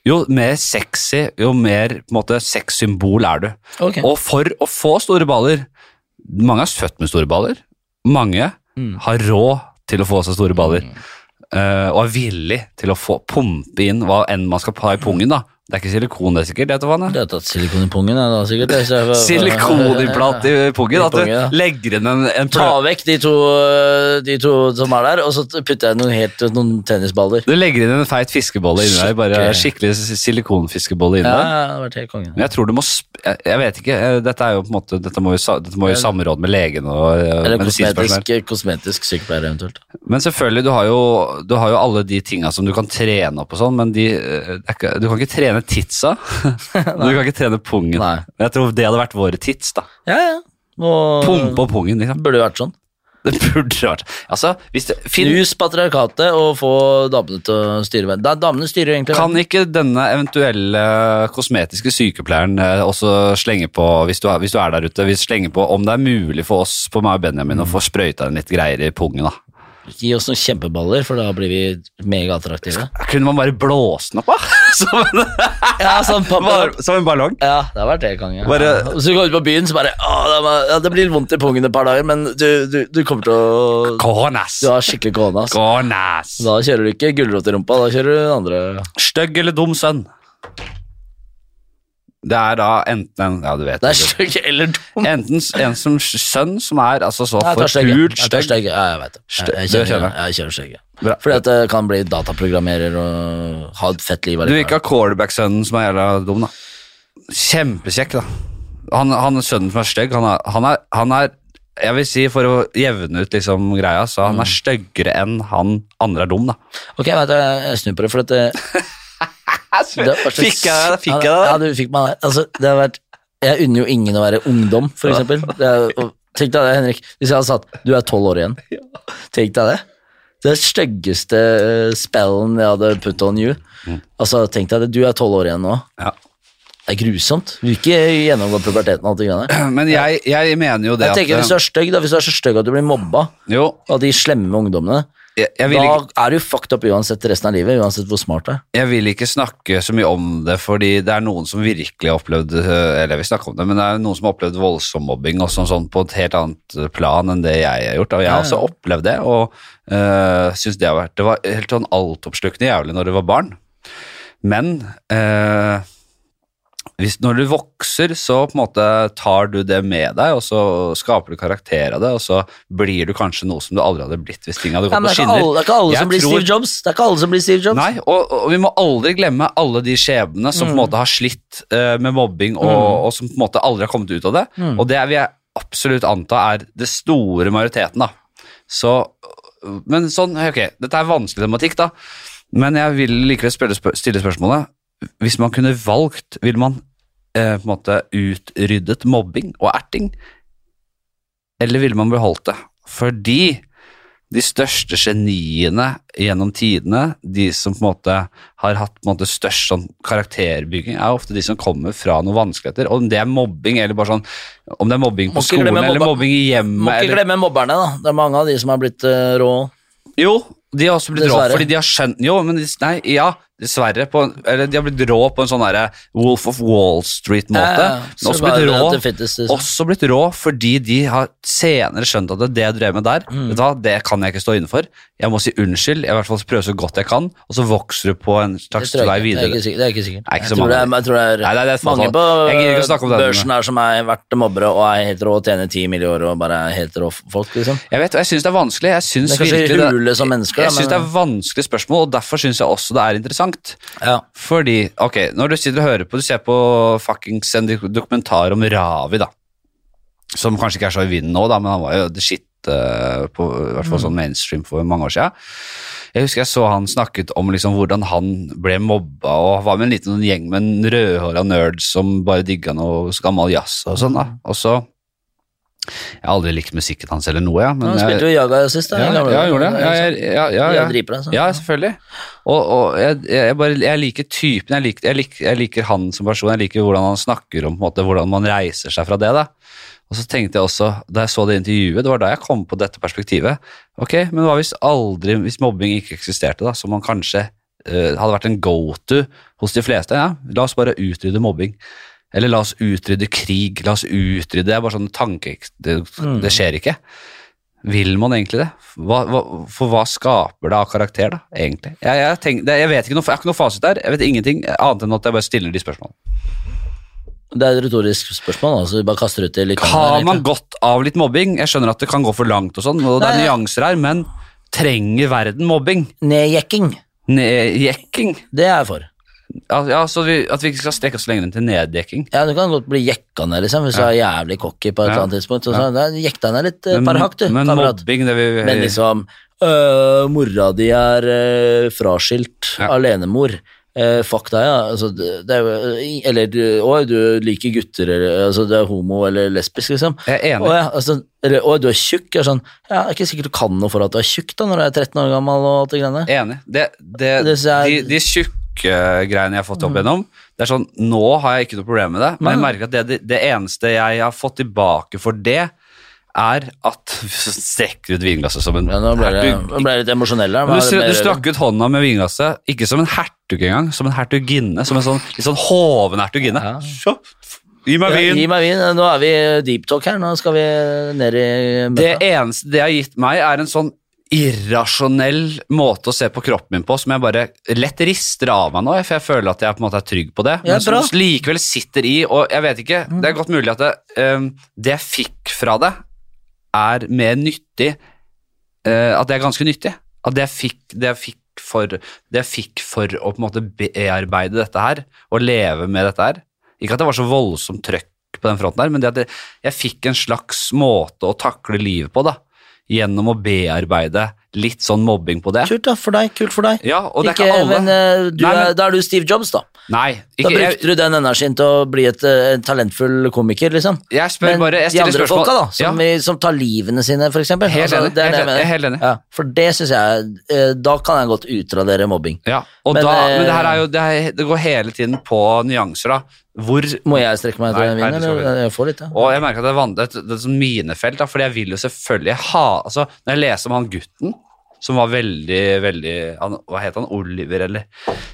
Speaker 1: jo mer sexy, jo mer på en måte, sexsymbol er du.
Speaker 2: Ok.
Speaker 1: Og for å få store baller Mange er født med store baller. Mange
Speaker 2: Mm.
Speaker 1: har råd til å få seg store baller. eh, og er villig til å få pumpe inn hva enn man skal ha i pungen. da. Det er ikke silikon, det er sikkert. vet du hva det er?
Speaker 2: Du har tatt silikon i pungen, ja, da, sikkert. det, så jeg-
Speaker 1: Silikonimplant i pungen.
Speaker 2: I
Speaker 1: At du
Speaker 2: pungen, ja.
Speaker 1: legger inn en, en
Speaker 2: Ta
Speaker 1: plø-
Speaker 2: vekk de to, øh, de to som er der, og så putter jeg noen, helt, noen tennisballer.
Speaker 1: Du legger inn en feit fiskebolle inni der. bare
Speaker 2: Skikkelig.
Speaker 1: Skikkelig silikonfiskebolle inni
Speaker 2: Ja,
Speaker 1: der.
Speaker 2: ja, det har vært helt konge.
Speaker 1: Men jeg tror du må sp jeg, jeg vet ikke, eh, dette er jo på en måte Dette må jo, sa- dette må jo samråd med legen og eh,
Speaker 2: Eller
Speaker 1: medisinsk personell.
Speaker 2: kosmetisk, kosmetisk sykepleier, eventuelt.
Speaker 1: Men selvfølgelig, du har jo, du har jo alle de tinga som du kan trene opp og sånn, men de, eh, det er ikke, du kan ikke trene titsa. du kan ikke trene pungen.
Speaker 2: Nei.
Speaker 1: Men Jeg tror det hadde vært våre tits, da.
Speaker 2: Ja, ja. Og
Speaker 1: Pumpe og pungen, liksom.
Speaker 2: burde jo vært sånn.
Speaker 1: Det burde vært Altså, hvis det, Finn,
Speaker 2: Knus patriarkatet og få damene til å styre verden. Da, damene styrer jo egentlig
Speaker 1: kan ikke denne eventuelle kosmetiske sykepleieren eh, også slenge på, hvis du, er- hvis du er der ute, hvis slenge på om det er mulig for oss på meg og Benjamin å få sprøyta inn litt greier i pungen, da?
Speaker 2: Gi oss noen kjempeballer, for da blir vi mega attraktive.
Speaker 1: Kunne man bare blåse den opp, da? Som en,
Speaker 2: Ja, sånn pump-up.
Speaker 1: som en ballong?
Speaker 2: Ja, det har vært det, konge.
Speaker 1: Bare-
Speaker 2: Ja. Så du kommer ut på byen, så bare å, det, var- ja, det blir litt vondt i pungen et par dager, men du, du, du kommer til å
Speaker 1: Gånas.
Speaker 2: Du har skikkelig kone,
Speaker 1: Altså- Gånas.
Speaker 2: ass. Da kjører du ikke gulrot i rumpa, da kjører du andre
Speaker 1: Stygg eller dum sønn? Det er da enten en Ja, du vet
Speaker 2: Det er
Speaker 1: det.
Speaker 2: stygg eller dum.
Speaker 1: Enten s- en som sønn som er altså så
Speaker 2: Jeg tar stygg, jeg.
Speaker 1: forpult
Speaker 2: Jeg tar
Speaker 1: stygg
Speaker 2: stygg. Ja, jeg vet det. Jeg, jeg
Speaker 1: Stygg, det
Speaker 2: kjører,
Speaker 1: skjønner
Speaker 2: jeg kjører stygg. ja.
Speaker 1: Bra.
Speaker 2: Fordi at det kan bli dataprogrammerer og ha et fett liv.
Speaker 1: Du vil ikke ha quarterback-sønnen som er jævla dum, da. Kjempekjekk, da. Han, han sønnen som er stygg, han er, han, er, han er Jeg vil si, for å jevne ut liksom greia, så han er
Speaker 2: Mm.
Speaker 1: styggere enn han andre er dum, da.
Speaker 2: Ok, jeg vet du, jeg snur på det, for at det, det var så-
Speaker 1: Fikk jeg det? Fikk jeg
Speaker 2: Ja,
Speaker 1: det?
Speaker 2: du fikk meg det. Altså, det har vært, jeg unner jo ingen å være ungdom, for eksempel. Det er, og, tenk deg det, Henrik. Hvis jeg hadde sagt, du er 12 år igjen. Tenk deg det. Det styggeste eh, spellen jeg hadde put on you.
Speaker 1: Mm.
Speaker 2: Altså, tenk deg det, du er 12 år igjen nå.
Speaker 1: Ja.
Speaker 2: Det er grusomt. Du vil ikke gjennomgå puberteten og alt det greiene der.
Speaker 1: Men jeg, jeg mener jo det
Speaker 2: Jeg tenker
Speaker 1: at eh,
Speaker 2: hvis du er stygg, da, hvis du er så stygg at du blir mobba
Speaker 1: Jo,
Speaker 2: av de slemme ungdommene,
Speaker 1: jeg, jeg, vil
Speaker 2: da
Speaker 1: ikke,
Speaker 2: er du fucked up uansett resten av livet, uansett hvor smart du er.
Speaker 1: jeg vil ikke snakke så mye om det, fordi det er noen som virkelig har opplevd eh, Eller vi snakker om det, men det er noen som har opplevd voldsom mobbing og sånn, sånn på et helt annet plan enn det jeg har gjort. Og jeg har
Speaker 2: Ja,
Speaker 1: også
Speaker 2: ja.
Speaker 1: opplevd det, og uh, syns det har vært Det var helt sånn altoppslukende jævlig når du var barn. Men eh, hvis, når du vokser, så på en måte tar du det med deg, og så skaper du karakter av det, og så blir du kanskje noe som du aldri hadde blitt hvis ting hadde
Speaker 2: Nei,
Speaker 1: gått på
Speaker 2: men det er ikke
Speaker 1: skinner.
Speaker 2: alle, det er ikke alle
Speaker 1: Jeg
Speaker 2: som blir
Speaker 1: tror-
Speaker 2: Steve Jobs. Det er ikke alle som blir Steve Jobs.
Speaker 1: Nei, og, og vi må aldri glemme alle de skjebnene som på en måte har slitt eh, med mobbing, og, og som på en måte aldri har kommet ut av det. Og det vil jeg absolutt anta er det store majoriteten, da. Så, men sånn, ok, dette er vanskelig tematikk, da. Men jeg vil likevel spørre, spør, stille spørsmålet. Hvis man kunne valgt, ville man eh, på en måte utryddet mobbing og erting? Eller ville man beholdt det? Fordi de største geniene gjennom tidene, de som på en måte har hatt på en måte størst sånn karakterbygging, er ofte de som kommer fra noen vanskeligheter. Og om det er mobbing, eller bare sånn, om det er mobbing
Speaker 2: Må
Speaker 1: på
Speaker 2: ikke
Speaker 1: skolen,
Speaker 2: glemme
Speaker 1: eller
Speaker 2: mobba-
Speaker 1: mobbing i
Speaker 2: Må
Speaker 1: hjemmet,
Speaker 2: ikke
Speaker 1: eller
Speaker 2: glemme mobberne, da. Det er mange av de som har blitt eh, rå.
Speaker 1: Jo, de har også blitt
Speaker 2: Dessverre.
Speaker 1: rå fordi de har skjønt Jo, men de, nei, ja, dessverre. På, en- eller de har blitt rå på en sånn derre Wolf of Wall Street-måte.
Speaker 2: Ja, ja.
Speaker 1: Men også
Speaker 2: Survival
Speaker 1: blitt rå
Speaker 2: of the fittest, liksom.
Speaker 1: Også blitt rå fordi de har senere skjønt at det, det jeg drev med der,
Speaker 2: Mm.
Speaker 1: vet du hva, det kan jeg ikke stå inne for. Jeg må si unnskyld, jeg i hvert fall prøve så godt jeg kan, og så vokser du på en
Speaker 2: Det,
Speaker 1: slags
Speaker 2: tror
Speaker 1: vei
Speaker 2: jeg ikke. det, er
Speaker 1: videre.
Speaker 2: ikke sikkert. det er ikke sikkert.
Speaker 1: Nei, ikke så
Speaker 2: jeg, tror det er,
Speaker 1: mange.
Speaker 2: jeg tror det er,
Speaker 1: Nei, nei, det er et
Speaker 2: mange
Speaker 1: fåtall. Jeg gidder ikke å snakke
Speaker 2: på
Speaker 1: om det.
Speaker 2: børsen her som har vært mobbere og er helt rå og tjener ti mill. i året og bare er helt rå folk, liksom.
Speaker 1: Jeg vet, og jeg syns det er vanskelig. Jeg synes
Speaker 2: Det er kanskje
Speaker 1: virkelig det-
Speaker 2: hule som mennesker, da,
Speaker 1: Jeg synes
Speaker 2: men-
Speaker 1: det er vanskelig spørsmål, og derfor syns jeg også det er interessant.
Speaker 2: Ja.
Speaker 1: Fordi, ok, når du sitter og hører på, du ser på fuckings en dokumentar om Ravi, da. Som kanskje ikke er så i vinden nå, da, men han var jo the shit eh, på, i hvert fall
Speaker 2: Mm.
Speaker 1: sånn mainstream for mange år siden. Jeg husker jeg så han snakket om liksom hvordan han ble mobba, og var med en liten sånn gjeng med en rødhåra nerd som bare digga noe gammel jazz og sånn. da. Og så Jeg har aldri likt musikken hans eller noe, ja, men
Speaker 2: Han
Speaker 1: jeg,
Speaker 2: spilte jo Jaga sist, da.
Speaker 1: ja,
Speaker 2: i
Speaker 1: ja,
Speaker 2: gamle
Speaker 1: jeg
Speaker 2: dager.
Speaker 1: gjorde det. Ja, jeg, ja, ja,
Speaker 2: Ja,
Speaker 1: ja.
Speaker 2: driper deg, sånn.
Speaker 1: Ja, selvfølgelig. Og, og jeg, jeg, bare, jeg liker typen, jeg liker, jeg, liker, jeg liker han som person, jeg liker hvordan han snakker om på en måte, hvordan man reiser seg fra det. da. Og så tenkte jeg også, da jeg så det intervjuet, det var da jeg kom på dette perspektivet. Ok, men hva hvis aldri, hvis mobbing ikke eksisterte, da, som man kanskje eh, hadde vært en go-to hos de fleste? Ja, la oss bare utrydde mobbing. Eller la oss utrydde krig, la oss utrydde Det er bare sånn tanke... Det, det skjer ikke. Vil man egentlig det? Hva, hva, for hva skaper det av karakter, da, egentlig? Jeg, jeg, tenk- det, jeg vet ikke noe, jeg har ikke noe fasit der. Jeg vet ingenting annet enn at jeg bare stiller de spørsmålene.
Speaker 2: Det er et retorisk spørsmål, altså. Vi bare kaster ut det litt. liksom.
Speaker 1: Har man godt av litt mobbing? Jeg skjønner at det kan gå for langt og sånn, og det er
Speaker 2: Nei, ja.
Speaker 1: nyanser her, men trenger verden mobbing?
Speaker 2: Nedjekking,
Speaker 1: Nedjekking?
Speaker 2: det er jeg for.
Speaker 1: Al- Ja, så vi, at vi ikke skal strekke oss lenger enn til nedjekking.
Speaker 2: Ja, du kan godt bli jekka ned, liksom, hvis du er jævlig cocky på et
Speaker 1: Ja.
Speaker 2: eller annet tidspunkt. Og så, ja. Jekk deg ned litt, et par hakk, du,
Speaker 1: men
Speaker 2: kamerat.
Speaker 1: mobbing, det vi
Speaker 2: Men liksom øh, Mora di er øh, fraskilt
Speaker 1: Ja.
Speaker 2: alenemor. Eh, fuck deg, ja. Altså, det, det er, jo- eller du- Oi, du liker gutter, eller altså, du er homo eller lesbisk, liksom.
Speaker 1: Jeg er enig.
Speaker 2: Å, ja, altså, eller, å, du er tjukk. Jeg er sånn, ja, det er ikke sikkert du kan noe for at du er tjukk da, når du er 13 år gammel og alt det greiene.
Speaker 1: Enig. Det, det,
Speaker 2: Det synes
Speaker 1: de,
Speaker 2: jeg- Mm.
Speaker 1: de tjukke greiene jeg har fått opp igjennom, det er sånn Nå har jeg ikke noe problem med det, men jeg
Speaker 2: Nei.
Speaker 1: merker at det, det, det eneste jeg har fått tilbake for det, er at Strekker ut vinglasset som en
Speaker 2: Ja, nå ble jeg,
Speaker 1: hertug.
Speaker 2: nå ble jeg litt emosjonell her.
Speaker 1: Du,
Speaker 2: Hva er det
Speaker 1: stra-
Speaker 2: mer-
Speaker 1: du strakk ut hånda med vinglasset, ikke som en hertug engang, som en hertuginne. Som en sånn, litt sånn hoven hertuginne.
Speaker 2: Ja.
Speaker 1: Så, Gi meg
Speaker 2: Ja,
Speaker 1: vin!
Speaker 2: gi meg vin. Nå er vi deep talk her. Nå skal vi ned
Speaker 1: Det
Speaker 2: i møkka.
Speaker 1: eneste det har gitt meg, er en sånn irrasjonell måte å se på kroppen min på, som jeg bare lett rister av meg nå, for jeg føler at jeg på en måte er trygg på det.
Speaker 2: Ja,
Speaker 1: men som
Speaker 2: bra. Mm.
Speaker 1: også likevel sitter i, og jeg vet ikke, det er godt mulig at det, ehm, det jeg fikk fra det, er mer nyttig, eh, at det er ganske nyttig. At det jeg fikk, det jeg fikk for, det jeg fikk for å på en måte bearbeide dette her, og leve med dette her. Ikke at det var så voldsomt trøkk på den fronten her, men det at det, jeg fikk en slags måte å takle livet på, da. Gjennom å bearbeide litt sånn mobbing på det.
Speaker 2: Kult da, for deg. Kult for deg.
Speaker 1: Ja, og det er
Speaker 2: Ikke-
Speaker 1: ikke alle.
Speaker 2: Men, eh, du
Speaker 1: Nei,
Speaker 2: er,
Speaker 1: men-
Speaker 2: da er du Steve Jobs, da.
Speaker 1: Nei,
Speaker 2: Da
Speaker 1: ikke,
Speaker 2: brukte
Speaker 1: jeg,
Speaker 2: du den energien til å bli et, eh, en talentfull komiker, liksom.
Speaker 1: jeg spør bare, jeg
Speaker 2: de
Speaker 1: stiller
Speaker 2: andre
Speaker 1: spørsmål.
Speaker 2: folka, da, som,
Speaker 1: ja,
Speaker 2: vi, som tar livene sine, for eksempel. Altså,
Speaker 1: Helt enig,
Speaker 2: det er
Speaker 1: helt
Speaker 2: det jeg
Speaker 1: enig,
Speaker 2: mener.
Speaker 1: helt enig.
Speaker 2: Ja, for det syns jeg eh, Da kan jeg godt utradere mobbing.
Speaker 1: ja. Og
Speaker 2: Men,
Speaker 1: da, men det her
Speaker 2: eh,
Speaker 1: er jo, det, er, det går hele tiden på nyanser, da. Hvor
Speaker 2: Må jeg strekke meg etter
Speaker 1: Nei,
Speaker 2: en
Speaker 1: nei,
Speaker 2: vin,
Speaker 1: du skal
Speaker 2: eller? Jeg får litt, ja.
Speaker 1: Og jeg merker at det er, van- det er et- det er et sånn minefelt, da, fordi jeg vil jo selvfølgelig ha altså, Når jeg leser om han gutten som var veldig, veldig han, Hva het han? Oliver, eller?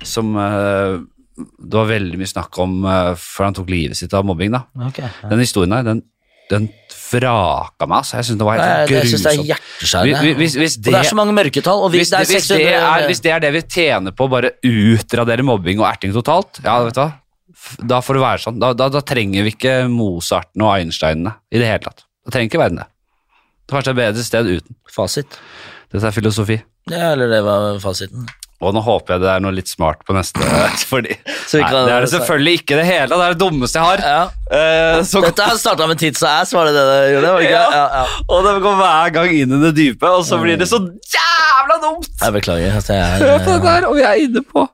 Speaker 1: Som eh, det var veldig mye snakk om eh, før han tok livet sitt av mobbing, da.
Speaker 2: Ok, ja.
Speaker 1: Den historien der, den, den vraka meg, altså. Jeg syns det var
Speaker 2: Nei,
Speaker 1: helt
Speaker 2: Det syns jeg er
Speaker 1: grusomt. Hvis-
Speaker 2: hjerteskjærende.
Speaker 1: hvis- hvis
Speaker 2: og det er
Speaker 1: det-
Speaker 2: så mange mørketall, og
Speaker 1: Hvis,
Speaker 2: hvis, det er
Speaker 1: det- hvis, det
Speaker 2: 600
Speaker 1: er, hvis det er det vi tjener på, bare utradere mobbing og erting totalt, ja, vet du hva. F- Da får det være sånn. Da, da, da trenger vi ikke Mozarten og Einsteinene i det hele tatt. Da trenger ikke verden det. Det er kanskje et bedre sted uten.
Speaker 2: Fasit.
Speaker 1: Dette er filosofi.
Speaker 2: Ja, eller det var fasiten.
Speaker 1: Og nå håper jeg det er noe litt smart på neste. Fordi,
Speaker 2: Så vi
Speaker 1: nei,
Speaker 2: kan-
Speaker 1: det er det selvfølgelig ikke det hele. Det er det dummeste jeg har.
Speaker 2: Ja.
Speaker 1: Eh, så,
Speaker 2: Dette her starta med tits og ass, var det det det gjorde? Var det ikke? Ja, ja.
Speaker 1: og det går hver gang inn i det dype, og så blir det så jævla dumt!
Speaker 2: Jeg beklager. Altså,
Speaker 1: Hør
Speaker 2: jeg
Speaker 1: på
Speaker 2: er,
Speaker 1: dette her, og vi er inne på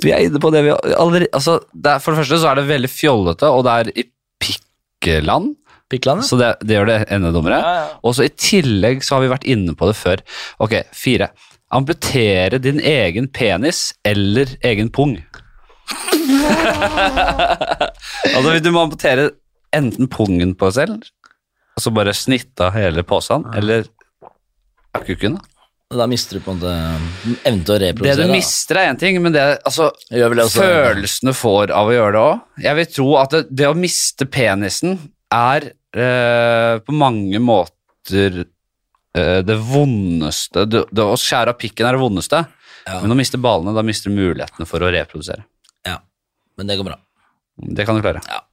Speaker 1: Vi er inne på det vi allerede altså, det er, For det første så er det veldig fjollete, og det er i pikkeland,
Speaker 2: Pikkland, ja.
Speaker 1: så det, det gjør det enda dummere.
Speaker 2: Ja, ja.
Speaker 1: Og så i tillegg så har vi vært inne på det før. Ok, fire. Amputere din egen penis eller egen pung. altså, du må amputere enten pungen på selv, og så bare snitte av hele posen, eller av kukken, da.
Speaker 2: Da mister du på en måte mm, evnen til å
Speaker 1: Det
Speaker 2: reprodusere.
Speaker 1: du
Speaker 2: da.
Speaker 1: mister er én ting, men det altså,
Speaker 2: Jeg gjør vel det også.
Speaker 1: følelsen du får av å gjøre det òg. Jeg vil tro at det, det å miste penisen er eh, på mange måter eh, det vondeste det, det Å skjære av pikken er det vondeste,
Speaker 2: Ja.
Speaker 1: men å miste ballene, da mister du mulighetene for å reprodusere.
Speaker 2: Ja. Men det går bra.
Speaker 1: Det kan du klare.
Speaker 2: Ja.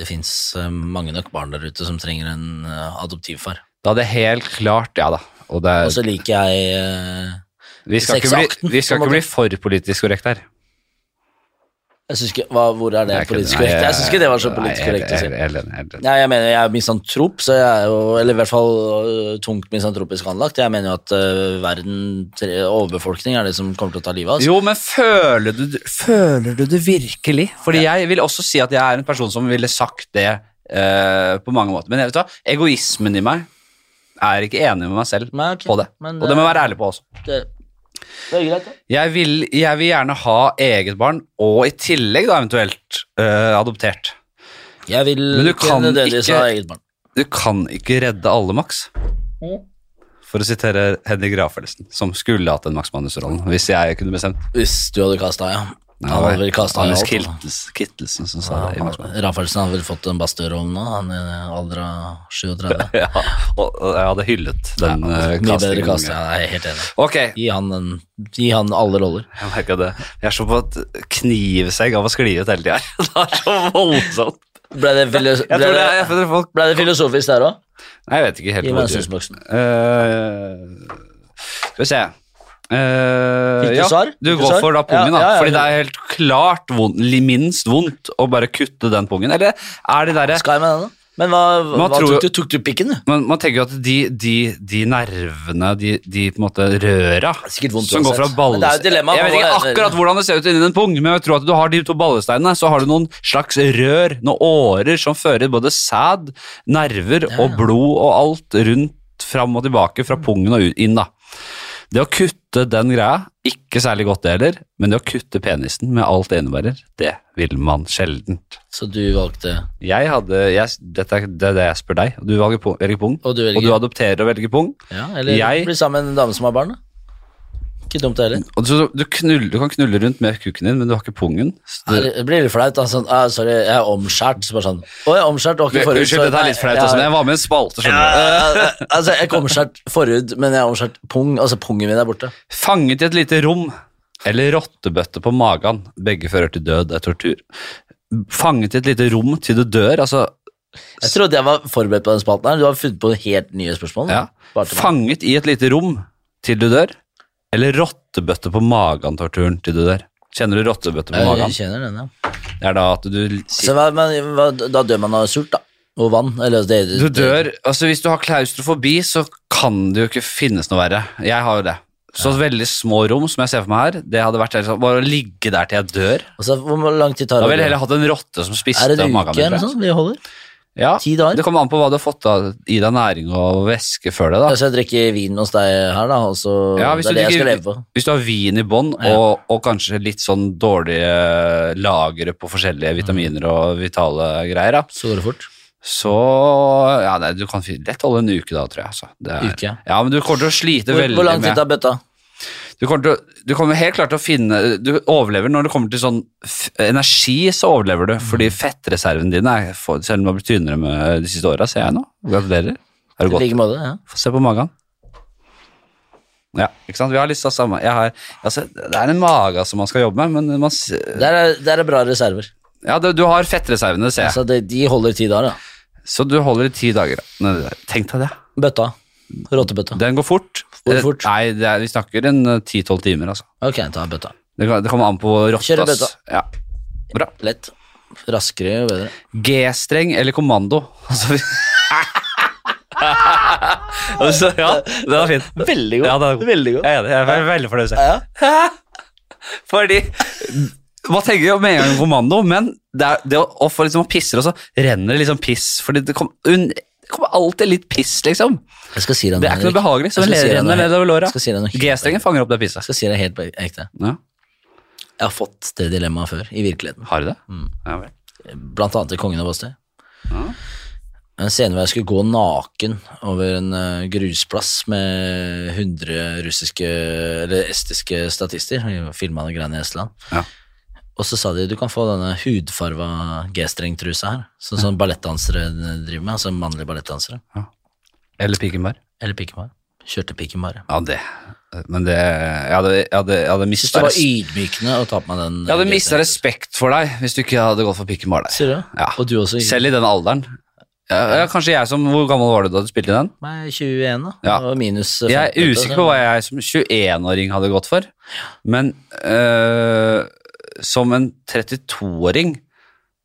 Speaker 2: Det fins mange nok barn der ute som trenger en eh, adoptivfar.
Speaker 1: Da hadde jeg helt klart Ja da. Og det,
Speaker 2: Og så liker jeg eh,
Speaker 1: vi skal, ikke bli,
Speaker 2: sexakten,
Speaker 1: vi skal
Speaker 2: på en
Speaker 1: ikke bli for politisk korrekt her.
Speaker 2: Jeg synes ikke, hva, Hvor er det
Speaker 1: Jeg
Speaker 2: politisk
Speaker 1: kødder. Nei,
Speaker 2: korrekt? Jeg syns ikke det var så
Speaker 1: nei,
Speaker 2: politisk
Speaker 1: jeg-
Speaker 2: korrekt altså. å si.
Speaker 1: jeg- jeg- jeg- jeg- jeg-
Speaker 2: Nei, jeg mener jeg er misantrop, så jeg er jo, eller i hvert fall øh, tungt misantropisk anlagt. Jeg mener jo at øh, verden, tre- overbefolkning, er det som kommer til å ta livet av oss.
Speaker 1: Jo, men føler du, føler du det virkelig? Fordi jeg vil også si at jeg er en person som ville sagt det eh, på mange måter. Men jeg vet du hva, egoismen i meg er ikke enig med meg selv
Speaker 2: Nei, ok.
Speaker 1: på det.
Speaker 2: Men
Speaker 1: Og
Speaker 2: det-
Speaker 1: det må jeg være ærlig på også.
Speaker 2: Det, det er greit, det.
Speaker 1: Jeg vil, jeg vil gjerne ha eget barn, og i tillegg da eventuelt eh, adoptert.
Speaker 2: Jeg vil
Speaker 1: Men du
Speaker 2: ikke
Speaker 1: kan
Speaker 2: nødvendigvis
Speaker 1: ikke-
Speaker 2: ha eget barn.
Speaker 1: Du kan ikke redde alle, Max.
Speaker 2: Mm.
Speaker 1: For å sitere Henrik Rafelsen, som skulle hatt den Max Manus-rollen, hvis jeg kunne bestemt.
Speaker 2: Hvis du hadde kasta, ja. Han hadde vel kasta
Speaker 1: Anders
Speaker 2: alt. han.
Speaker 1: Kittels- Kittelsen som sa det i Max Manus.
Speaker 2: Ja, Rafaelsen hadde vel fått en bastørhånd nå, han er i alder av 37.
Speaker 1: Ja, og, og jeg hadde hyllet den øh, ja,
Speaker 2: Mye bedre kast, ja, jeg er helt enig.
Speaker 1: Ok,
Speaker 2: Gi han, en, gi han alle roller.
Speaker 1: jeg merka det. Jeg er så på et knivsegg av å skli ut hele tida. Det er så voldsomt.
Speaker 2: Ble det, filo
Speaker 1: Jeg tror
Speaker 2: ble
Speaker 1: det
Speaker 2: det,
Speaker 1: er jeg tror folk
Speaker 2: ble det filosofisk der òg?
Speaker 1: Nei, jeg vet ikke helt
Speaker 2: I
Speaker 1: hva det er.
Speaker 2: venstresboksen.
Speaker 1: skal vi se Eh,
Speaker 2: Fikk du
Speaker 1: ja,
Speaker 2: svar?
Speaker 1: Du
Speaker 2: Fikk du
Speaker 1: går
Speaker 2: svar?
Speaker 1: for da pungen,
Speaker 2: Ja, ja,
Speaker 1: da.
Speaker 2: ja,
Speaker 1: Fordi
Speaker 2: ja.
Speaker 1: det er helt klart vondt, li- minst vondt å bare kutte den pungen. Eller er de derre
Speaker 2: Skal jeg med den, da? Men hva, hva
Speaker 1: tror
Speaker 2: tok, du,
Speaker 1: jo-
Speaker 2: tok du pikken, du?
Speaker 1: man, man tenker jo at de, de, de nervene, de, de på en måte røra
Speaker 2: sikkert vondt
Speaker 1: som går fra
Speaker 2: uansett. Men det er jo et
Speaker 1: ballestein
Speaker 2: dilemma,
Speaker 1: Jeg vet
Speaker 2: hva
Speaker 1: ikke
Speaker 2: er det-
Speaker 1: akkurat hvordan det ser ut inni en pung, men jeg tror at du har de to ballesteinene, så har du noen slags rør, noen årer som fører både sæd, nerver og blod og alt rundt fram og tilbake
Speaker 2: Mm.
Speaker 1: fra pungen og ut- inn, da. Det å kutte den greia, ikke særlig godt det heller, men det å kutte penisen med alt det innebærer, det vil man sjeldent.
Speaker 2: Så du valgte
Speaker 1: Jeg hadde, jeg, dette er det, er det jeg spør deg. Du velger pung, velger pung
Speaker 2: Og du velger-
Speaker 1: og du adopterer og velger pung.
Speaker 2: Ja, eller
Speaker 1: Jeg-
Speaker 2: bli sammen med en dame som har barn, da? Ikke dumt, det heller.
Speaker 1: Og så, du, knull, du kan knulle rundt med kukken din, men du har ikke pungen. Så
Speaker 2: Nei,
Speaker 1: du,
Speaker 2: Det blir litt flaut. da, sånn, ah, sorry, jeg er omskjært. Så bare sånn Å, jeg er omskjært, og ikke forhud.
Speaker 1: Unnskyld, dette er litt flaut også, men jeg var med i en spalte, skjønner du. Eh,
Speaker 2: altså, jeg er ikke omskjært forhud, men jeg er omskjært pung. Altså, pungen min er borte.
Speaker 1: Fanget i et lite rom, eller rottebøtte på magen. Begge fører til død, det er tortur. Fanget i et lite rom til du dør, altså
Speaker 2: Jeg trodde jeg var forberedt på den spalten her. Du har funnet på helt nye spørsmål.
Speaker 1: ja.
Speaker 2: Bare til meg.
Speaker 1: Fanget i et lite rom til du dør, eller rottebøtte på magen-torturen til du dør. Kjenner du rottebøtte på magen?
Speaker 2: Eh, Jeg kjenner den, ja.
Speaker 1: Det er da at du
Speaker 2: Så, hva, men, hva, da dør man av sult, da. Og vann. Eller, det, det,
Speaker 1: Du dør Altså, hvis du har klaustrofobi, så kan det jo ikke finnes noe verre. Jeg har jo det. Så veldig små rom, som jeg ser for meg her, det hadde vært helt sånn, bare å ligge der til jeg dør.
Speaker 2: Altså, hvor lang tid tar
Speaker 1: Da
Speaker 2: det? å
Speaker 1: ville jeg
Speaker 2: dø?
Speaker 1: heller hatt en rotte som spiste
Speaker 2: Er det en
Speaker 1: magen
Speaker 2: uke eller noe
Speaker 1: tror jeg.
Speaker 2: sånt vi holder?
Speaker 1: Ja,
Speaker 2: Ti dager?
Speaker 1: det kommer an på hva du har fått av, i deg næring og væske før det, da.
Speaker 2: Altså, jeg drikker vin hos deg her, da, og så
Speaker 1: Ja, hvis
Speaker 2: Det er
Speaker 1: du
Speaker 2: det jeg skal leve
Speaker 1: drikker-
Speaker 2: på.
Speaker 1: Hvis du har vin i bånn,
Speaker 2: Ja.
Speaker 1: og, og kanskje litt sånn dårlige eh, lagre på forskjellige vitaminer
Speaker 2: Mm.
Speaker 1: og vitale greier, da,
Speaker 2: Så går det fort.
Speaker 1: så Ja, nei, du kan fi- lett holde en uke da, tror jeg. Altså. Det er,
Speaker 2: Uke, ja.
Speaker 1: ja, men du kommer til å slite
Speaker 2: Hvor,
Speaker 1: veldig
Speaker 2: hvor lang
Speaker 1: med
Speaker 2: tid tar bøtta?
Speaker 1: Du kommer, til, å- du kommer helt klart til å finne Du overlever når det kommer til sånn f energi, så overlever du. Fordi
Speaker 2: Mm.
Speaker 1: fettreservene dine er for, Selv om du har blitt tynnere med de siste åra, ser jeg nå. Gratulerer. Er
Speaker 2: I
Speaker 1: du godt?
Speaker 2: like måte. Ja.
Speaker 1: Få se på magen. Ja, ikke sant. Vi har litt av samme jeg har, altså, Det er en mage som man skal jobbe med, men man s-
Speaker 2: Der, er, der er bra reserver.
Speaker 1: Ja, du, du har fettreservene, det ser jeg.
Speaker 2: Så det, de holder ti dager, da.
Speaker 1: Så du holder i ti dager. da. Nei, det- Tenk deg det.
Speaker 2: Bøtta. Rottebøtta.
Speaker 1: Den går fort.
Speaker 2: Går
Speaker 1: Eh,
Speaker 2: fort.
Speaker 1: Nei, det er, vi snakker en ti-tolv timer, altså.
Speaker 2: Ok, ta bøtta.
Speaker 1: Det, kan- det kommer an på rotta.
Speaker 2: Kjører
Speaker 1: ass.
Speaker 2: bøtta.
Speaker 1: Ja. Bra.
Speaker 2: Lett. Raskere jo bedre.
Speaker 1: G-streng eller kommando. Altså, vi... altså, ja, det var fint.
Speaker 2: Veldig god.
Speaker 1: Ja, det er god.
Speaker 2: Veldig god.
Speaker 1: Jeg er enig. Jeg er veldig fornøyd. med det.
Speaker 2: Ja.
Speaker 1: Fordi man tenker jo med en gang kommando, men det er, det å, og for liksom, man pisser, og så renner det liksom piss. Fordi det, kom, un, det kommer alltid litt piss, liksom.
Speaker 2: Jeg skal si deg
Speaker 1: Det er ikke noe behagelig. Så
Speaker 2: Jeg
Speaker 1: det
Speaker 2: skal si deg noe
Speaker 1: renner
Speaker 2: helt-
Speaker 1: nedover låra.
Speaker 2: jeg skal si deg noe helt-
Speaker 1: G-strengen fanger opp det
Speaker 2: Jeg
Speaker 1: pisset.
Speaker 2: skal si deg helt på ekte.
Speaker 1: Ja.
Speaker 2: Jeg har fått det dilemmaet før, i virkeligheten.
Speaker 1: Har du det?
Speaker 2: Mm.
Speaker 1: Ja, vel.
Speaker 2: Blant annet i Kongen av Bastøy. En scene hvor jeg skulle gå naken over en eh, grusplass med 100 russiske eller estiske statister. Filma noen greiene i Estland.
Speaker 1: Ja.
Speaker 2: Og så sa de du kan få denne hudfarva G-strengtrusa her, sånn som ballettdansere driver med. Altså mannlige ballettdansere.
Speaker 1: Eller pikenbar.
Speaker 2: Eller pikken bare. Kjørte pikken bare.
Speaker 1: Ja, det Men det Jeg hadde, jeg hadde, jeg hadde
Speaker 2: Jeg synes
Speaker 1: mista
Speaker 2: det var ydmykende å ta på meg den.
Speaker 1: Jeg hadde mista
Speaker 2: G-strengen.
Speaker 1: respekt for deg hvis du ikke hadde gått for pikken bar der.
Speaker 2: Sier du?
Speaker 1: Ja.
Speaker 2: Og du også?
Speaker 1: Selv i den alderen. Ja, ja, kanskje jeg som Hvor gammel var du da du spilte i den?
Speaker 2: Nei, 21, da.
Speaker 1: Ja.
Speaker 2: Og minus eh,
Speaker 1: Jeg er usikker på hva jeg som 21-åring hadde gått for, men øh, som en 32-åring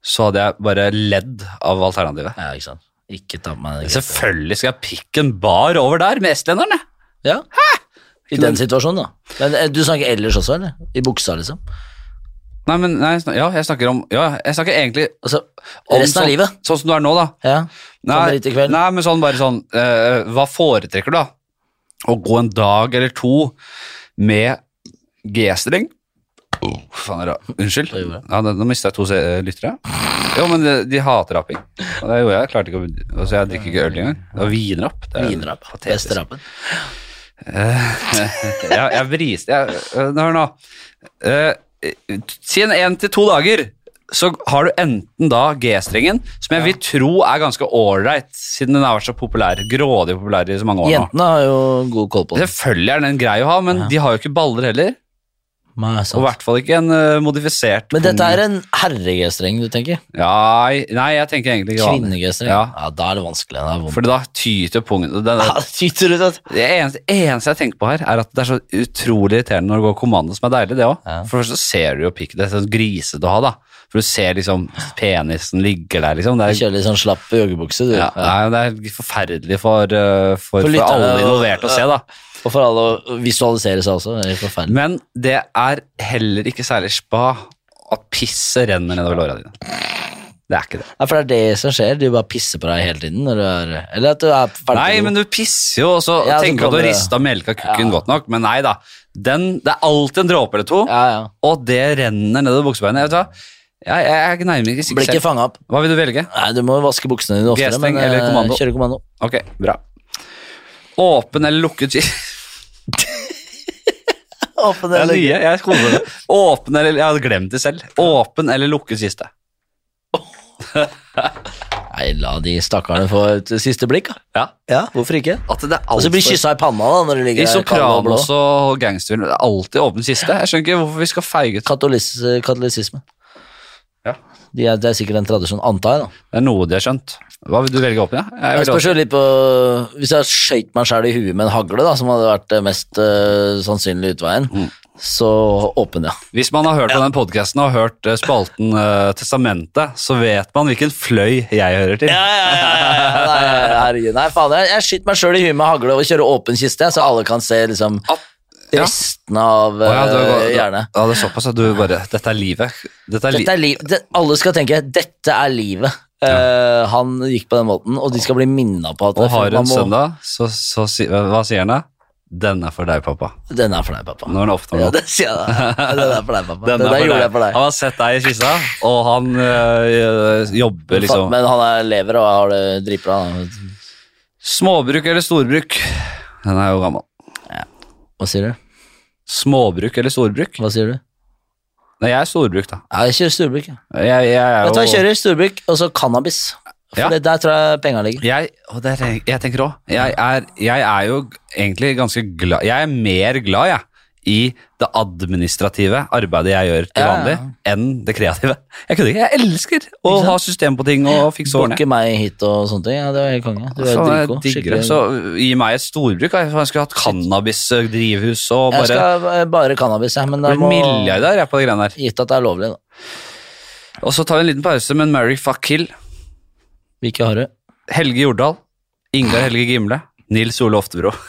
Speaker 1: så hadde jeg bare ledd av alternativet.
Speaker 2: Ja, ikke sant. Ikke ta på meg det.
Speaker 1: Selvfølgelig skal jeg pikke en bar over der med estlenderen, jeg.
Speaker 2: Ja. I den situasjonen, da. Men, eh, du snakker ellers også, eller? I buksa, liksom?
Speaker 1: Nei, men nei, jeg snak- ja, jeg snakker om Ja, jeg snakker egentlig
Speaker 2: Altså,
Speaker 1: om
Speaker 2: resten av
Speaker 1: sånn,
Speaker 2: livet? Sånn
Speaker 1: Sånn som du er nå, da.
Speaker 2: Ja. Kommer
Speaker 1: Nei,
Speaker 2: hit i kveld.
Speaker 1: nei men sånn bare sånn eh, Hva foretrekker du, da? Å gå en dag eller to med G-streng? Oh, faen er det, unnskyld.
Speaker 2: Det gjorde jeg.
Speaker 1: Ja, da- nå mista jeg to se- eh, lyttere. Jo, men de, de hater raping. Og det gjorde jeg. jeg klarte ikke å, altså, Jeg drikker ikke øl engang. Det var vinrapp. Det er
Speaker 2: Vinrapp.
Speaker 1: patetisk.
Speaker 2: Beste rapen.
Speaker 1: jeg, jeg vriste jeg, øh, Hør nå. Eh, Si en én til to dager, så har du enten da G-strengen, som jeg vil tro er ganske ålreit, siden den har vært så populær, grådig populær i så mange år nå.
Speaker 2: Jentene har jo god koll på det.
Speaker 1: Selvfølgelig er den grei å ha, men de har jo ikke baller heller.
Speaker 2: Nei, sant.
Speaker 1: Og i hvert fall ikke en øh, modifisert
Speaker 2: Men dette
Speaker 1: pung.
Speaker 2: er en herre-G-streng, du tenker?
Speaker 1: Nei, nei, jeg tenker egentlig ikke vanlig.
Speaker 2: Kvinne-G-streng?
Speaker 1: Ja.
Speaker 2: ja, da er det vanskelig. Da er det vondt.
Speaker 1: For da tyter pungen det, det,
Speaker 2: Ja, tyter ut at
Speaker 1: det eneste, eneste jeg tenker på her, er at det er så utrolig irriterende når det går kommando, som er deilig, det òg.
Speaker 2: Ja.
Speaker 1: For først så ser du jo pikk, det er sånn grisete å ha, da. For du ser liksom penisen ligger der, liksom. Det
Speaker 2: Du
Speaker 1: er,
Speaker 2: kjører litt sånn slapp joggebukse, du.
Speaker 1: ja, nei, det er forferdelig for, eh, for,
Speaker 2: For
Speaker 1: for,
Speaker 2: lytterne
Speaker 1: alle
Speaker 2: og-
Speaker 1: involverte å se, da.
Speaker 2: Og for alle å visualisere seg også. Det er forferdelig.
Speaker 1: Men det er heller ikke særlig spa at pisset renner nedover låra dine. Det er ikke det.
Speaker 2: Ja, for det er det som skjer. De bare pisser på deg hele tiden når du er Eller at du er ferdig.
Speaker 1: Nei, men du pisser jo, og så
Speaker 2: Ja, så
Speaker 1: tenker du at
Speaker 2: kommer
Speaker 1: du
Speaker 2: det-
Speaker 1: rista melka kukken godt nok, men nei da. Den, det er alltid en dråpe eller to.
Speaker 2: Ja, ja.
Speaker 1: og det renner nedover buksebeinet. Vet du hva? Jeg, jeg, jeg er nærmere ikke
Speaker 2: Blir
Speaker 1: sikker
Speaker 2: ikke
Speaker 1: selv.
Speaker 2: fanga opp.
Speaker 1: Hva vil du velge?
Speaker 2: Nei, du må vaske buksene dine oftere,
Speaker 1: G-streng
Speaker 2: men eh,
Speaker 1: eller kommando?
Speaker 2: kjøre kommando.
Speaker 1: Ok, bra. Åpen eller lukket kiste?
Speaker 2: Åpen
Speaker 1: Det er nye. Jeg koser meg. Åpen eller Jeg hadde glemt det selv. Åpen eller lukket kiste?
Speaker 2: Nei, la de stakkarene få et siste blikk, da.
Speaker 1: Ja. Altså,
Speaker 2: Ja, hvorfor ikke?
Speaker 1: At det er
Speaker 2: Og så blir
Speaker 1: altfor-
Speaker 2: kyssa i panna da når du ligger
Speaker 1: I
Speaker 2: der kald og blå.
Speaker 1: Sopranos og gangsterfilmer det er alltid åpen kiste. Jeg skjønner ikke hvorfor vi skal feige ut.
Speaker 2: Katolis, katolisisme.
Speaker 1: Ja.
Speaker 2: De er, det er sikkert en tradisjon, antar jeg, da.
Speaker 1: Det er noe de har skjønt. Hva vil du velge åpen, ja? Jeg
Speaker 2: Jeg
Speaker 1: vil
Speaker 2: spørs
Speaker 1: åpen.
Speaker 2: jo litt på eh, Hvis jeg skøyt meg sjæl i huet med en hagle, da, som hadde vært det mest eh, sannsynlige utveien,
Speaker 1: Mm.
Speaker 2: så åpen, ja.
Speaker 1: Hvis man har hørt på den podkasten og hørt eh, spalten eh, Testamentet, så vet man hvilken fløy jeg hører til.
Speaker 2: Nei, herregud. Nei, faen, jeg, jeg skyter meg sjøl i huet med hagle og kjører åpen kiste, jeg, så alle kan se liksom
Speaker 1: At- ja.
Speaker 2: restene av
Speaker 1: Å ja, du har
Speaker 2: eh,
Speaker 1: gått-
Speaker 2: hjernen.
Speaker 1: Ja, det er såpass at du bare Dette er livet. Dette er li
Speaker 2: Dette er liv. Det, alle skal tenke 'dette er livet'. Eh, han gikk på den måten, og de skal bli minna på at
Speaker 1: og har
Speaker 2: man
Speaker 1: en
Speaker 2: må-
Speaker 1: søndag, så, så si, hva sier han da? Den er for deg, pappa.
Speaker 2: Den er for deg, pappa.
Speaker 1: Når han åpner
Speaker 2: Ja,
Speaker 1: den.
Speaker 2: det sier jeg deg. Den er for deg, pappa.
Speaker 1: Den
Speaker 2: Den, der
Speaker 1: for
Speaker 2: gjorde
Speaker 1: deg.
Speaker 2: jeg for deg.
Speaker 1: Han har sett deg i kista, og han øh, jobber liksom
Speaker 2: Men han er lever og har det dritbra. da.
Speaker 1: Småbruk eller storbruk? Den er jo gammel.
Speaker 2: Hva sier du?
Speaker 1: Småbruk eller storbruk?
Speaker 2: Hva sier du?
Speaker 1: Nei, jeg er storbruk, da.
Speaker 2: Ja, jeg kjører storbruk. Ja.
Speaker 1: Jeg, jeg er
Speaker 2: Vet du hva, jeg
Speaker 1: jo
Speaker 2: kjører storbruk, og så cannabis. For
Speaker 1: Ja.
Speaker 2: det, der tror jeg penga ligger.
Speaker 1: jeg, og det er, jeg tenker òg. Jeg, er- jeg er jo egentlig ganske glad Jeg er mer glad, jeg, i det administrative arbeidet jeg gjør til
Speaker 2: Ja, ja.
Speaker 1: vanlig, enn det kreative. Jeg kødder ikke. Jeg elsker å
Speaker 2: sant?
Speaker 1: ha system på ting og fikse ordene.
Speaker 2: Bukke meg hit og sånne ting. Ja, det var helt konge. Du er
Speaker 1: Faen, jeg
Speaker 2: dritgod.
Speaker 1: digger det.
Speaker 2: Skikkelig
Speaker 1: Så gi meg et storbruk. da. Jeg skulle hatt cannabisdrivhus og
Speaker 2: Jeg
Speaker 1: bare
Speaker 2: skal eh, bare cannabis, jeg. Men det
Speaker 1: bli
Speaker 2: må
Speaker 1: milliardær jeg, på de greiene der.
Speaker 2: Gitt at det er lovlig, da.
Speaker 1: Og så tar vi en liten pause med Mary Fuck Kill.
Speaker 2: Hvilke har du?
Speaker 1: Helge Jordal. Ingar Helge Gimle. Nils Ole Oftebro.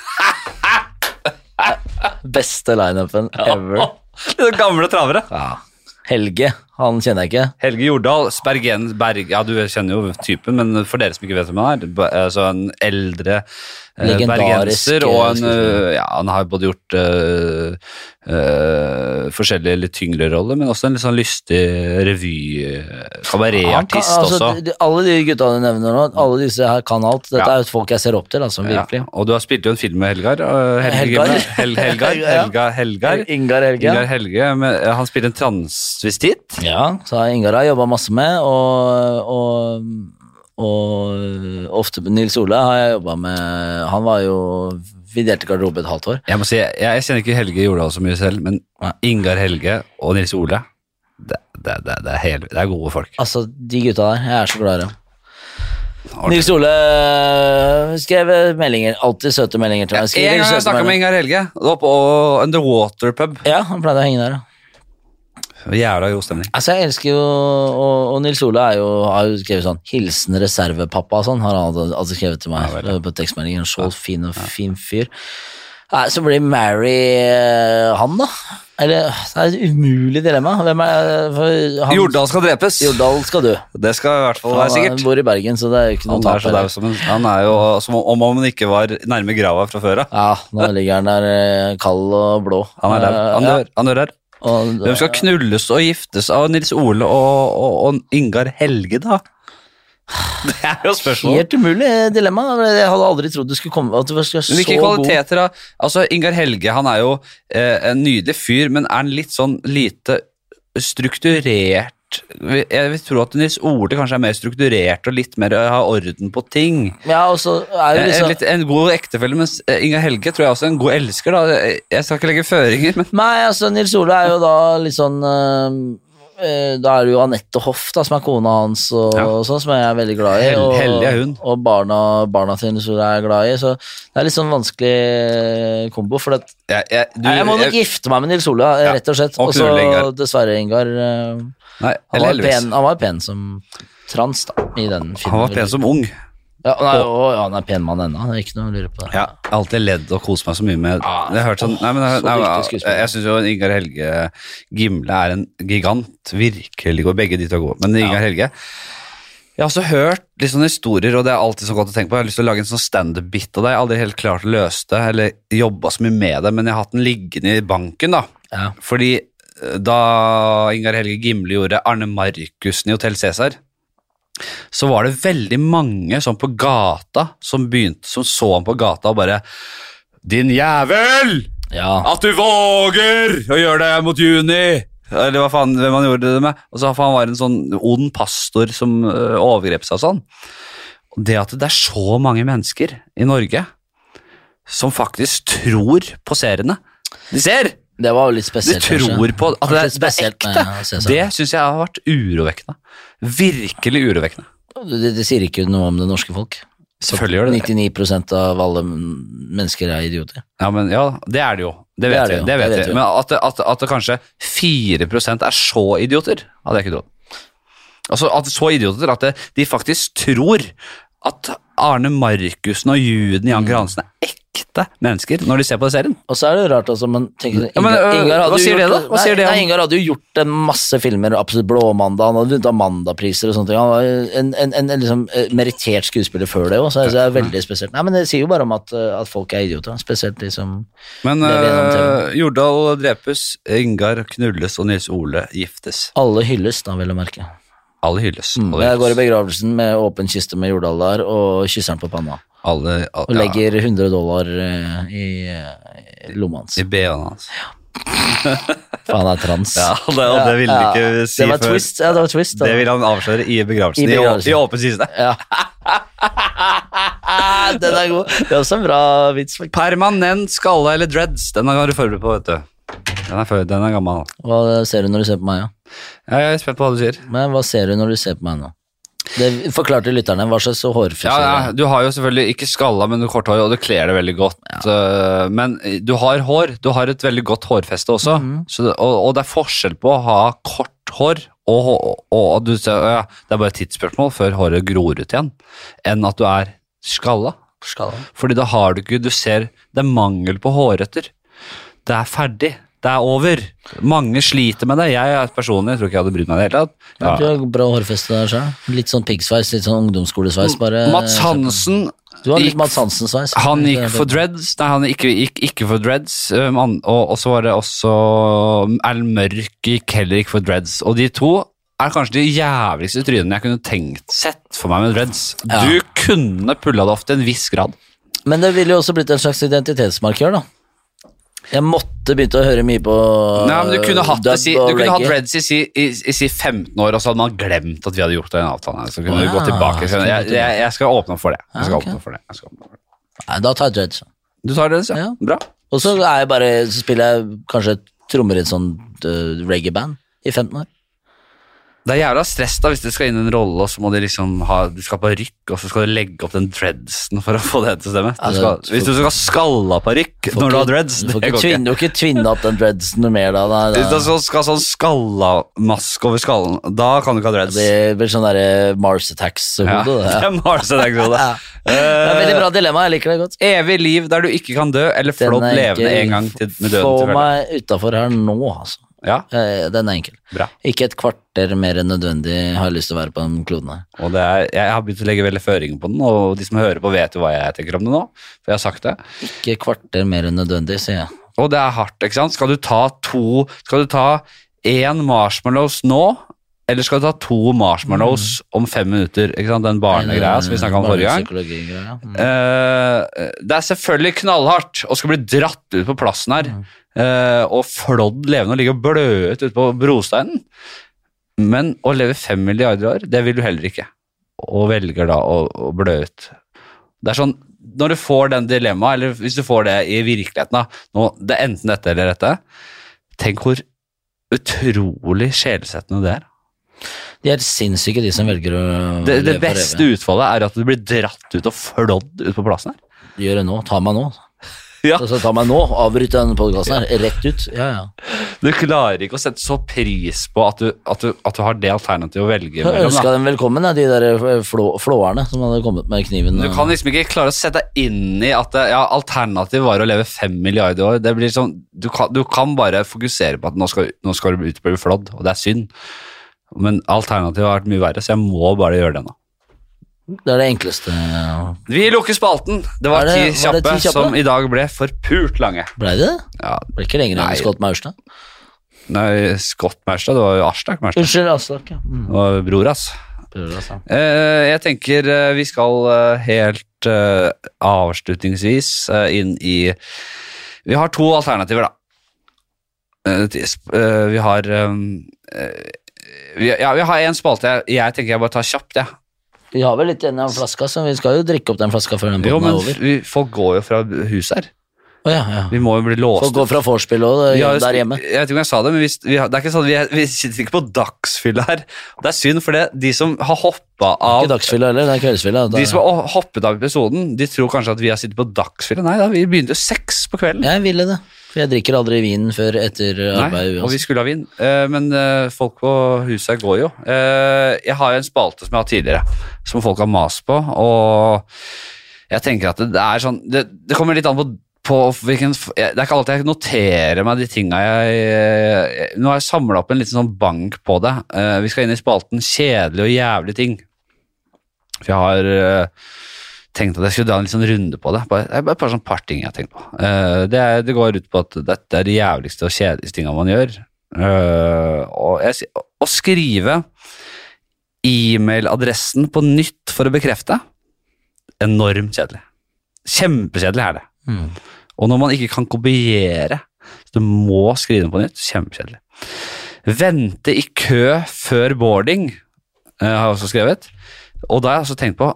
Speaker 2: Beste lineupen ever.
Speaker 1: De gamle travere.
Speaker 2: Helge, han kjenner jeg ikke.
Speaker 1: Helge Jordal, Spergen Berg Ja, du kjenner jo typen, men for dere som ikke vet hvem han er, b- altså en eldre eh,
Speaker 2: Legendarisk,
Speaker 1: bergenser, og en,
Speaker 2: skuespiller.
Speaker 1: eh, ja, han har både gjort eh, eh, forskjellige litt tyngre roller, men også en litt sånn lystig
Speaker 2: Han kan-
Speaker 1: revy-kabaretartist
Speaker 2: altså,
Speaker 1: også. Mm.
Speaker 2: de- Alle de gutta du nevner nå, alle disse her kan alt. Dette
Speaker 1: Ja.
Speaker 2: er jo folk jeg ser opp til, altså, virkelig.
Speaker 1: Ja, og du har spilt jo en film med Helgar. eh, Helge
Speaker 2: Helgar.
Speaker 1: Helgar. Hel Helgar,
Speaker 2: Ja.
Speaker 1: Helga, Helgar.
Speaker 2: Ingar Helge.
Speaker 1: Ingar Helge. Men, eh, han spilte en transvestitt.
Speaker 2: Ja, så har Ingar har jeg jobba masse med, og, og, og ofte Nils Ole har jeg jobba med Han var jo Vi delte garderobe et halvt år.
Speaker 1: Jeg må si, jeg, jeg kjenner ikke Helge Jordal så mye selv, men Ingar Helge og Nils Ole, det, det, det, det, er, hel, det er gode folk.
Speaker 2: Altså, de gutta der. Jeg er så glad i dem. Nils Ole eh, skrev meldinger. Alltid søte meldinger til meg. Skriver
Speaker 1: en gang har jeg
Speaker 2: søte
Speaker 1: snakka med
Speaker 2: meldinger.
Speaker 1: Ingar Helge, det var på Underwater Pub.
Speaker 2: Ja, han pleide å henge der, ja.
Speaker 1: Jævla god stemning.
Speaker 2: Altså, jeg elsker jo Og, og Nils Ole er jo, har jo skrevet sånn 'Hilsen reservepappa' og sånn, har han alltid- alltid skrevet til meg
Speaker 1: Ja, vel, ja.
Speaker 2: eh, på tekstmeldingen. Så fin og fin fyr. Nei, så blir Mary eh, han, da. Eller Det er et umulig dilemma. Hvem er for han-
Speaker 1: Jordal skal drepes.
Speaker 2: Jordal skal dø.
Speaker 1: Det skal i hvert fall være
Speaker 2: Han eh,
Speaker 1: sikkert.
Speaker 2: bor i Bergen, så det er jo ikke noe
Speaker 1: Han
Speaker 2: tap.
Speaker 1: er, så
Speaker 2: her.
Speaker 1: daud som en, han er jo som om om han ikke var nærme grava fra før av.
Speaker 2: Ja, nå ligger han der eh, kald og blå.
Speaker 1: Han er daud. Han
Speaker 2: Eh,
Speaker 1: dør. Han dør her.
Speaker 2: ja, og-
Speaker 1: Hvem skal knulles og giftes av Nils Ole og, og, og Ingar Helge, da? Det er jo spørsmålet.
Speaker 2: Helt umulig eh, dilemma. Jeg hadde aldri trodd du skulle komme At du var så
Speaker 1: Men hvilke
Speaker 2: god.
Speaker 1: kvaliteter da? Altså, Ingar Helge han er jo eh, en nydelig fyr, men er han litt sånn lite strukturert? Jeg vil tro at Nils Ole kanskje er mer strukturert og litt mer eh, har orden på ting.
Speaker 2: Ja, og så er jo
Speaker 1: Eh, En,
Speaker 2: liksom
Speaker 1: litt, sånn- en god ektefelle, mens eh, Ingar Helge tror jeg også er en god elsker. da. Jeg skal ikke legge føringer, men
Speaker 2: Nei, altså Nils Ole er jo da litt sånn eh, eh, Da er det jo Anette Hoff da, som er kona hans, og,
Speaker 1: Ja.
Speaker 2: og sånn, som jeg er veldig glad i.
Speaker 1: Hell-
Speaker 2: Og,
Speaker 1: heldig er hun.
Speaker 2: og barna, barna til Nils Ole er jeg glad i, så det er litt sånn vanskelig eh, kombo. For at,
Speaker 1: jeg, jeg, du,
Speaker 2: Nei, jeg må nok
Speaker 1: jeg-
Speaker 2: gifte meg med Nils Ole, eh,
Speaker 1: Ja,
Speaker 2: rett og slett.
Speaker 1: og
Speaker 2: Og så
Speaker 1: knulle Ingar.
Speaker 2: dessverre, Ingar. eh,
Speaker 1: Nei,
Speaker 2: han,
Speaker 1: eller
Speaker 2: var
Speaker 1: Elvis.
Speaker 2: pen, han var pen som trans, da, i den filmen.
Speaker 1: Han var pen som ung.
Speaker 2: ja, nei, og, ja, han er pen mann ennå, det er ikke noe å lure på.
Speaker 1: Ja, jeg har alltid ledd og kost meg så mye med Jeg har hørt sånn Nei, men jeg,
Speaker 2: Ah, så
Speaker 1: nei,
Speaker 2: dyktig
Speaker 1: jeg,
Speaker 2: skuespiller.
Speaker 1: jeg syns jo Ingar Helge Gimle er en gigant. Virkelig god. Begge de to er gode. Men Ingar Helge Jeg har også hørt litt sånne historier, og det er alltid så godt å tenke på. Jeg har lyst til å lage en sånn standup-bit av deg. Jeg har Aldri helt klart å løse det, eller jobba så mye med det, men jeg har hatt den liggende i banken, da.
Speaker 2: Ja.
Speaker 1: Fordi eh, da Ingar Helge Gimle gjorde Arne Markussen i Hotell Cæsar, så var det veldig mange sånn på gata som begynte, som så ham på gata og bare Din jævel!
Speaker 2: Ja.
Speaker 1: At du våger å gjøre det mot juni! Eller hva faen, hvem han gjorde det med. Og så for han var en sånn ond pastor som øh, overgrep seg og sånn. Og Det at det er så mange mennesker i Norge som faktisk tror på seriene. De ser!
Speaker 2: Det var jo litt
Speaker 1: De
Speaker 2: spesielt.
Speaker 1: tror på at det,
Speaker 2: Litt
Speaker 1: det er
Speaker 2: spesielt med sånn?
Speaker 1: ekte.
Speaker 2: Cæsar.
Speaker 1: Det syns jeg har vært urovekkende. Virkelig urovekkende.
Speaker 2: Det, det, det sier ikke noe om det norske folk.
Speaker 1: Selvfølgelig gjør det det.
Speaker 2: 99 av alle m- mennesker er idioter.
Speaker 1: Ja, men ja, det er det jo. Det
Speaker 2: Det
Speaker 1: vet
Speaker 2: er det
Speaker 1: vi.
Speaker 2: jo,
Speaker 1: Det
Speaker 2: det
Speaker 1: vet
Speaker 2: vet
Speaker 1: vi.
Speaker 2: vi.
Speaker 1: Men at, det- at, at det kanskje 4 er så idioter, hadde jeg ikke trodd. Altså, at så idioter at det, de faktisk tror at Arne Markussen og Juden Jan Gransen er ekte mennesker når de ser på den serien.
Speaker 2: Og så er det jo rart, altså, man tenker
Speaker 1: Ja, men, øh, hva sier det da? Hva
Speaker 2: nei,
Speaker 1: sier det om-
Speaker 2: nei, Ingar hadde jo gjort en masse filmer, absolutt Blåmandag, han hadde vunnet Amanda-priser og sånne ting. Han var jo en, en, en, en liksom eh, merittert skuespiller før det òg, så jeg- så det er veldig spesielt. Nei, men det sier jo bare om at, eh, at folk er idioter, spesielt de som
Speaker 1: Men
Speaker 2: Det er vi gjennom
Speaker 1: øh, Jordal drepes, Ingar knulles og Nils Ole giftes.
Speaker 2: Alle hylles, da, vel å merke. Hmm.
Speaker 1: Alle hylles. Alle,
Speaker 2: Jeg Mm. går i
Speaker 1: hylles.
Speaker 2: begravelsen med åpen kiste med Jordal der, og kysser han på panna.
Speaker 1: alle, alle
Speaker 2: Og legger 100 dollar eh, i, eh, i lomma hans.
Speaker 1: ja, I BH-en hans.
Speaker 2: For han er trans.
Speaker 1: Ja, det, og det ville du
Speaker 2: Ja,
Speaker 1: ikke si
Speaker 2: det var
Speaker 1: før.
Speaker 2: Twist, ja, det var twist. da.
Speaker 1: Det vil han avsløre i begravelsen.
Speaker 2: I
Speaker 1: I, å-
Speaker 2: begravelsen.
Speaker 1: i åpen kiste.
Speaker 2: Ja. Den er god. Det er også en bra vits. faktisk.
Speaker 1: Permanent skalle eller dreads. Den er du forberedt på, vet du. Den er, før, den er gammel.
Speaker 2: Hva ser du når du ser på meg, ja?
Speaker 1: Ja, jeg er spent på hva du sier.
Speaker 2: Men hva ser du når du ser på meg nå? Det forklarte lytterne hva slags hårfrisør
Speaker 1: Ja, ja, Du har jo selvfølgelig ikke skalla, men du har kort hår, og du kler det veldig godt. Eh, Men du har hår. Du har et veldig godt hårfeste også,
Speaker 2: Mhm.
Speaker 1: så, det- og, og det er forskjell på å ha kort hår og, og, og du, ser- ja, Det er bare et tidsspørsmål før håret gror ut igjen, enn at du er skalla. Fordi da har du ikke Du ser det er mangel på hårrøtter. Det er ferdig. Det er over. Mange sliter med det. Jeg er personlig jeg tror ikke jeg hadde brydd meg i det hele tatt.
Speaker 2: Du har bra hårfeste der sjøl. Litt sånn piggsveis, litt sånn ungdomsskolesveis. Bare,
Speaker 1: Mats Hansen
Speaker 2: Du har litt
Speaker 1: gikk-
Speaker 2: Mats Hansen-sveis.
Speaker 1: han gikk for dreads, nei han gikk, gikk ikke for dreads, um, an- og, og så var det også um, Erlend Mørk gikk heller ikke for dreads. Og de to er kanskje de jævligste trynene jeg kunne tenkt sett for meg med dreads.
Speaker 2: Ja.
Speaker 1: Du kunne pulla det opp til en viss grad.
Speaker 2: Men det ville jo også blitt en slags identitetsmarkør, da. Jeg måtte begynte å høre mye på
Speaker 1: Nei, men du kunne hatt,
Speaker 2: dub
Speaker 1: det, si,
Speaker 2: og
Speaker 1: du kunne hatt
Speaker 2: reggae.
Speaker 1: dreads i, si, i, i si 15 år, og så hadde man glemt at vi hadde gjort den avtalen. her, Så kunne
Speaker 2: Å,
Speaker 1: vi
Speaker 2: ja.
Speaker 1: gå tilbake. Så Jeg, jeg, jeg skal åpne opp for det. Jeg skal
Speaker 2: Ja, ok.
Speaker 1: åpne opp for det. Jeg skal åpne opp for det.
Speaker 2: Nei, da tar jeg dreads.
Speaker 1: Du tar dreads, ja?
Speaker 2: Ja.
Speaker 1: Bra.
Speaker 2: Og så, er jeg bare, så spiller jeg kanskje trommer i et sånt eh, reggae-band i 15 år.
Speaker 1: Det er jævla stress da hvis du skal inn i en rolle, og så må du liksom ha Du skal på rykk, og så skal du legge opp den dreadsen for å få det til å stemme.
Speaker 2: Ja,
Speaker 1: Du
Speaker 2: det-
Speaker 1: skal, hvis du skal skalla parykk når du har dreads,
Speaker 2: Du
Speaker 1: det
Speaker 2: får ikke
Speaker 1: går ikke.
Speaker 2: tvinne, du får ikke tvinne opp den dreadsen noe mer da. da,
Speaker 1: Hvis du
Speaker 2: da.
Speaker 1: så skal ha sånn skallamaske over skallen, da kan du ikke ha dreads.
Speaker 2: Det blir sånn derre Mars
Speaker 1: Ja,
Speaker 2: Attacks-hode.
Speaker 1: det sånn,
Speaker 2: det.
Speaker 1: er Marse Dagshode.
Speaker 2: Ja. Det er et veldig bra dilemma, jeg liker det godt.
Speaker 1: Evig liv der du ikke kan dø, eller
Speaker 2: Den
Speaker 1: flådd
Speaker 2: er
Speaker 1: levende
Speaker 2: enkel.
Speaker 1: en gang til, med døden
Speaker 2: Få
Speaker 1: til følge.
Speaker 2: meg utafor her nå, altså.
Speaker 1: Ja,
Speaker 2: Eh, Den er enkel.
Speaker 1: bra.
Speaker 2: Ikke et kvarter mer enn nødvendig har jeg lyst til å være på den kloden her.
Speaker 1: Og det er, jeg har begynt å legge veldig føringer på den, og de som hører på, vet jo hva jeg tenker om det nå. For jeg har sagt det.
Speaker 2: Ikke et kvarter mer enn nødvendig, sier jeg.
Speaker 1: Og det er hardt, ikke sant? Skal du ta to Skal du ta én marshmallows nå, eller skal du ta to marshmallows
Speaker 2: Mm.
Speaker 1: om fem minutter? Ikke sant? Den barnegreia som vi snakka om forrige gang.
Speaker 2: Barnepsykologigreia. Mm.
Speaker 1: Eh, det er selvfølgelig knallhardt å skal bli dratt ut på plassen her eh, og flådd levende og ligge og blø ut ute på brosteinen. Men å leve fem milliarder år, det vil du heller ikke. Og velger da å, å blø ut. Det er sånn, når du får den dilemmaet, eller hvis du får det i virkeligheten da, nå, det er enten dette eller dette, tenk hvor utrolig sjelsettende det er.
Speaker 2: De er sinnssyke, de som velger å
Speaker 1: Det, det
Speaker 2: leve for
Speaker 1: beste
Speaker 2: evig.
Speaker 1: utfallet er at du blir dratt ut og flådd ut på plassen her.
Speaker 2: Gjør det nå. Ta meg nå.
Speaker 1: Ja.
Speaker 2: Altså, ta meg nå. Avbryt denne podkasten her. Rett ut. Ja, ja.
Speaker 1: Du klarer ikke å sette så pris på at du, at du, at du har det alternativet å velge
Speaker 2: Jeg
Speaker 1: mellom.
Speaker 2: ønska
Speaker 1: da.
Speaker 2: dem velkommen, da, de der eh, flå, flåerne som hadde kommet med kniven.
Speaker 1: Du
Speaker 2: og-
Speaker 1: kan liksom ikke klare å sette deg inn i at det- ja, alternativet var å leve fem milliarder år. Det blir sånn, du, kan, du kan bare fokusere på at nå skal, nå skal du ut og bli flådd, og det er synd. Men alternativet har vært mye verre, så jeg må bare gjøre det nå.
Speaker 2: Det er det enkleste. ja.
Speaker 1: Vi lukker spalten. Det var,
Speaker 2: Er det-
Speaker 1: ti,
Speaker 2: var
Speaker 1: kjappe
Speaker 2: det ti kjappe?
Speaker 1: som i dag ble forpult lange.
Speaker 2: Blei det det?
Speaker 1: Ja,
Speaker 2: Ble ikke lenger
Speaker 1: Nei.
Speaker 2: enn Scott Maurstad?
Speaker 1: nei, Scott Maurstad, det var jo Aslak Maurstad.
Speaker 2: Unnskyld, Aslak. Ja. Mm. altså.
Speaker 1: Det var bror, ass.
Speaker 2: Prøver å sa.
Speaker 1: Eh, jeg tenker eh, vi skal eh, helt eh, avslutningsvis eh, inn i Vi har to alternativer, da. Eh, til sp- eh, vi har eh, eh, vi, Ja, vi har én spalte. Jeg, jeg tenker jeg bare tar kjapt, jeg.
Speaker 2: Vi har vel litt igjen av flaska, så vi skal jo drikke opp den flaska før den
Speaker 1: Jo,
Speaker 2: båten er
Speaker 1: men
Speaker 2: over.
Speaker 1: vi, folk går jo fra hus her.
Speaker 2: Å ja, ja.
Speaker 1: Vi må jo bli låst.
Speaker 2: Folk går fra vorspiel og
Speaker 1: Vi har jo-
Speaker 2: der hjemme.
Speaker 1: Jeg vet ikke om jeg sa det, men vi, vi, har, det er ikke sånn, vi, er- vi sitter ikke på dagsfylla her. Det er synd, for det, de som har hoppa
Speaker 2: Ikke
Speaker 1: av
Speaker 2: dagsfylla heller, det er kveldsfylla. Da-
Speaker 1: De som har hoppet av episoden, de tror kanskje at vi har sittet på dagsfylla. Nei da, vi begynte jo seks på kvelden.
Speaker 2: Jeg ville det. For jeg drikker aldri vin før etter
Speaker 1: Nei,
Speaker 2: arbeid
Speaker 1: og vi
Speaker 2: uansett.
Speaker 1: skulle ha vin. Eh, Men eh, folk på huset her går jo. Eh, Jeg har jo en spalte som jeg har tidligere, som folk har mast på, og jeg tenker at det er sånn Det, det kommer litt an på på hvilken, f- jeg- det er ikke alltid jeg noterer meg de tinga jeg, jeg Nå har jeg samla opp en liten sånn bank på det. Eh, Vi skal inn i spalten 'Kjedelige og jævlige ting'. For jeg har eh, tenkt at jeg skulle dra en litt sånn runde på det. Bare, det er bare sånn par ting jeg har tenkt på. Eh, det, er, det går ut på at dette er de jævligste og kjedeligste tinga man gjør. Eh, og jeg, si- å skrive e-mailadressen på nytt for å bekrefte Enormt kjedelig. Kjempekjedelig er det.
Speaker 2: Mm.
Speaker 1: Og når man ikke kan kopiere, så du må skrive den på nytt, kjempekjedelig. Vente i kø før boarding, eh, har jeg også skrevet. Og da har jeg også tenkt på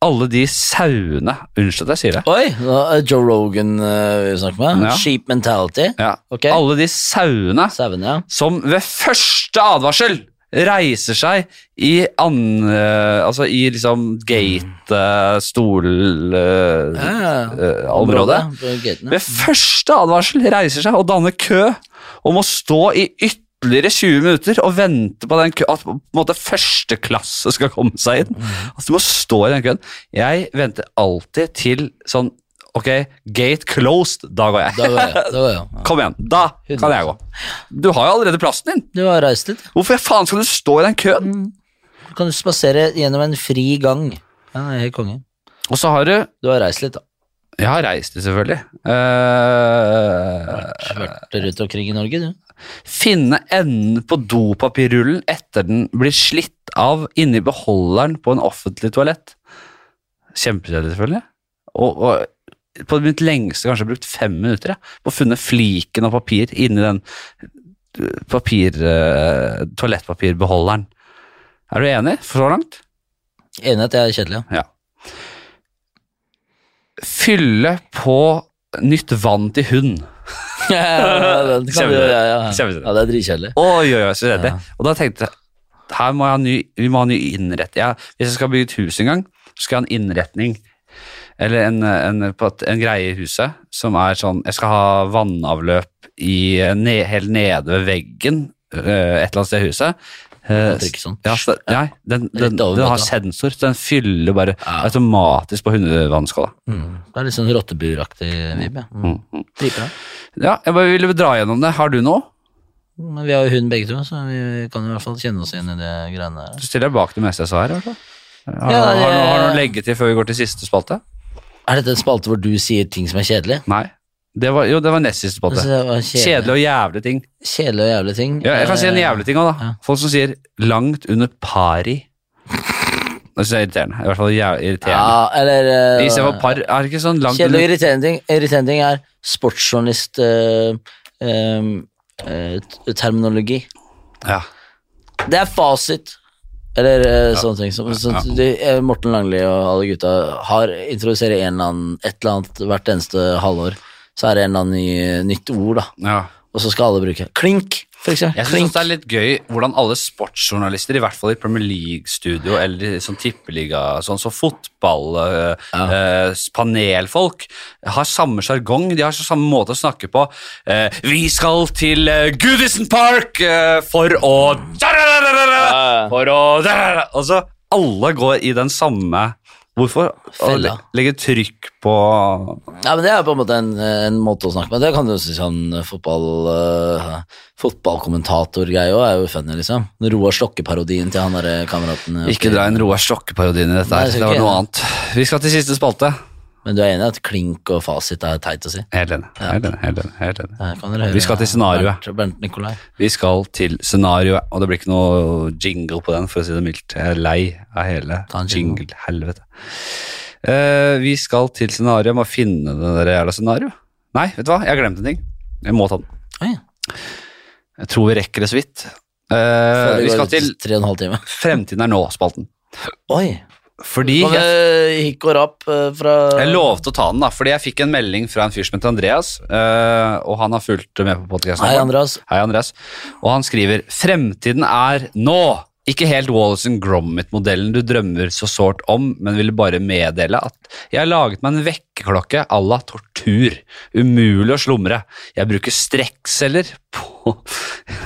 Speaker 1: alle de sauene Unnskyld at jeg sier det.
Speaker 2: Oi, nå er Joe Rogan eh, vi snakker med.
Speaker 1: Ja.
Speaker 2: Sheep mentality.
Speaker 1: Ja.
Speaker 2: Ok.
Speaker 1: Alle de sauene
Speaker 2: Sauene, ja.
Speaker 1: som ved første advarsel reiser seg i an... eh, altså i liksom eh, gate-stol-området.
Speaker 2: ja. Eh,
Speaker 1: eh,
Speaker 2: På gatene.
Speaker 1: Ved første advarsel reiser seg og danner kø og må stå i ytterligere 20 minutter og vente på den kø, at på en måte første klasse skal komme seg inn. Altså, du må stå i den køen. Jeg venter alltid til sånn Ok, gate closed, da går jeg.
Speaker 2: Da går jeg. Da går jeg. Ja.
Speaker 1: Kom igjen, da kan jeg gå. Du har jo allerede plassen din.
Speaker 2: Du har reist litt.
Speaker 1: Hvorfor faen skal du stå i den køen?
Speaker 2: Du kan jo spasere gjennom en fri gang. Ja, jeg er helt konge.
Speaker 1: Og så har du
Speaker 2: Du har reist litt, da.
Speaker 1: Jeg har reist det, selvfølgelig. Eh,
Speaker 2: Vært rundt omkring i Norge, du.
Speaker 1: Finne enden på dopapirrullen etter den blir slitt av inni beholderen på en offentlig toalett. Kjempekjedelig, selvfølgelig. Og, og på mitt lengste kanskje brukt fem minutter jeg, på å funne fliken av papir inni den eh, papir, eh, toalettpapirbeholderen. Er du enig for så langt?
Speaker 2: Enig i at jeg er kjedelig, ja.
Speaker 1: Ja. Fylle på nytt vann til hund.
Speaker 2: Ja, den kan du, ja, ja.
Speaker 1: Kjempekjedelig.
Speaker 2: ja det er dritkjedelig.
Speaker 1: Oi, oi, oi, så redde. Og da tenkte jeg her må jeg ha ny, vi må ha ny innretning. Ja, hvis jeg skal bygge et hus en gang, så skal jeg ha en innretning eller en, en, på et- en greie i huset som er sånn Jeg skal ha vannavløp i, ne, helt nede ved veggen eh, et eller annet sted i huset. Eh,
Speaker 2: Det er ikke sånn.
Speaker 1: ja, så, nei, den, den,
Speaker 2: Rett over
Speaker 1: den har
Speaker 2: gata.
Speaker 1: sensor, så den fyller bare
Speaker 2: Ja.
Speaker 1: automatisk på hundevannskåla.
Speaker 2: Det er litt sånn rotteburaktig vibe. ja. Mm. Dritbra.
Speaker 1: Ja, jeg bare ville dra gjennom det. Har du noe?
Speaker 2: Men vi har jo hund begge to, så vi kan i hvert fall kjenne oss inn i det greiene der.
Speaker 1: Du stiller deg bak det meste jeg sa her. i hvert fall. Har,
Speaker 2: Ja,
Speaker 1: har, har,
Speaker 2: jeg-
Speaker 1: har du noe å legge til før vi går til siste spalte?
Speaker 2: Er dette en spalte hvor du sier ting som er kjedelig?
Speaker 1: Nei. Det var, jo, det var nest siste
Speaker 2: Altså,
Speaker 1: spalte.
Speaker 2: det var
Speaker 1: Kjedelig og jævlig ting.
Speaker 2: Kjedelig og jævlig ting.
Speaker 1: Ja, jeg kan si en jævlig ting òg, da.
Speaker 2: Ja.
Speaker 1: Folk som sier 'langt under pari'. Det syns jeg er irriterende. I hvert fall jæv- irriterende.
Speaker 2: Eh, Ja, eller
Speaker 1: Ja,
Speaker 2: eh,
Speaker 1: Istedenfor par, er det ikke sånn langt
Speaker 2: Kjedelig og
Speaker 1: under
Speaker 2: irriterende ting, irriterende ting er eh, sportsjournist-terminologi.
Speaker 1: ja.
Speaker 2: eh, det er fasit. Eller eh, sånne ting. Som, så, de- eh, Morten Langli og alle gutta har introduserer en eller annen, et eller annet hvert eneste halvår. Så er det en eller annen ny, nytt ord, da.
Speaker 1: ja.
Speaker 2: Og så skal alle bruke klink, for eksempel.
Speaker 1: Jeg syns
Speaker 2: Klink.
Speaker 1: det er litt gøy hvordan alle sportsjournalister, i hvert fall i Premier League-studio eller i sånn tippeliga, sånn øh, som fotballpanelfolk, har samme sjargong. De har så samme måte å snakke på. Eh, vi skal til eh, Goodison Park eh, for å For å Altså, alle går i den samme Hvorfor å le-
Speaker 2: Fella.
Speaker 1: legge trykk på
Speaker 2: Ja, men det er på en måte en, en måte å snakke med. Det kan du si sånn eh, fotball, eh, fotballkommentatorgreie òg er jo funny, liksom. Roar Slokke-parodien til han derre kameraten. eh,
Speaker 1: Ikke dra inn Roar Stokke-parodien i dette her.
Speaker 2: Nei, jeg
Speaker 1: Det
Speaker 2: skal
Speaker 1: var
Speaker 2: ikke.
Speaker 1: noe annet. Vi skal til siste spalte.
Speaker 2: Men du er enig i at klink og fasit er teit å si?
Speaker 1: Helt enig. Helt enig, helt enig, helt enig.
Speaker 2: Der kan dere høre
Speaker 1: Vi skal til scenarioet.
Speaker 2: Bernt, Bernt Nikolai.
Speaker 1: Vi skal til scenarioet, og det blir ikke noe jingle på den, for å si det mildt. Jeg er lei av hele
Speaker 2: Ta en jingle.
Speaker 1: jingle-helvete. Eh, vi skal til scenarioet. Jeg Må finne det der jævla scenarioet. Nei, vet du hva? Jeg har glemt en ting. Jeg må ta den.
Speaker 2: Oi,
Speaker 1: Jeg tror vi rekker det så vidt. Eh,
Speaker 2: Før det
Speaker 1: vi
Speaker 2: går
Speaker 1: skal
Speaker 2: ut
Speaker 1: til
Speaker 2: tre og en halv time.
Speaker 1: Fremtiden er nå-spalten.
Speaker 2: Oi!
Speaker 1: Fordi
Speaker 2: Kan
Speaker 1: jeg,
Speaker 2: vi hikke og rapp eh, fra
Speaker 1: jeg lovte å ta den, da, fordi jeg fikk en melding fra en fyr som heter Andreas, eh, og han har fulgt med på podkasten.
Speaker 2: Hei, Andreas.
Speaker 1: Hei, Andreas. Og han skriver Fremtiden er nå! Ikke helt Wallace and Gromit-modellen du drømmer så sårt om, men ville bare meddele at jeg har laget meg en vekkerklokke à la tortur. Umulig å slumre. Jeg bruker strekkceller på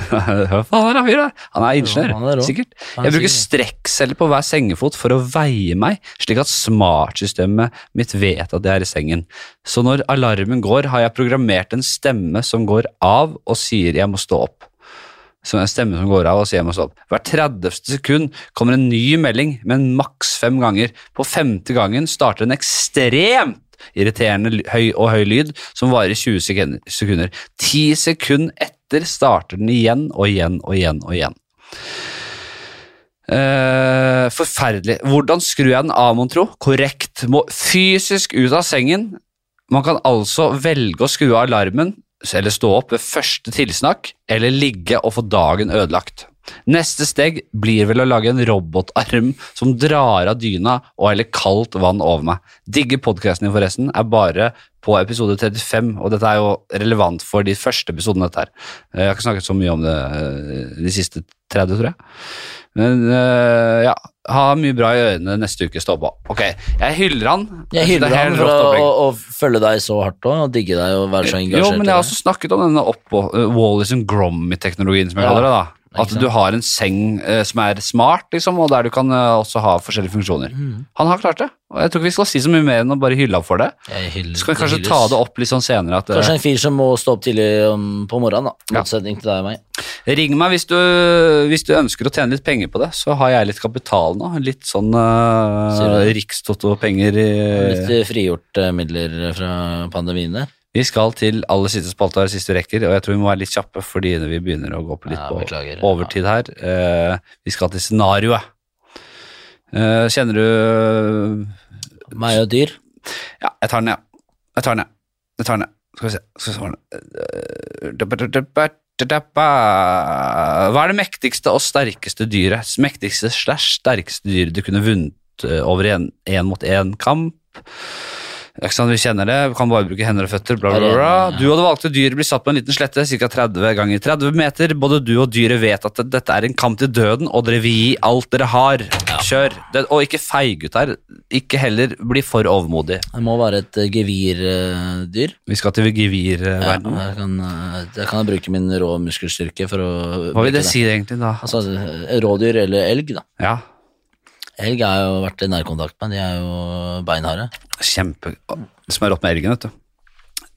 Speaker 1: Hva faen er det fyren der? Han er ingeniør,
Speaker 2: Ja, han er rå.
Speaker 1: sikkert.
Speaker 2: Han er
Speaker 1: Jeg bruker
Speaker 2: sikkert.
Speaker 1: strekkceller på hver sengefot for å veie meg, slik at smartsystemet mitt vet at jeg er i sengen. Så når alarmen går, har jeg programmert en stemme som går av og sier jeg må stå opp. Så en stemme som går av og sier jeg må stå opp. Hvert 30. sekund kommer en ny melding, men maks fem ganger. På femte gangen starter en ekstremt irriterende ly- høy og høy lyd som varer 20 sekunder- sekunder. Ti sekunder etter starter den igjen og igjen og igjen og igjen. Eh, forferdelig. Hvordan skrur jeg den av, mon tro? Korrekt. Må fysisk ut av sengen. Man kan altså velge å skru av alarmen, eller stå opp ved første tilsnakk, eller ligge og få dagen ødelagt. Neste steg blir vel å lage en robotarm som drar av dyna og heller kaldt vann over meg. Digger podkasten din, forresten. Er bare på episode 35, og dette er jo relevant for de første episodene. dette her. Eh, Jeg har ikke snakket så mye om det eh, de siste 30, tror jeg. Men øh, ja, ha mye bra i ørene neste uke, stå på. Ok, jeg hyller han.
Speaker 2: Jeg hyller
Speaker 1: Det er
Speaker 2: han
Speaker 1: helt
Speaker 2: for
Speaker 1: rått
Speaker 2: å,
Speaker 1: opplegg. Eh,
Speaker 2: å, å følge deg så hardt også, og digge deg og være så engasjert.
Speaker 1: Jo, men jeg har
Speaker 2: i det.
Speaker 1: også snakket om denne oppå, uh, Wallis and Gromit-teknologien, som jeg
Speaker 2: Ja,
Speaker 1: kaller det. da. At
Speaker 2: sant.
Speaker 1: du har en seng eh, som er smart, liksom, og der du kan eh, også ha forskjellige
Speaker 2: Mm.
Speaker 1: funksjoner. Han har klart det, og jeg tror ikke vi skal si så mye mer enn å bare hylle ham for det.
Speaker 2: Jeg hyller-
Speaker 1: Så kan vi
Speaker 2: jeg
Speaker 1: kanskje
Speaker 2: hylles.
Speaker 1: ta det opp litt sånn senere. At, eh,
Speaker 2: Kanskje en fyr som må stå opp tidlig om, på morgenen, da.
Speaker 1: Ja.
Speaker 2: Motsetning til deg og meg.
Speaker 1: Ring meg hvis du, hvis du ønsker å tjene litt penger på det, så har jeg litt kapital nå. Litt sånn uh,
Speaker 2: Sier du
Speaker 1: rikstoto-penger i
Speaker 2: Litt eh, frigjort eh, midler fra pandemien der.
Speaker 1: Vi skal til aller siste spalte og siste rekker, og jeg tror vi må være litt kjappe fordi vi begynner å gå på litt
Speaker 2: Ja,
Speaker 1: på
Speaker 2: beklager.
Speaker 1: overtid her. Eh, vi skal til scenarioet. Eh, kjenner du
Speaker 2: Meg og dyr.
Speaker 1: Ja, jeg tar den, ja. Jeg tar den, ja. Jeg tar den, ja. Skal vi se. Skal vi se. hva er den? Eh, dabba-dabba-dabba. Hva er det mektigste og sterkeste dyret? Mektigste slash sterkeste dyret du kunne vunnet eh, over i en én mot én-kamp? Ikke sant, vi kjenner det, vi kan bare bruke hender og føtter, bla, bla, bla. Du og det valgte dyret blir satt på en liten slette, ca. 30 ganger 30 meter. Både du og dyret vet at det- dette er en kamp til døden, og dere vil gi alt dere har. Kjør. Det, og ikke feig ut her. Ikke heller bli for overmodig.
Speaker 2: Det må være et eh, gevirdyr.
Speaker 1: Vi skal til
Speaker 2: Ja,
Speaker 1: gevirverden.
Speaker 2: der, kan, eh, der kan jeg bruke min rå muskelstyrke for å
Speaker 1: Hva vil det si egentlig, da?
Speaker 2: Altså, eh, rådyr eller elg, da.
Speaker 1: Ja,
Speaker 2: Elg har jeg jo vært i nærkontakt med, de er jo beinharde.
Speaker 1: kjempe... Smør opp med elgen, vet du.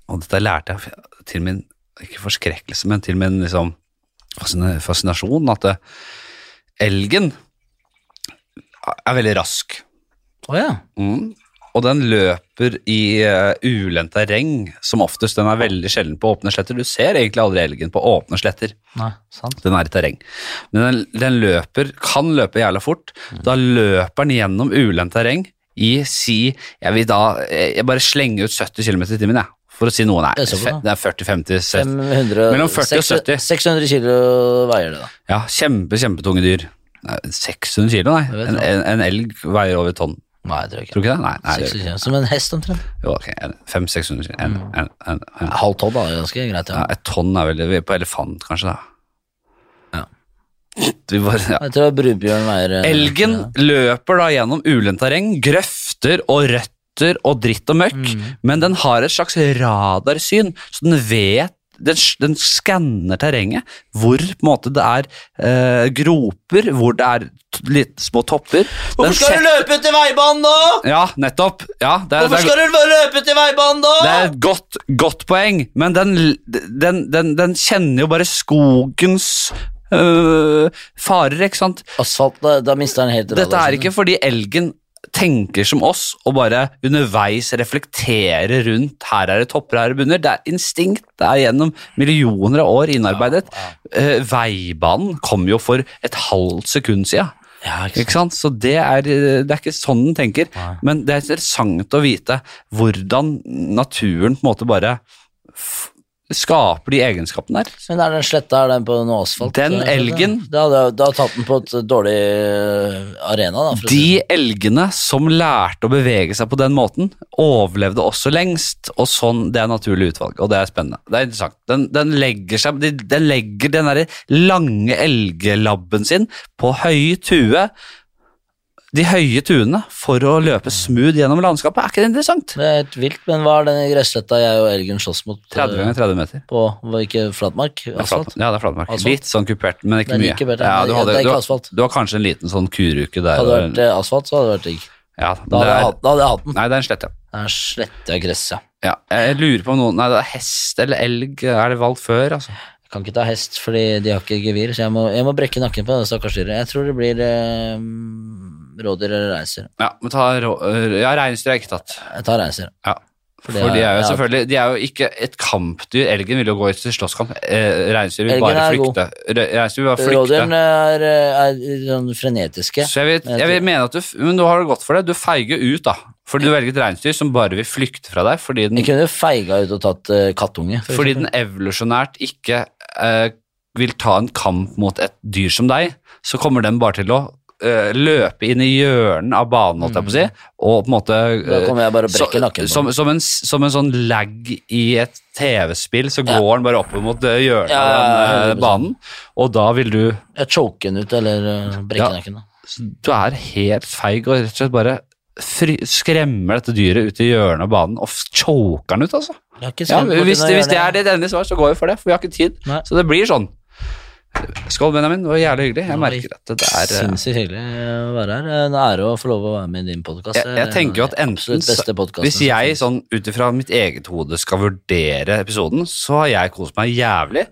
Speaker 1: Og dette lærte jeg til min, ikke forskrekkelse, men til min liksom fascina- fascinasjon, at eh, elgen er veldig rask.
Speaker 2: Å ja.
Speaker 1: Mm. Og den løper i uh, ulendt terreng, som oftest. Den er veldig sjelden på åpne sletter. Du ser egentlig aldri elgen på åpne sletter.
Speaker 2: Nei, sant.
Speaker 1: Den er i terreng. Men den, den løper, kan løpe jævla fort. Da løper den gjennom ulendt terreng i si Jeg vil da eh, Jeg bare slenger ut 70 km i timen, jeg. For å si noe. Nei,
Speaker 2: Det er så bra.
Speaker 1: fe- det er 40-50. 70.
Speaker 2: 500,
Speaker 1: Mellom 40 og 70.
Speaker 2: 600 kilo veier det, da.
Speaker 1: Ja, kjempe, kjempetunge dyr. Nei, 600 kilo,
Speaker 2: Jeg
Speaker 1: nei.
Speaker 2: vet
Speaker 1: En,
Speaker 2: det.
Speaker 1: en, en elg veier over et tonn.
Speaker 2: Nei, det tror jeg ikke.
Speaker 1: Tror du ikke det? Nei, nei det gjør
Speaker 2: 60
Speaker 1: ikke.
Speaker 2: kilo. Som en hest, omtrent.
Speaker 1: Jo, ok, en- 500-600 kilo.
Speaker 2: Mm.
Speaker 1: En, en, en, en.
Speaker 2: Halv tonn da, det er ganske greit.
Speaker 1: Ja,
Speaker 2: Ja.
Speaker 1: et tonn er vel vi er På elefant, kanskje, da.
Speaker 2: Ja.
Speaker 1: Vi bare, ja.
Speaker 2: Jeg tror brubjørn veier eh,
Speaker 1: Elgen
Speaker 2: ja.
Speaker 1: løper da gjennom ulendt terreng, grøfter og røtter og dritt og møkk,
Speaker 2: Mm.
Speaker 1: men den har et slags radarsyn, så den vet den, s- den skanner terrenget, hvor på en måte det er eh, groper, hvor det er t litt små topper. Den
Speaker 2: Hvorfor skal
Speaker 1: setter-
Speaker 2: du løpe ut i veibanen nå?!
Speaker 1: Ja, nettopp. Ja, det er, det
Speaker 2: Hvorfor
Speaker 1: er,
Speaker 2: skal du løpe ut i veibanen nå?!
Speaker 1: det er et godt, godt poeng, men den, den, den, den kjenner jo bare skogens øh, farer, ikke sant?
Speaker 2: Asfalt, da, da mister han helt altså.
Speaker 1: Dette er
Speaker 2: radarsynet.
Speaker 1: ikke fordi elgen tenker som oss og bare underveis reflekterer rundt her er det topper, her er det bunner. Det er instinkt. Det er gjennom millioner av år innarbeidet. Eh, veibanen kom jo for et halvt sekund siden.
Speaker 2: ja, ikke
Speaker 1: Ikke sant? Så det er, det er ikke sånn den tenker. Men det er interessant å vite hvordan naturen på en måte bare f skaper de egenskapene der.
Speaker 2: sant. Men er den sletta, er den på noe asfalt?
Speaker 1: Den
Speaker 2: eh,
Speaker 1: elgen-
Speaker 2: Da hadde jeg da hadde jeg tatt den på et dårlig eh, arena, da. for å si
Speaker 1: De elgene som lærte å bevege seg på den måten, overlevde også lengst, og sånn, det er naturlig utvalg, og det er spennende. Det er interessant. Den, den legger seg, de- den legger den der lange elgelabben sin på høye tue, de høye tuene, for å
Speaker 2: Mm.
Speaker 1: løpe smooth gjennom landskapet. Er ikke det interessant?
Speaker 2: Det er helt vilt, men hva er den gressletta jeg og elgen slåss mot? eh,
Speaker 1: 30 ganger 30 meter.
Speaker 2: På var ikke flatmark?
Speaker 1: Det er flat-
Speaker 2: Asfalt?
Speaker 1: Ja, det er flatmark.
Speaker 2: Asfalt.
Speaker 1: Litt sånn kupert, men
Speaker 2: Det
Speaker 1: ikke
Speaker 2: er
Speaker 1: mye.
Speaker 2: like bedre.
Speaker 1: Ja, du,
Speaker 2: Det er-
Speaker 1: hadde,
Speaker 2: det er
Speaker 1: du,
Speaker 2: ikke
Speaker 1: har-
Speaker 2: asfalt.
Speaker 1: du har kanskje en liten sånn kuruke der. og-
Speaker 2: Hadde det vært eh, asfalt, så hadde det vært digg.
Speaker 1: ja,
Speaker 2: Da hadde jeg
Speaker 1: det er,
Speaker 2: hatt- da hadde jeg hatt den.
Speaker 1: nei, det er en slette.
Speaker 2: Der sletter jeg gress, ja.
Speaker 1: Ja, jeg lurer på om noen Nei, det er hest eller elg. Er det valgt før, altså?
Speaker 2: Jeg kan ikke ta hest, fordi de har ikke gevir, så jeg må, jeg må brekke nakken på det stakkars dyret. Jeg tror det blir eh, rådyr eller reinsdyr.
Speaker 1: Ja, men ta rå... Ja, reinsdyr er ikke tatt.
Speaker 2: Jeg tar reinsdyr.
Speaker 1: Ja. For,
Speaker 2: For det
Speaker 1: de er jo
Speaker 2: er- ja.
Speaker 1: selvfølgelig De er jo ikke et kampdyr. Elgen vil jo gå til slåsskamp. Eh, reinsdyr vil
Speaker 2: Elgen
Speaker 1: bare
Speaker 2: er god.
Speaker 1: flykte. Re- Reinsdyr vil bare flykte.
Speaker 2: Rådyrene er, eh, er sånn frenetiske.
Speaker 1: Så jeg vil, jeg vil mene at du f- Men nå har det gått for deg. Du feiger ut, da. Fordi du velger et reinsdyr som bare vil flykte fra deg fordi den,
Speaker 2: Jeg kunne feiga ut og tatt eh, kattunge. for
Speaker 1: fordi
Speaker 2: eksempel.
Speaker 1: den evolusjonært ikke eh, vil ta en kamp mot et dyr som deg. Så kommer den bare til å eh, løpe inn i hjørnen av banen, holdt jeg på å si, og på en måte
Speaker 2: Mm. Da
Speaker 1: eh,
Speaker 2: kommer jeg bare og
Speaker 1: Så-
Speaker 2: brekker nakken på den.
Speaker 1: som, som, en, som en sånn lag i et TV-spill, så går han bare opp mot eh, hjørnet
Speaker 2: Ja, ja,
Speaker 1: av
Speaker 2: ja,
Speaker 1: den eh, banen, og da vil du
Speaker 2: Jeg choker den ut, eller eh, brekker
Speaker 1: Ja.
Speaker 2: nakken. da.
Speaker 1: så Du er helt feig og rett og slett bare fry, skremmer dette dyret ut i hjørnet av banen og f- choker den ut, altså.
Speaker 2: Jeg har ikke
Speaker 1: Ja,
Speaker 2: skremt bort
Speaker 1: hvis,
Speaker 2: den og
Speaker 1: hvis det
Speaker 2: gjør
Speaker 1: er ditt endelige svar, så går vi for det, for vi har ikke tid.
Speaker 2: Nei.
Speaker 1: Så det blir sånn. Skål, Benjamin. Det var jævlig hyggelig. Jeg merker at det er eh,
Speaker 2: Sinnssykt hyggelig å være her. En ære å få lov å være med i din podkast.
Speaker 1: Jeg, jeg tenker jo at enten
Speaker 2: absolutt beste podcasten
Speaker 1: Hvis
Speaker 2: som
Speaker 1: jeg
Speaker 2: finnes.
Speaker 1: sånn ut ifra mitt eget hode skal vurdere episoden, så har jeg kost meg jævlig.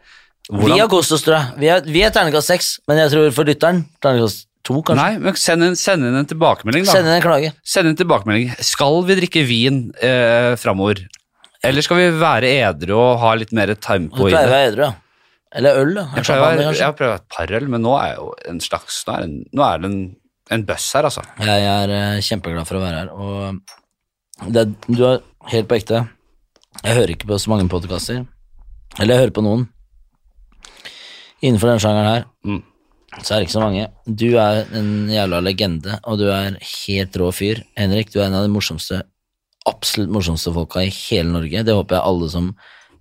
Speaker 1: Hvordan-
Speaker 2: Vi har kost oss, tror jeg. Vi er, vi er terningkast seks, men jeg tror for lytteren terningkast to, kanskje.
Speaker 1: Nei, men send inn, send inn en tilbakemelding, da.
Speaker 2: Send inn en klage.
Speaker 1: Send inn en tilbakemelding. Skal vi drikke vin eh, framover? Eller skal vi være edru og ha litt mer
Speaker 2: Du
Speaker 1: tempo i
Speaker 2: pleier å
Speaker 1: det?
Speaker 2: være edru, ja. Eller øl, da.
Speaker 1: Jeg pleier
Speaker 2: En
Speaker 1: å
Speaker 2: champagne,
Speaker 1: være- jeg
Speaker 2: kanskje.
Speaker 1: har prøvd et par øl, men nå er jeg jo en slags Nå er, en, nå er det en, en bøss her, altså.
Speaker 2: Jeg er eh, kjempeglad for å være her, og det, du er helt på ekte. Jeg hører ikke på så mange podkaster. Eller jeg hører på noen. Innenfor den sjangeren her
Speaker 1: Mm.
Speaker 2: så er det ikke så mange. Du er en jævla legende, og du er helt rå fyr. Henrik, du er en av de morsomste absolutt morsomste folka i hele Norge. Det håper jeg alle som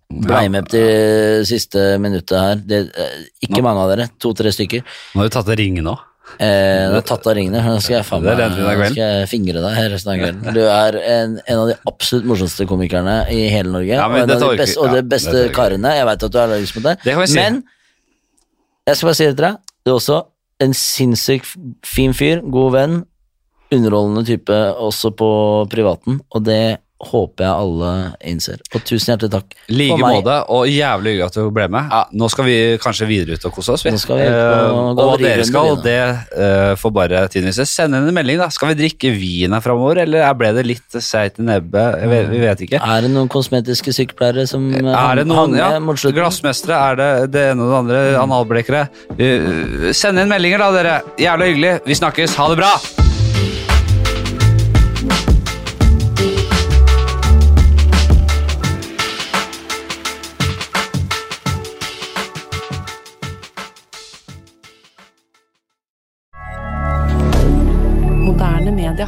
Speaker 2: blei med til siste minuttet her. Det, eh, ikke mange av dere, to-tre stykker.
Speaker 1: Nå har du tatt av ringen nå.
Speaker 2: Eh, du er tatt av ringene, nå skal jeg faen
Speaker 1: Det er
Speaker 2: meg
Speaker 1: resten av
Speaker 2: nå
Speaker 1: kvelden.
Speaker 2: skal jeg fingre deg resten av kvelden. Du er en, en av de absolutt morsomste komikerne i hele Norge,
Speaker 1: Ja, men
Speaker 2: og en
Speaker 1: dette
Speaker 2: av de
Speaker 1: orker-
Speaker 2: beste, og
Speaker 1: ja,
Speaker 2: de beste
Speaker 1: dette orker-
Speaker 2: karene. Jeg veit at du er allergisk mot det,
Speaker 1: Det kan vi si.
Speaker 2: men jeg skal bare si det til deg, du er også en sinnssykt fin fyr, god venn, underholdende type også på privaten, og det håper jeg alle innser. Og tusen hjertelig takk
Speaker 1: Like
Speaker 2: for meg.
Speaker 1: måte, og jævlig hyggelig at du ble med. Ja, nå skal vi kanskje videre ut og kose oss. vi.
Speaker 2: Nå skal vi ut
Speaker 1: Eh, og
Speaker 2: og gå
Speaker 1: hva
Speaker 2: og drive
Speaker 1: dere
Speaker 2: en
Speaker 1: skal,
Speaker 2: berliner.
Speaker 1: det eh, får bare tiden vise. Send inn en melding, da. Skal vi drikke vin her framover, eller er- ble det litt seigt i nebbet? Jeg vet- Vi vet ikke.
Speaker 2: Er det noen kosmetiske sykepleiere som eh,
Speaker 1: Er det
Speaker 2: hang
Speaker 1: noen ja,
Speaker 2: med mot slutten?
Speaker 1: glassmestere? Er det det ene og det andre? Analblekere? Eh, send inn meldinger, da, dere. Jævla hyggelig. Vi snakkes. Ha det bra!
Speaker 3: Moderne media.